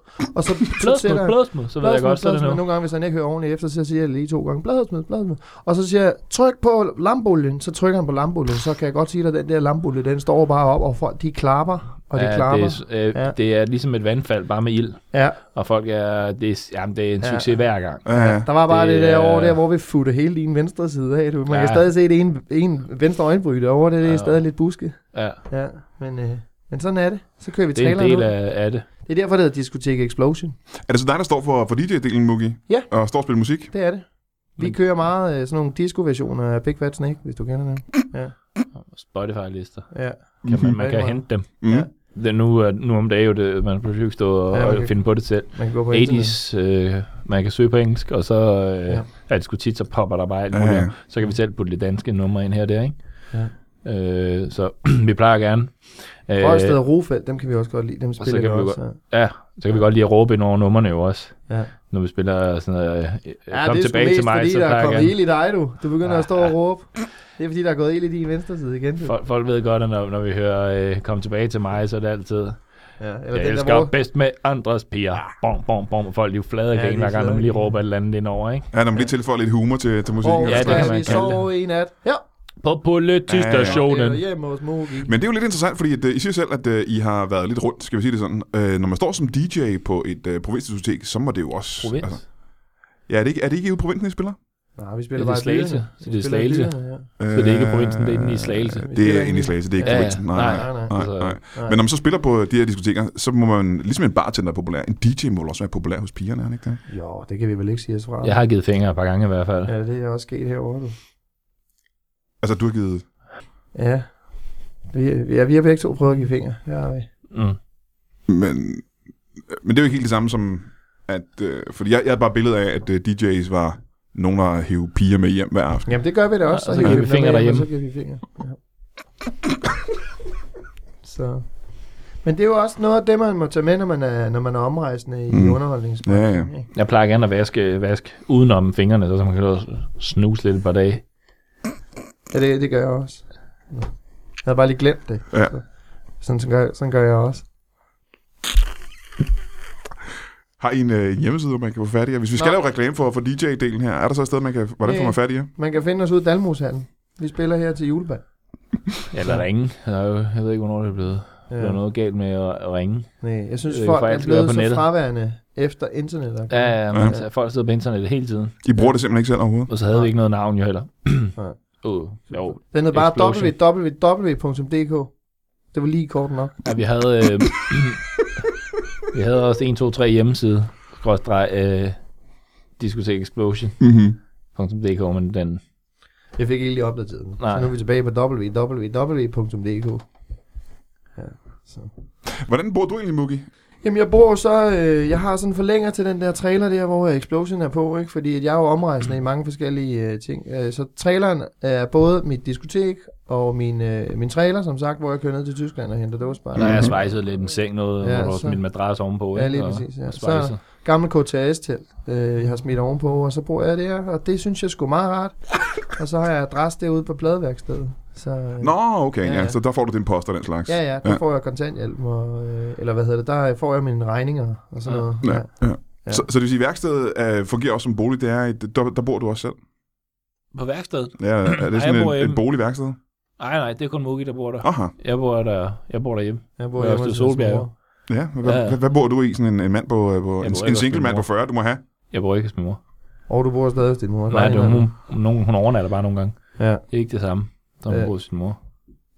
[SPEAKER 3] Og så, så
[SPEAKER 2] Plødsmed,
[SPEAKER 3] sætter jeg...
[SPEAKER 2] plødsmed, så ved jeg
[SPEAKER 3] Bladsmed,
[SPEAKER 2] godt, så er det
[SPEAKER 3] bladsmed.
[SPEAKER 2] noget.
[SPEAKER 3] Nogle gange, hvis han ikke hører ordentligt efter, så siger jeg lige to gange, bladsmed, bladsmed. Og så siger jeg, tryk på lambolien, så trykker han på lambolien, så kan jeg godt sige dig, at den der lambolie, den står bare op, og folk, de klapper, og de ja, klapper.
[SPEAKER 2] det, er, s- øh,
[SPEAKER 3] Ja.
[SPEAKER 2] ja. det er ligesom et vandfald, bare med ild.
[SPEAKER 3] Ja,
[SPEAKER 2] Og folk er, det er, jamen, det er en
[SPEAKER 3] Ja.
[SPEAKER 2] succes hver gang.
[SPEAKER 1] Øh,
[SPEAKER 3] der var bare det,
[SPEAKER 2] Det
[SPEAKER 3] det der
[SPEAKER 2] er-
[SPEAKER 3] over der, hvor vi futter hele din venstre side af. Du. Man ja.
[SPEAKER 2] Ja.
[SPEAKER 3] kan stadig se det ene, en venstre øjenbryg derovre, det er ja.
[SPEAKER 2] Ja.
[SPEAKER 3] stadig lidt buske.
[SPEAKER 2] Ja,
[SPEAKER 3] Ja, men, øh, men sådan er det. Så kører vi
[SPEAKER 2] det er en
[SPEAKER 3] traileren
[SPEAKER 2] del
[SPEAKER 3] ud.
[SPEAKER 2] af, af det.
[SPEAKER 3] Det er derfor, det hedder Diskotek Explosion.
[SPEAKER 1] er det så dig, der står for, for DJ-delen, Mugi?
[SPEAKER 3] Ja.
[SPEAKER 1] Og står og spiller musik?
[SPEAKER 3] Det er det. Vi
[SPEAKER 2] Men-
[SPEAKER 3] kører meget øh, sådan nogle disco-versioner af Big Fat Snake, hvis du kender dem.
[SPEAKER 2] Spotify-lister.
[SPEAKER 3] Ja.
[SPEAKER 2] Kan man, man
[SPEAKER 3] Ja,
[SPEAKER 2] kan
[SPEAKER 3] det er
[SPEAKER 2] hente dem.
[SPEAKER 1] Mm.
[SPEAKER 3] Ja.
[SPEAKER 2] Det er nu, øh, nu om dagen, jo det, man pludselig ikke stå og,
[SPEAKER 3] Ja,
[SPEAKER 2] ja,
[SPEAKER 3] man kan-
[SPEAKER 2] og finde på det selv.
[SPEAKER 3] Man kan gå på internet.
[SPEAKER 2] 80's, øh, man kan søge på engelsk, og så øh,
[SPEAKER 3] Ja.
[SPEAKER 2] ja. er det sgu tit, så popper der bare alt
[SPEAKER 1] Ja,
[SPEAKER 2] muligt.
[SPEAKER 1] ja.
[SPEAKER 2] op. Så kan vi selv putte lidt danske numre ind her og der, ikke?
[SPEAKER 3] Ja.
[SPEAKER 2] Øh, så vi plejer gerne. Øh,
[SPEAKER 3] Røgsted og Rofeld, dem kan vi også godt lide. Dem
[SPEAKER 2] så
[SPEAKER 3] spiller vi
[SPEAKER 2] kan vi
[SPEAKER 3] også.
[SPEAKER 2] ja, så kan vi godt lige råbe ind over numrene jo også.
[SPEAKER 3] Ja.
[SPEAKER 2] Når vi spiller sådan noget, øh,
[SPEAKER 3] Ja,
[SPEAKER 2] ja, kom
[SPEAKER 3] det er sgu
[SPEAKER 2] tilbage
[SPEAKER 3] mest,
[SPEAKER 2] til mig,
[SPEAKER 3] fordi
[SPEAKER 2] så
[SPEAKER 3] der er
[SPEAKER 2] plejer jeg
[SPEAKER 3] kommet
[SPEAKER 2] gerne.
[SPEAKER 3] ild i dig, du. Du begynder
[SPEAKER 2] Ja,
[SPEAKER 3] at stå og
[SPEAKER 2] ja.
[SPEAKER 3] råbe. Det er fordi, der er gået ild i din venstre side igen. Du.
[SPEAKER 2] Folk, folk ved godt, at når, når vi hører øh, kom tilbage til mig, så er det altid,
[SPEAKER 3] Ja, eller
[SPEAKER 2] jeg
[SPEAKER 3] den
[SPEAKER 2] elsker
[SPEAKER 3] der, hvor...
[SPEAKER 2] bedst med andres piger. Bom, bom, bom. Og folk er jo flade af
[SPEAKER 3] Ja,
[SPEAKER 2] ja,
[SPEAKER 3] de
[SPEAKER 2] hver
[SPEAKER 3] er
[SPEAKER 2] gang,
[SPEAKER 3] flade
[SPEAKER 2] når
[SPEAKER 3] af
[SPEAKER 2] man lige
[SPEAKER 3] grin.
[SPEAKER 2] råber et eller andet ind over, ikke?
[SPEAKER 1] Ja, når man lige tilføjer lidt humor til, til musikken.
[SPEAKER 3] Hvor
[SPEAKER 2] Ja,
[SPEAKER 1] og
[SPEAKER 2] det
[SPEAKER 1] sådan
[SPEAKER 2] kan
[SPEAKER 1] noget.
[SPEAKER 3] skal
[SPEAKER 2] man
[SPEAKER 3] vi
[SPEAKER 2] kalde
[SPEAKER 3] sove i nat? Ja,
[SPEAKER 2] på politistationen.
[SPEAKER 3] Ja, hos Mogi.
[SPEAKER 1] Men det er jo lidt interessant, fordi at, øh, I siger selv, at øh, I har været lidt rundt, skal vi sige det sådan. Øh, når man står som DJ på et øh, provinsdiskotek, så må det jo også...
[SPEAKER 2] Provins.
[SPEAKER 1] Altså, ja, er det ikke, er det ikke ude i provinsen, I spiller?
[SPEAKER 3] Nej, vi
[SPEAKER 2] Det
[SPEAKER 3] spiller
[SPEAKER 2] er
[SPEAKER 3] bare
[SPEAKER 2] slagelse.
[SPEAKER 3] Lyne.
[SPEAKER 2] Så det er
[SPEAKER 3] Vi spiller i
[SPEAKER 2] slagelse.
[SPEAKER 3] Lyne, ja.
[SPEAKER 2] Så det er ikke provinsen, det er inde i Slagelse.
[SPEAKER 1] Øh, Det er inde i Slagelse, det er ikke
[SPEAKER 2] Ja, ja.
[SPEAKER 1] provinsen. Nej, nej, nej. nej,
[SPEAKER 2] Altså,
[SPEAKER 1] nej. Men når man så spiller på de her diskoteker, så må man, ligesom en bartender er populær, en DJ må vel også være populær hos pigerne, er han ikke det?
[SPEAKER 3] Jo, det kan vi vel ikke sige os fra.
[SPEAKER 2] Jeg har givet fingre et par gange i hvert fald.
[SPEAKER 3] Ja, det er også sket herovre. Du.
[SPEAKER 1] Altså, du har givet...
[SPEAKER 3] Ja. Vi, ja, vi har begge to prøvet at give fingre. Det har vi.
[SPEAKER 2] Mm.
[SPEAKER 1] Men, men det er jo ikke helt det samme som, at... Øh, fordi jeg, jeg havde bare billedet af, at øh, DJ's var nogen, der hive piger med hjem hver aften.
[SPEAKER 3] Jamen, det gør vi da også.
[SPEAKER 2] Ja, og så giver
[SPEAKER 3] hiver
[SPEAKER 2] vi
[SPEAKER 3] dem
[SPEAKER 2] fingre
[SPEAKER 3] med hjem,
[SPEAKER 2] derhjemme.
[SPEAKER 3] Og så giver vi fingre. Ja. så. Men det er jo også noget af det, man må tage med, når man er, når man er omrejsende i
[SPEAKER 1] Mm.
[SPEAKER 3] mm.
[SPEAKER 1] Ja, ja.
[SPEAKER 3] ikke?
[SPEAKER 2] Jeg plejer gerne at vaske, vaske udenom fingrene, så man kan også snuse lidt et par dage.
[SPEAKER 3] Ja, det, det gør jeg også. Nå. Jeg havde bare lige glemt det.
[SPEAKER 1] Ja.
[SPEAKER 3] Så, sådan, sådan, gør, sådan gør jeg også.
[SPEAKER 1] Har I en øh, hjemmeside, hvor man kan få fat i jer? Hvis vi skal
[SPEAKER 3] Nå.
[SPEAKER 1] lave reklame for, for DJ-delen her, er der så et sted, man kan... Hvordan får man fat i jer?
[SPEAKER 3] Man kan finde os ud i Dalmoshallen. Vi spiller her til juleband.
[SPEAKER 2] Eller ringe. Der er jo- Jeg ved ikke, hvornår det er blevet. Der er noget galt med at at ringe.
[SPEAKER 3] Nej, jeg synes,
[SPEAKER 2] Øh,
[SPEAKER 3] folk
[SPEAKER 2] for alt
[SPEAKER 3] er
[SPEAKER 2] skal være
[SPEAKER 3] blevet
[SPEAKER 2] på
[SPEAKER 3] så
[SPEAKER 2] nettet.
[SPEAKER 3] fraværende efter internettet.
[SPEAKER 2] Ja, ja, men
[SPEAKER 1] Ja.
[SPEAKER 2] altså, folk sidder på internettet hele tiden.
[SPEAKER 1] I bruger det simpelthen ikke selv overhovedet.
[SPEAKER 2] Og så havde vi ikke noget navn jo heller.
[SPEAKER 3] Nej.
[SPEAKER 2] Uh, jo.
[SPEAKER 3] Den hed bare
[SPEAKER 2] Explosion.
[SPEAKER 3] www.dk. Det var lige kort nok.
[SPEAKER 2] Ja, vi havde... Øh, vi havde også 1, 2, 3 hjemmeside. Skråstreg. Øh, diskotek Explosion.dk,
[SPEAKER 1] Mm-hmm.
[SPEAKER 2] men den...
[SPEAKER 3] Jeg fik ikke lige opdateret den.
[SPEAKER 2] Nej.
[SPEAKER 3] Så nu er vi tilbage på www.dk. Ja, så.
[SPEAKER 1] Hvordan bor du egentlig, Mugi?
[SPEAKER 3] Jamen, jeg bor jo så... Øh, jeg har sådan en forlænger til den der trailer der, hvor øh, Explosion er på, ikke? Fordi at jeg er jo omrejsende i mange forskellige øh, ting. Øh, så traileren er både mit diskotek og min, øh, min trailer, som sagt, hvor jeg kører ned til Tyskland og henter dåsbar.
[SPEAKER 2] Der
[SPEAKER 1] Mhm.
[SPEAKER 2] er svejset lidt en seng noget,
[SPEAKER 3] Ja,
[SPEAKER 2] ja, hvor du
[SPEAKER 3] så-
[SPEAKER 2] så... min madras ovenpå.
[SPEAKER 3] Ja,
[SPEAKER 2] ikke?
[SPEAKER 3] lige
[SPEAKER 2] Og-
[SPEAKER 3] præcis, ja.
[SPEAKER 2] og svejset.
[SPEAKER 3] gammel KTS-telt, øh, jeg har smidt ovenpå, og så bor jeg der, og det synes jeg sgu meget rart. og så har jeg adresse derude på pladeværkstedet. Så, øh,
[SPEAKER 1] Nå, okay, ja,
[SPEAKER 3] Ja,
[SPEAKER 1] ja.
[SPEAKER 3] ja.
[SPEAKER 1] så der får du din post og den slags.
[SPEAKER 3] Ja, ja, der ja. får jeg kontanthjælp, og, øh, eller hvad hedder det, der får jeg mine regninger og sådan
[SPEAKER 2] Ja.
[SPEAKER 3] noget.
[SPEAKER 1] Ja, ja.
[SPEAKER 3] Ja.
[SPEAKER 1] Så, så det vil sige, at værkstedet øh, fungerer også som bolig. Det er et, der, der bor du også selv.
[SPEAKER 2] På værkstedet?
[SPEAKER 1] Ja, er det
[SPEAKER 2] jeg
[SPEAKER 1] sådan
[SPEAKER 2] bor
[SPEAKER 1] en,
[SPEAKER 2] hjemme.
[SPEAKER 1] en boligværksted?
[SPEAKER 2] Nej, nej, det er kun Mugi, der bor der.
[SPEAKER 1] Aha.
[SPEAKER 2] Jeg bor der, jeg bor derhjemme.
[SPEAKER 3] Jeg
[SPEAKER 2] Ja,
[SPEAKER 3] hjemme
[SPEAKER 2] Ørsted
[SPEAKER 3] hos min
[SPEAKER 2] Solbjerg.
[SPEAKER 3] mor.
[SPEAKER 1] Ja, hvad,
[SPEAKER 2] Ja, ja.
[SPEAKER 1] ja. hvad bor du i? Sådan en, en mand på, øh, på
[SPEAKER 2] Jeg
[SPEAKER 1] en,
[SPEAKER 2] bor
[SPEAKER 1] en
[SPEAKER 2] ikke
[SPEAKER 1] single
[SPEAKER 2] hos
[SPEAKER 1] mand
[SPEAKER 2] min
[SPEAKER 1] på 40, du må have.
[SPEAKER 2] Jeg bor ikke hos min mor.
[SPEAKER 3] Og du bor stadig hos din mor.
[SPEAKER 2] Nej, det er,
[SPEAKER 3] han-
[SPEAKER 2] hun, nogen, hun overnatter bare nogle gange.
[SPEAKER 3] Ja,
[SPEAKER 2] Det er ikke det samme, som hun
[SPEAKER 3] Ja.
[SPEAKER 2] bor hos sin mor.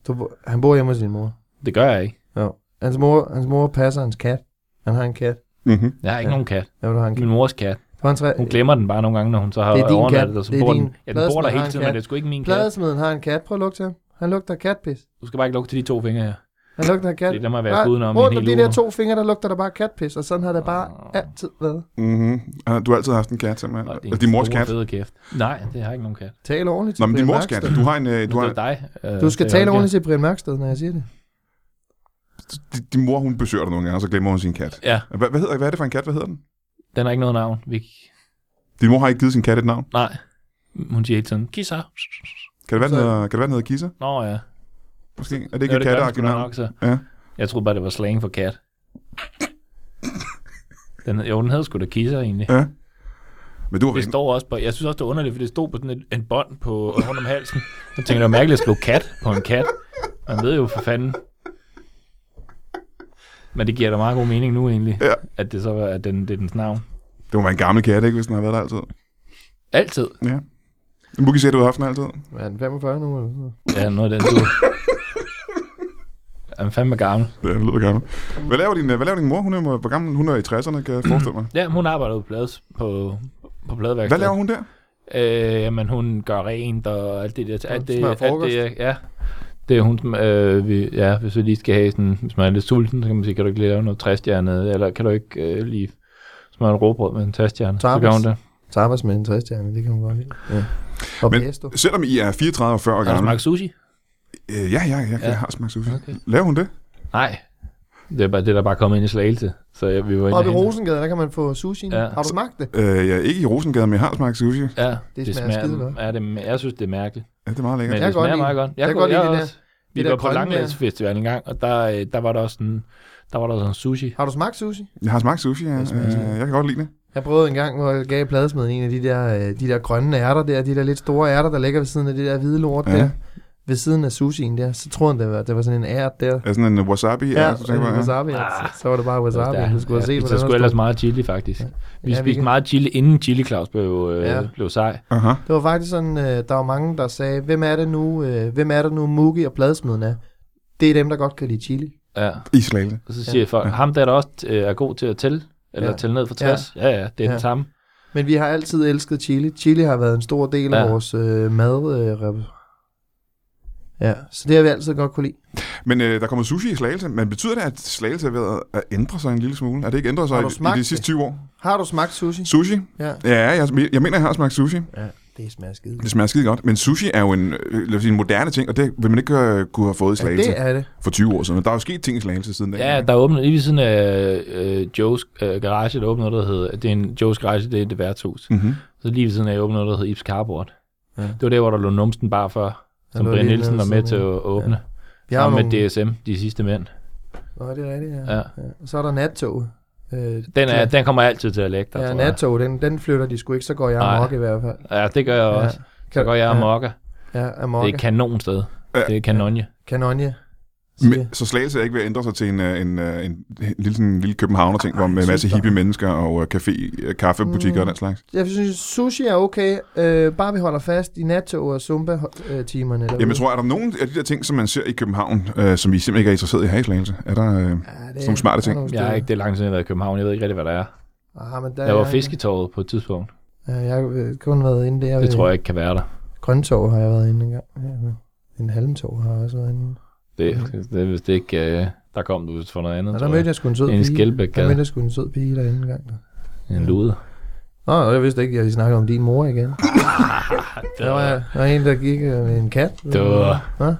[SPEAKER 3] du, bo- han bor hjemme hos sin mor.
[SPEAKER 2] Det gør jeg ikke.
[SPEAKER 3] Ja. Hans mor. Hans mor passer hans kat. Han har en kat.
[SPEAKER 1] Mm-hmm.
[SPEAKER 2] Jeg har ikke ja.
[SPEAKER 3] Ja.
[SPEAKER 2] nogen kat.
[SPEAKER 3] Ja, du har en kat.
[SPEAKER 2] Min mors kat.
[SPEAKER 3] Du har en træ...
[SPEAKER 2] Hun glemmer den bare nogle gange, når hun så har
[SPEAKER 3] Det er din
[SPEAKER 2] overnattet
[SPEAKER 3] kat.
[SPEAKER 2] og så
[SPEAKER 3] Det er
[SPEAKER 2] bor
[SPEAKER 3] din.
[SPEAKER 2] den. Ja, den bor
[SPEAKER 3] Pladsen
[SPEAKER 2] der
[SPEAKER 3] har
[SPEAKER 2] hele
[SPEAKER 3] en
[SPEAKER 2] tiden, men
[SPEAKER 3] kat.
[SPEAKER 2] det er sgu ikke min kat.
[SPEAKER 3] Pladesmeden har en kat. Prøv at lugte til ham. Han lugter af katpis.
[SPEAKER 2] Du skal bare ikke lugte til de to fingre her.
[SPEAKER 3] Han lugter af kat.
[SPEAKER 2] Det lader mig være udenom i en
[SPEAKER 3] rundt om
[SPEAKER 2] hel
[SPEAKER 3] de
[SPEAKER 2] uge. Ah.
[SPEAKER 3] der to fingre, der lugter der bare katpis, og sådan har det bare
[SPEAKER 2] Åh.
[SPEAKER 3] altid været.
[SPEAKER 1] Mm-hmm. Du har altid haft en kat, simpelthen.
[SPEAKER 2] Og
[SPEAKER 1] Og
[SPEAKER 2] det er en
[SPEAKER 1] din mors
[SPEAKER 2] stor,
[SPEAKER 1] kat.
[SPEAKER 2] Fede kæft. Nej, det har ikke nogen kat.
[SPEAKER 3] Tal ordentligt til
[SPEAKER 1] Nå, men din
[SPEAKER 3] Brian
[SPEAKER 1] mors kat.
[SPEAKER 3] Mørksted.
[SPEAKER 1] Du har en... øh,
[SPEAKER 2] Men
[SPEAKER 1] Du har,
[SPEAKER 2] det er dig. øh,
[SPEAKER 3] Du skal
[SPEAKER 2] det er
[SPEAKER 3] tale
[SPEAKER 2] jo
[SPEAKER 3] ordentligt
[SPEAKER 2] ikke-
[SPEAKER 3] til Brian Mørksted, når jeg siger det.
[SPEAKER 1] din, din mor, hun besøger dig nogle gange, og så glemmer hun sin kat.
[SPEAKER 2] Ja,
[SPEAKER 1] Hvad, hvad, hedder, hvad er det for en kat? Hvad hedder den?
[SPEAKER 2] den har ikke noget navn. Vi...
[SPEAKER 1] Din mor har ikke givet sin kat et navn.
[SPEAKER 2] Nej. Hun siger hele tiden, kisser.
[SPEAKER 1] Kan det være, den
[SPEAKER 3] Så-
[SPEAKER 1] hedder, kan det være, den hedder Kissa?
[SPEAKER 2] Nå ja.
[SPEAKER 1] Måske? Er det ikke
[SPEAKER 2] Jo,
[SPEAKER 1] et
[SPEAKER 2] det gør den
[SPEAKER 1] katteagtigt
[SPEAKER 2] sgu da
[SPEAKER 1] navn?
[SPEAKER 2] nok, så.
[SPEAKER 1] Ja.
[SPEAKER 2] Jeg troede bare, det var slang for kat. Den, jo, den hed sgu da kisser egentlig.
[SPEAKER 1] Ja. Men du har
[SPEAKER 2] Det
[SPEAKER 1] været...
[SPEAKER 2] står også på, jeg synes også, det er underligt, for det stod på sådan et, en bånd på, rundt om halsen. Så tænker jeg, det var mærkeligt at skrive kat på en kat. Man ved jo for fanden. Men det giver da meget god mening nu egentlig,
[SPEAKER 1] Ja.
[SPEAKER 2] at det så var, at den, det er dens navn.
[SPEAKER 1] Det var en gammel kat, ikke, hvis den har været der altid.
[SPEAKER 2] Altid.
[SPEAKER 1] Ja. Mugi siger, at du har haft den altid.
[SPEAKER 3] Er han 45 nu? Eller sådan noget?
[SPEAKER 2] Ja, noget af den du. Jeg er fandme gammel.
[SPEAKER 1] Det lyder gammel. Hvad laver din, øh, hvad laver din mor? Hun er, hvor gammel? Hun er i 60'erne, kan jeg forestille mig.
[SPEAKER 2] Ja, hun arbejder på, plades, på, på pladeværkstedet.
[SPEAKER 1] Hvad laver hun der?
[SPEAKER 2] Øh, jamen, hun gør rent og alt det der. Alt det,
[SPEAKER 3] smager
[SPEAKER 2] alt
[SPEAKER 3] frokost.
[SPEAKER 2] det, ja. Det er hun, som, øh, vi, ja, hvis vi lige skal have sådan, hvis man er lidt sulten, så kan man sige, kan du ikke lige lave noget træstjernet, eller kan du ikke øh, lige smøre en råbrød med en træstjerne? Så
[SPEAKER 3] Tapas.
[SPEAKER 2] gør hun det.
[SPEAKER 3] Tapas med en træstjerne, det kan man godt lide. Ja. Og
[SPEAKER 1] Men-
[SPEAKER 3] pesto.
[SPEAKER 1] Selvom I er 34 og 40 år
[SPEAKER 2] Har du
[SPEAKER 1] gamle.
[SPEAKER 2] smagt sushi?
[SPEAKER 1] Øh, ja, ja, jeg, jeg
[SPEAKER 2] Ja.
[SPEAKER 1] har smagt sushi.
[SPEAKER 2] Okay.
[SPEAKER 1] Laver hun det?
[SPEAKER 2] Nej. Det er bare det, der bare er kommet ind i slagelse. Så jeg, vi var inde
[SPEAKER 3] Og ved
[SPEAKER 2] og hente-
[SPEAKER 3] Rosengade, der kan man få sushi. Ja.
[SPEAKER 2] Ja.
[SPEAKER 3] Har du smagt det?
[SPEAKER 1] Øh, jeg er ikke i Rosengade, men jeg har smagt sushi.
[SPEAKER 2] Ja,
[SPEAKER 3] Det
[SPEAKER 2] det,
[SPEAKER 3] smager
[SPEAKER 2] det
[SPEAKER 3] skide godt.
[SPEAKER 2] smager, er det, jeg synes, det er mærkeligt.
[SPEAKER 1] Ja, det er meget
[SPEAKER 2] Men
[SPEAKER 1] lækkert.
[SPEAKER 3] Jeg
[SPEAKER 2] det
[SPEAKER 3] kan godt
[SPEAKER 2] smager
[SPEAKER 3] lide
[SPEAKER 2] meget
[SPEAKER 3] det.
[SPEAKER 2] godt.
[SPEAKER 3] Jeg
[SPEAKER 2] Jeg,
[SPEAKER 3] kan
[SPEAKER 2] kunne,
[SPEAKER 3] godt lide
[SPEAKER 2] jeg
[SPEAKER 3] det
[SPEAKER 2] også, vi
[SPEAKER 3] det
[SPEAKER 2] var
[SPEAKER 3] der
[SPEAKER 2] på
[SPEAKER 3] grønne der.
[SPEAKER 2] Langlandsfestival en gang, og der, øh, der var der også sådan, der var der sådan sushi.
[SPEAKER 3] Har du smagt sushi?
[SPEAKER 1] Jeg har smagt sushi, ja.
[SPEAKER 3] Det smager
[SPEAKER 1] Øh, jeg kan godt lide det.
[SPEAKER 3] Jeg Jeg prøvede en gang, hvor jeg gav pladesmeden en af de der, øh, de der grønne ærter der, de der lidt store ærter, der ligger ved siden af det der hvide lort
[SPEAKER 1] Ja.
[SPEAKER 3] ja. der, ved siden af sushien der, så troede han, det var, det var sådan en ært der.
[SPEAKER 1] Er sådan en wasabi?
[SPEAKER 3] Ja,
[SPEAKER 1] så
[SPEAKER 3] så
[SPEAKER 1] tænker jeg, ja.
[SPEAKER 3] wasabi, ja. så var det bare wasabi,
[SPEAKER 2] Ja,
[SPEAKER 3] du skulle have set,
[SPEAKER 2] Ah. ja, der
[SPEAKER 3] hvordan
[SPEAKER 2] skulle
[SPEAKER 3] der
[SPEAKER 2] ellers
[SPEAKER 3] stod.
[SPEAKER 2] meget chili, faktisk. Vi
[SPEAKER 3] Ja,
[SPEAKER 2] ja,
[SPEAKER 3] vi
[SPEAKER 2] spiste
[SPEAKER 3] kan-
[SPEAKER 2] meget chili, inden Chili Claus blev, øh,
[SPEAKER 3] Ja.
[SPEAKER 2] ja. blev sej.
[SPEAKER 1] Aha.
[SPEAKER 3] Det var faktisk sådan, øh, der var mange, der sagde, hvem er det nu, øh, hvem er det nu Mugi og pladesmeden er? Det er dem, der godt kan lide chili.
[SPEAKER 2] Ja.
[SPEAKER 1] I Slagelse.
[SPEAKER 2] Og så
[SPEAKER 3] Ja.
[SPEAKER 2] siger ja. folk, ham der, der også øh, er god til at tælle, eller
[SPEAKER 3] Ja.
[SPEAKER 2] ja. tælle ned fra 60. Ja, ja, ja det er ja.
[SPEAKER 3] Ja.
[SPEAKER 2] den samme.
[SPEAKER 3] Men vi har altid elsket chili. Chili har været en stor del af
[SPEAKER 2] Ja.
[SPEAKER 3] vores øh, mad. Øh, rep- ja, så det har vi altid godt kunne lide.
[SPEAKER 1] Men øh, der kommer sushi i Slagelse, men betyder det, at Slagelse er ved at ændre sig en lille smule? Er det ikke ændret sig
[SPEAKER 3] Har du
[SPEAKER 1] i, i
[SPEAKER 3] smagt
[SPEAKER 1] de sidste
[SPEAKER 3] det?
[SPEAKER 1] 20 år?
[SPEAKER 3] Har du smagt sushi?
[SPEAKER 1] Sushi?
[SPEAKER 3] Ja.
[SPEAKER 1] Ja, jeg, jeg mener, jeg har smagt sushi.
[SPEAKER 3] Ja, det smager skide.
[SPEAKER 1] Det smager skide godt, men sushi er jo en, øh, lad os sige, en moderne ting, og det vil man ikke øh, kunne have fået i
[SPEAKER 3] Ja,
[SPEAKER 1] Slagelse
[SPEAKER 3] det
[SPEAKER 1] ja,
[SPEAKER 3] er det.
[SPEAKER 1] for 20 år siden. Der er jo sket ting i Slagelse siden da.
[SPEAKER 2] Ja, der åbnede lige ved siden af øh, Joe's øh, garage, der åbnede noget, der hedder, det er en Joe's garage, det er et værtshus.
[SPEAKER 1] Mm-hmm.
[SPEAKER 2] Så lige ved siden af åbnede noget, der hedder Ibs Cardboard.
[SPEAKER 3] Ja.
[SPEAKER 2] Ja. Det var der, hvor der lå numsten bare for, som
[SPEAKER 3] lå
[SPEAKER 2] Brian
[SPEAKER 3] lige
[SPEAKER 2] Nielsen
[SPEAKER 3] nede
[SPEAKER 2] var med
[SPEAKER 3] ved
[SPEAKER 2] til
[SPEAKER 3] siden
[SPEAKER 2] at
[SPEAKER 3] af.
[SPEAKER 2] åbne. Ja.
[SPEAKER 3] Vi har
[SPEAKER 2] Sammen med
[SPEAKER 3] nogle...
[SPEAKER 2] DSM, de sidste mænd.
[SPEAKER 3] Nå, det er rigtigt, ja.
[SPEAKER 2] Ja.
[SPEAKER 3] ja. Så er der nattoget. Øh,
[SPEAKER 2] Den, er, den kommer altid til at lægge dig,
[SPEAKER 3] ja,
[SPEAKER 2] tror jeg.
[SPEAKER 3] nattoget, den, den flytter de sgu ikke, så går jeg
[SPEAKER 2] Nej.
[SPEAKER 3] amok i hvert fald.
[SPEAKER 2] Ja, det gør jeg
[SPEAKER 3] Ja.
[SPEAKER 2] også. Så går jeg og mokker.
[SPEAKER 3] Ja, amok.
[SPEAKER 2] Det er et kanon sted.
[SPEAKER 1] Ja.
[SPEAKER 2] Det er kanonje.
[SPEAKER 3] Kanonje.
[SPEAKER 1] Men, så Slagelse er ikke ved at ændre sig til en, øh, en, øh, en, en lille, sådan, en lille københavner-ting, hvor med en masse
[SPEAKER 3] synes jeg.
[SPEAKER 1] hippie mennesker og øh, café, øh, kaffebutikker mm. og den slags.
[SPEAKER 3] Jeg synes, sushi er okay, øh, bare vi holder fast i nattoget og øh, zumba-timerne.
[SPEAKER 1] Jamen, jeg tror, er der nogen af de der ting, som man ser i København, øh, som I simpelthen ikke er interesseret i her i Slagelse? Er der... Øh...
[SPEAKER 3] ja,
[SPEAKER 1] sådan nogle smarte ting.
[SPEAKER 2] Jeg har ikke det langt siden, jeg har været i København. Jeg ved ikke rigtig, hvad der er.
[SPEAKER 3] Ah, men der,
[SPEAKER 2] Jeg
[SPEAKER 3] er
[SPEAKER 2] var
[SPEAKER 3] jeg-
[SPEAKER 2] fisketorvet på et tidspunkt.
[SPEAKER 3] Ja, jeg har øh, kun været inde der.
[SPEAKER 2] Det
[SPEAKER 3] ved-
[SPEAKER 2] tror jeg ikke kan være der.
[SPEAKER 3] Grøntov har jeg været inde en gang. Ja, men en halmtov har jeg også været inde.
[SPEAKER 2] Det, det er vist ikke... Øh, der kom du vist for noget andet,
[SPEAKER 3] Og
[SPEAKER 2] tror
[SPEAKER 3] der
[SPEAKER 2] jeg.
[SPEAKER 3] mødte jeg sgu en sød
[SPEAKER 2] Inde i
[SPEAKER 3] pige.
[SPEAKER 2] Skelbækgade.
[SPEAKER 3] Der mødte jeg sgu en sød pige derinde en gang.
[SPEAKER 2] En lude.
[SPEAKER 3] Nå, og jeg vidste ikke, at vi snakkede om din mor igen. der, var, der var en, der gik øh, med en kat.
[SPEAKER 2] Det var-
[SPEAKER 3] Hva?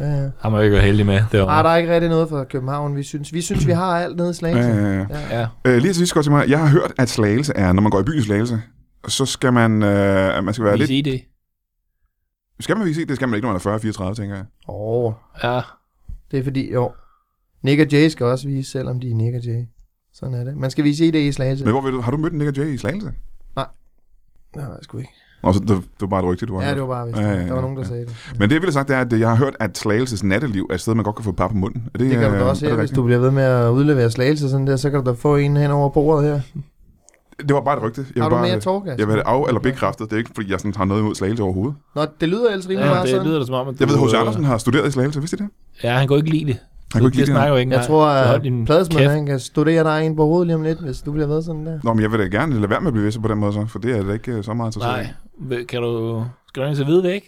[SPEAKER 3] Ja, ja.
[SPEAKER 2] Har man jo ikke været heldig med. Det var,
[SPEAKER 3] Ah, der er ikke rigtig noget for København, vi synes. Vi synes, vi har alt nede i Slagelse.
[SPEAKER 1] Øh,
[SPEAKER 2] Ja.
[SPEAKER 1] øh, lige til sidst, godt til mig. Jeg har hørt, at Slagelse er, når man går i byen i Slagelse, så skal man, øh, at man skal være
[SPEAKER 2] Vil I
[SPEAKER 1] lidt...
[SPEAKER 2] sige det?
[SPEAKER 1] Skal man vise det? Det skal man ikke, når man er 40-34, tænker jeg.
[SPEAKER 3] Åh, oh,
[SPEAKER 2] Ja.
[SPEAKER 3] det er fordi, jo. Nick og Jay skal også vise, selvom de er Nick og Jay. Sådan er det. Man skal vise ID i Slagelse.
[SPEAKER 1] Men hvor ved du, har du mødt Nick og Jay i Slagelse?
[SPEAKER 3] Nej, jeg sgu ikke.
[SPEAKER 1] Nå, så det, det var bare et rygte, du har
[SPEAKER 3] Ja,
[SPEAKER 1] hørt.
[SPEAKER 3] det var bare vist.
[SPEAKER 1] Ja, ja, ja,
[SPEAKER 3] Der var nogen, der
[SPEAKER 1] ja.
[SPEAKER 3] sagde det.
[SPEAKER 1] Men det, jeg ville have sagt, det er, at jeg har hørt, at Slagelses natteliv er et sted, man godt kan få par på munden. Er det,
[SPEAKER 3] Det kan du da
[SPEAKER 1] øh,
[SPEAKER 3] også
[SPEAKER 1] er
[SPEAKER 3] her,
[SPEAKER 1] det
[SPEAKER 3] hvis
[SPEAKER 1] rigtigt?
[SPEAKER 3] du bliver ved med at udlevere slagelse sådan der, så kan du da få en hen over bordet her.
[SPEAKER 1] Det var bare et rygte. Jeg
[SPEAKER 3] har
[SPEAKER 1] vil
[SPEAKER 3] du
[SPEAKER 1] bare,
[SPEAKER 3] mere tårgas?
[SPEAKER 1] Jeg vil have det af- eller bekræftet. Det er ikke, fordi jeg sådan har noget imod Slagelse overhovedet.
[SPEAKER 3] Nå, det lyder ellers rimelig
[SPEAKER 2] ja
[SPEAKER 3] meget
[SPEAKER 2] det
[SPEAKER 3] sådan.
[SPEAKER 2] lyder da som om, at du,
[SPEAKER 1] Jeg ved, H.C.
[SPEAKER 2] øh,
[SPEAKER 1] Andersen har studeret i Slagelse, vidste I det?
[SPEAKER 2] Ja, han kunne ikke lide det.
[SPEAKER 1] Han kunne ikke lide det.
[SPEAKER 2] snakker jo ikke.
[SPEAKER 3] Jeg
[SPEAKER 2] nej.
[SPEAKER 3] tror,
[SPEAKER 2] Så
[SPEAKER 3] at
[SPEAKER 2] hold din
[SPEAKER 3] pladesmanden
[SPEAKER 2] kæft.
[SPEAKER 3] han kan studere dig en på hovedet lige om lidt, hvis du bliver ved sådan der.
[SPEAKER 1] Nå, men jeg vil da gerne lade være med at blive vidst på den måde så, for det er da ikke øh, så meget interessant.
[SPEAKER 2] Nej. Vil- Kan du... Skal du ind til hvide væk?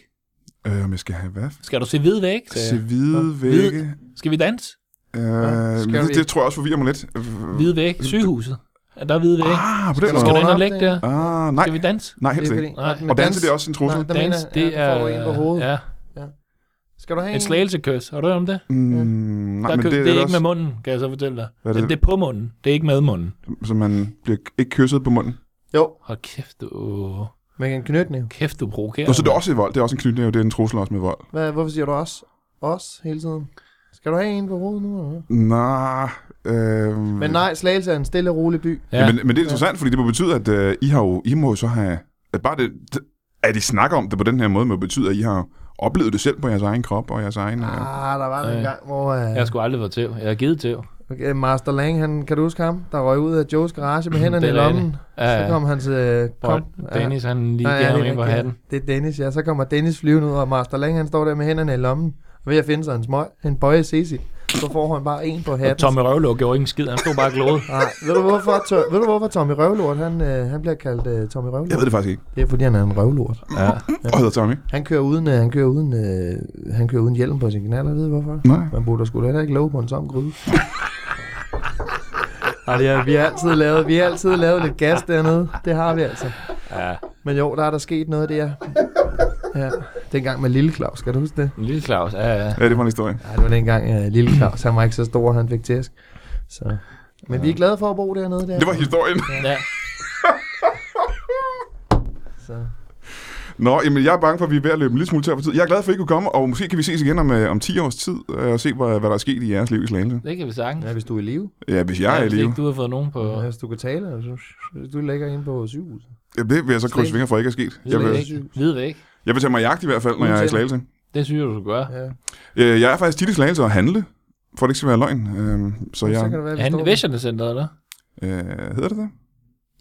[SPEAKER 1] Øh, om jeg skal have hvad?
[SPEAKER 2] Skal du se hvide væk?
[SPEAKER 1] Se hvide vægge.
[SPEAKER 2] Skal vi danse?
[SPEAKER 1] Øh,
[SPEAKER 3] skal
[SPEAKER 1] men det,
[SPEAKER 3] vi-
[SPEAKER 1] det, tror jeg også forvirrer mig lidt. Øh,
[SPEAKER 2] Hvide væk. Sygehuset. Er der hvide væk?
[SPEAKER 1] Ah, på den
[SPEAKER 3] du
[SPEAKER 2] Skal
[SPEAKER 1] måde.
[SPEAKER 2] du ind og
[SPEAKER 3] Vågne op
[SPEAKER 2] lægge
[SPEAKER 3] der.
[SPEAKER 2] der?
[SPEAKER 1] Ah, nej.
[SPEAKER 2] Skal vi danse?
[SPEAKER 1] Nej, helst ikke.
[SPEAKER 2] Nej.
[SPEAKER 3] når den
[SPEAKER 1] Og danse, det er også en trussel.
[SPEAKER 3] Nej, der
[SPEAKER 2] Dans,
[SPEAKER 3] mener,
[SPEAKER 2] det
[SPEAKER 3] det
[SPEAKER 2] er...
[SPEAKER 3] er... Får du en på hovedet. Ja.
[SPEAKER 2] Ja.
[SPEAKER 3] Skal du have en?
[SPEAKER 2] Et slagelse-kys. Har du hørt om det?
[SPEAKER 1] Mm,
[SPEAKER 2] Nej,
[SPEAKER 1] nej,
[SPEAKER 2] der,
[SPEAKER 1] men det,
[SPEAKER 2] det, det er ikke
[SPEAKER 1] også,
[SPEAKER 2] med munden, kan jeg så fortælle dig.
[SPEAKER 1] Hvad er
[SPEAKER 2] Det,
[SPEAKER 1] det?
[SPEAKER 2] det er på munden. Det er ikke med munden.
[SPEAKER 1] så man bliver ikke kysset på munden.
[SPEAKER 3] Jo,
[SPEAKER 2] Hold kæft, du,
[SPEAKER 3] med en knytning.
[SPEAKER 2] kæft, du provokerer.
[SPEAKER 1] Nå, så det
[SPEAKER 2] mig.
[SPEAKER 1] er også i vold. Det er også en knytning, det er en trussel også med vold.
[SPEAKER 3] Hvad, hvorfor siger du os? Os hele tiden. Skal du have en på hovedet nu? Eller? hvad?
[SPEAKER 1] Nej. Øh,
[SPEAKER 3] Men nej, Slagelse er en stille og rolig by.
[SPEAKER 1] Ja.
[SPEAKER 2] Ja.
[SPEAKER 1] Men, men det er interessant, fordi det må betyde, at øh, I har jo, I må jo så have, at bare det, det, at I snakker om det på den her måde, må betyde, at I har oplevet det selv på jeres egen krop og jeres egen... Øh.
[SPEAKER 3] Ah, der var øh. en
[SPEAKER 2] Øh.
[SPEAKER 3] gang, hvor...
[SPEAKER 2] Jeg har
[SPEAKER 3] Uh,
[SPEAKER 2] sgu aldrig været tæv. Jeg har givet tæv.
[SPEAKER 3] okay, Master Lang, han, kan du huske ham? Der røg ud af Joes garage med hænderne i
[SPEAKER 2] Det er rigtigt.
[SPEAKER 3] lommen.
[SPEAKER 2] Ja,
[SPEAKER 3] Så
[SPEAKER 2] ja.
[SPEAKER 3] kom han til...
[SPEAKER 2] Og
[SPEAKER 3] Kom,
[SPEAKER 2] Øh, Dennis, han lige
[SPEAKER 3] Nå,
[SPEAKER 2] gav ham
[SPEAKER 3] det er
[SPEAKER 2] ind på
[SPEAKER 3] rigtigt,
[SPEAKER 2] hatten.
[SPEAKER 3] Det er Dennis, ja. Så kommer Dennis flyvende ud, og Master Lang, han står der med hænderne i lommen. Og ved at finde sig en, smøg, en bøje Cecil, så får han bare en på
[SPEAKER 2] Og
[SPEAKER 3] hatten.
[SPEAKER 2] Tommy Røvlå gjorde ikke en skid. Han stod bare og glåede.
[SPEAKER 3] Nej, ved du hvorfor, to, ved du hvorfor Tommy Røvlort, han, øh, han bliver kaldt øh, Tommy Røvlort?
[SPEAKER 1] Jeg ved det faktisk ikke.
[SPEAKER 3] Det er fordi, han er en røvlort.
[SPEAKER 2] Ja.
[SPEAKER 1] Og hedder Tommy?
[SPEAKER 3] Han kører uden, øh, han kører uden, øh, han kører uden hjelm på sin knaller, ved du hvorfor?
[SPEAKER 1] Nej.
[SPEAKER 3] Man burde da sgu da heller ikke love på en tom gryde. Nej, det er, vi, har altid lavet, vi har altid lavet lidt gas dernede. Det har vi altså.
[SPEAKER 2] ja.
[SPEAKER 3] Men jo, der er der sket noget der. Ja. Dengang med Lille Claus, kan du huske det?
[SPEAKER 2] En lille Claus. Ja, ja.
[SPEAKER 1] Ja, det var en historie.
[SPEAKER 3] Nej, det var dengang uh, Lille Claus. Han var ikke så stor, han fik tæsk. Så. Men vi er glade for at bo dernede. Der.
[SPEAKER 1] Det var historien.
[SPEAKER 2] ja.
[SPEAKER 3] Så.
[SPEAKER 1] Nå, jamen jeg er bange for, at vi er ved at løbe en lille smule tør for tid. Jeg er glad for, at I kunne komme, og måske kan vi ses igen om, øh, om 10 års tid, øh, og se, hvad, hvad der er sket i jeres liv i Slagelse.
[SPEAKER 2] Det kan vi sagtens.
[SPEAKER 3] Ja, hvis du er i live.
[SPEAKER 1] Ja, hvis jeg er i
[SPEAKER 2] hvis
[SPEAKER 1] live.
[SPEAKER 2] ikke du har fået nogen på...
[SPEAKER 3] Ja. Hvis du kan tale, eller så, hvis du ligger inde på sygehuset.
[SPEAKER 1] Jamen, det vil jeg så krydse
[SPEAKER 3] Slagelse.
[SPEAKER 1] fingre for, ikke er sket. Jeg
[SPEAKER 2] Hvid
[SPEAKER 1] vil,
[SPEAKER 2] væk. Hvid væk.
[SPEAKER 1] jeg vil tage mig jagt i hvert fald, når jeg er i
[SPEAKER 3] Uanset.
[SPEAKER 1] Slagelse.
[SPEAKER 2] Det synes jeg, du skal gøre.
[SPEAKER 3] Ja.
[SPEAKER 1] Øh, Jeg er faktisk tit i Slagelse og handle, for at det ikke skal være løgn. Øh, Så jeg...
[SPEAKER 3] Så kan det være,
[SPEAKER 2] Er han i
[SPEAKER 3] står-
[SPEAKER 2] Væsjernecenteret, eller?
[SPEAKER 1] Øh, hedder det det?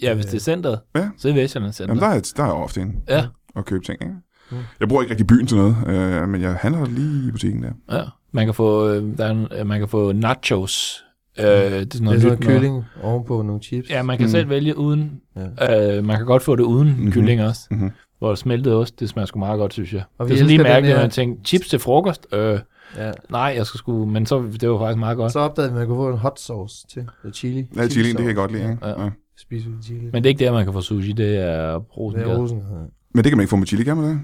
[SPEAKER 2] Ja, hvis det er centret,
[SPEAKER 1] Ja.
[SPEAKER 2] så er det Væsjernecenteret.
[SPEAKER 1] Jamen, der er, der er ofte en
[SPEAKER 2] Ja,
[SPEAKER 1] at købe ting, ikke?
[SPEAKER 3] Mm.
[SPEAKER 1] Jeg bruger ikke rigtig byen til noget, øh, men jeg handler lige i butikken der.
[SPEAKER 2] ja. Man kan få, øh, der er, en- øh, man kan få nachos. Øh, det er sådan
[SPEAKER 3] Det
[SPEAKER 2] noget,
[SPEAKER 3] er sådan
[SPEAKER 2] nyt noget.
[SPEAKER 3] noget kylling ovenpå nogle chips.
[SPEAKER 2] Ja, man kan
[SPEAKER 1] Mm.
[SPEAKER 2] mm. selv vælge uden.
[SPEAKER 3] Ja.
[SPEAKER 2] Ja. Øh, man kan godt få det uden
[SPEAKER 1] Mhm.
[SPEAKER 2] mm-hmm. kylling også.
[SPEAKER 1] Mhm.
[SPEAKER 2] Mm-hmm. Hvor det smeltede ost, det smager sgu meget godt, synes jeg.
[SPEAKER 3] Og
[SPEAKER 2] Og
[SPEAKER 3] vi
[SPEAKER 2] det er sådan lige
[SPEAKER 3] elsker den
[SPEAKER 2] mærkeligt,
[SPEAKER 3] her-
[SPEAKER 2] når man tænkte, chips til frokost? Øh,
[SPEAKER 3] ja.
[SPEAKER 2] nej, jeg skal sgu... Men så, det var faktisk meget godt.
[SPEAKER 3] Så opdagede vi, at man kunne få en hot sauce til. Eller chili.
[SPEAKER 1] Ja, chili, det kan
[SPEAKER 3] sauce.
[SPEAKER 1] jeg godt lide, ikke?
[SPEAKER 2] Ja.
[SPEAKER 1] Ja.
[SPEAKER 3] Spiser vi chili.
[SPEAKER 2] Men det er ikke der, man kan få sushi. Det er
[SPEAKER 3] det er
[SPEAKER 2] Rosengade.
[SPEAKER 3] rosen. ja.
[SPEAKER 1] Men det kan man ikke få med chili, kan man det?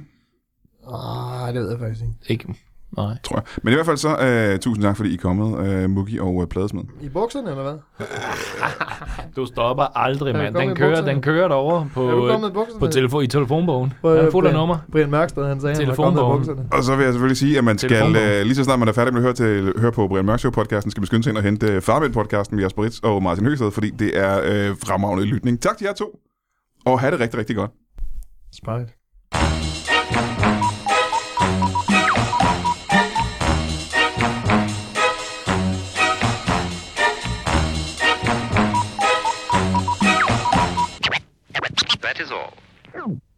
[SPEAKER 3] Ah, det ved jeg faktisk ikke.
[SPEAKER 2] Ikke... Nej.
[SPEAKER 1] Tror jeg. Men i hvert fald så, øh, tusind tak, fordi I er kommet, øh, Mugi og øh, Pladesmed.
[SPEAKER 3] I bukserne, eller hvad?
[SPEAKER 2] Du stopper aldrig,
[SPEAKER 3] Er du
[SPEAKER 2] mand.
[SPEAKER 3] kommet
[SPEAKER 2] Den
[SPEAKER 3] i
[SPEAKER 2] kører,
[SPEAKER 3] bukserne?
[SPEAKER 2] den kører derovre
[SPEAKER 3] er du
[SPEAKER 2] på, øh,
[SPEAKER 3] kommet i bukserne?
[SPEAKER 2] på telefon, i telefonbogen.
[SPEAKER 3] Prøv at
[SPEAKER 2] Han er
[SPEAKER 3] høre,
[SPEAKER 2] fuld af
[SPEAKER 3] Brian.
[SPEAKER 2] nummer.
[SPEAKER 3] Brian Mørksted, han sagde, at han var kommet i
[SPEAKER 2] Telefonbogen.
[SPEAKER 3] bukserne.
[SPEAKER 1] Og så vil jeg selvfølgelig sige, at man skal,
[SPEAKER 2] Telefonbogen.
[SPEAKER 1] øh, lige så snart man er færdig med at høre, til, høre på Brian Mørk Show podcasten, skal man skynde sig ind og hente øh, Farmel-podcasten med Jasper Ritz og Martin Høgsted, fordi det er øh, fremragende lytning. Tak til jer to, og have det rigtig, rigtig godt.
[SPEAKER 3] Smart.
[SPEAKER 5] That is all.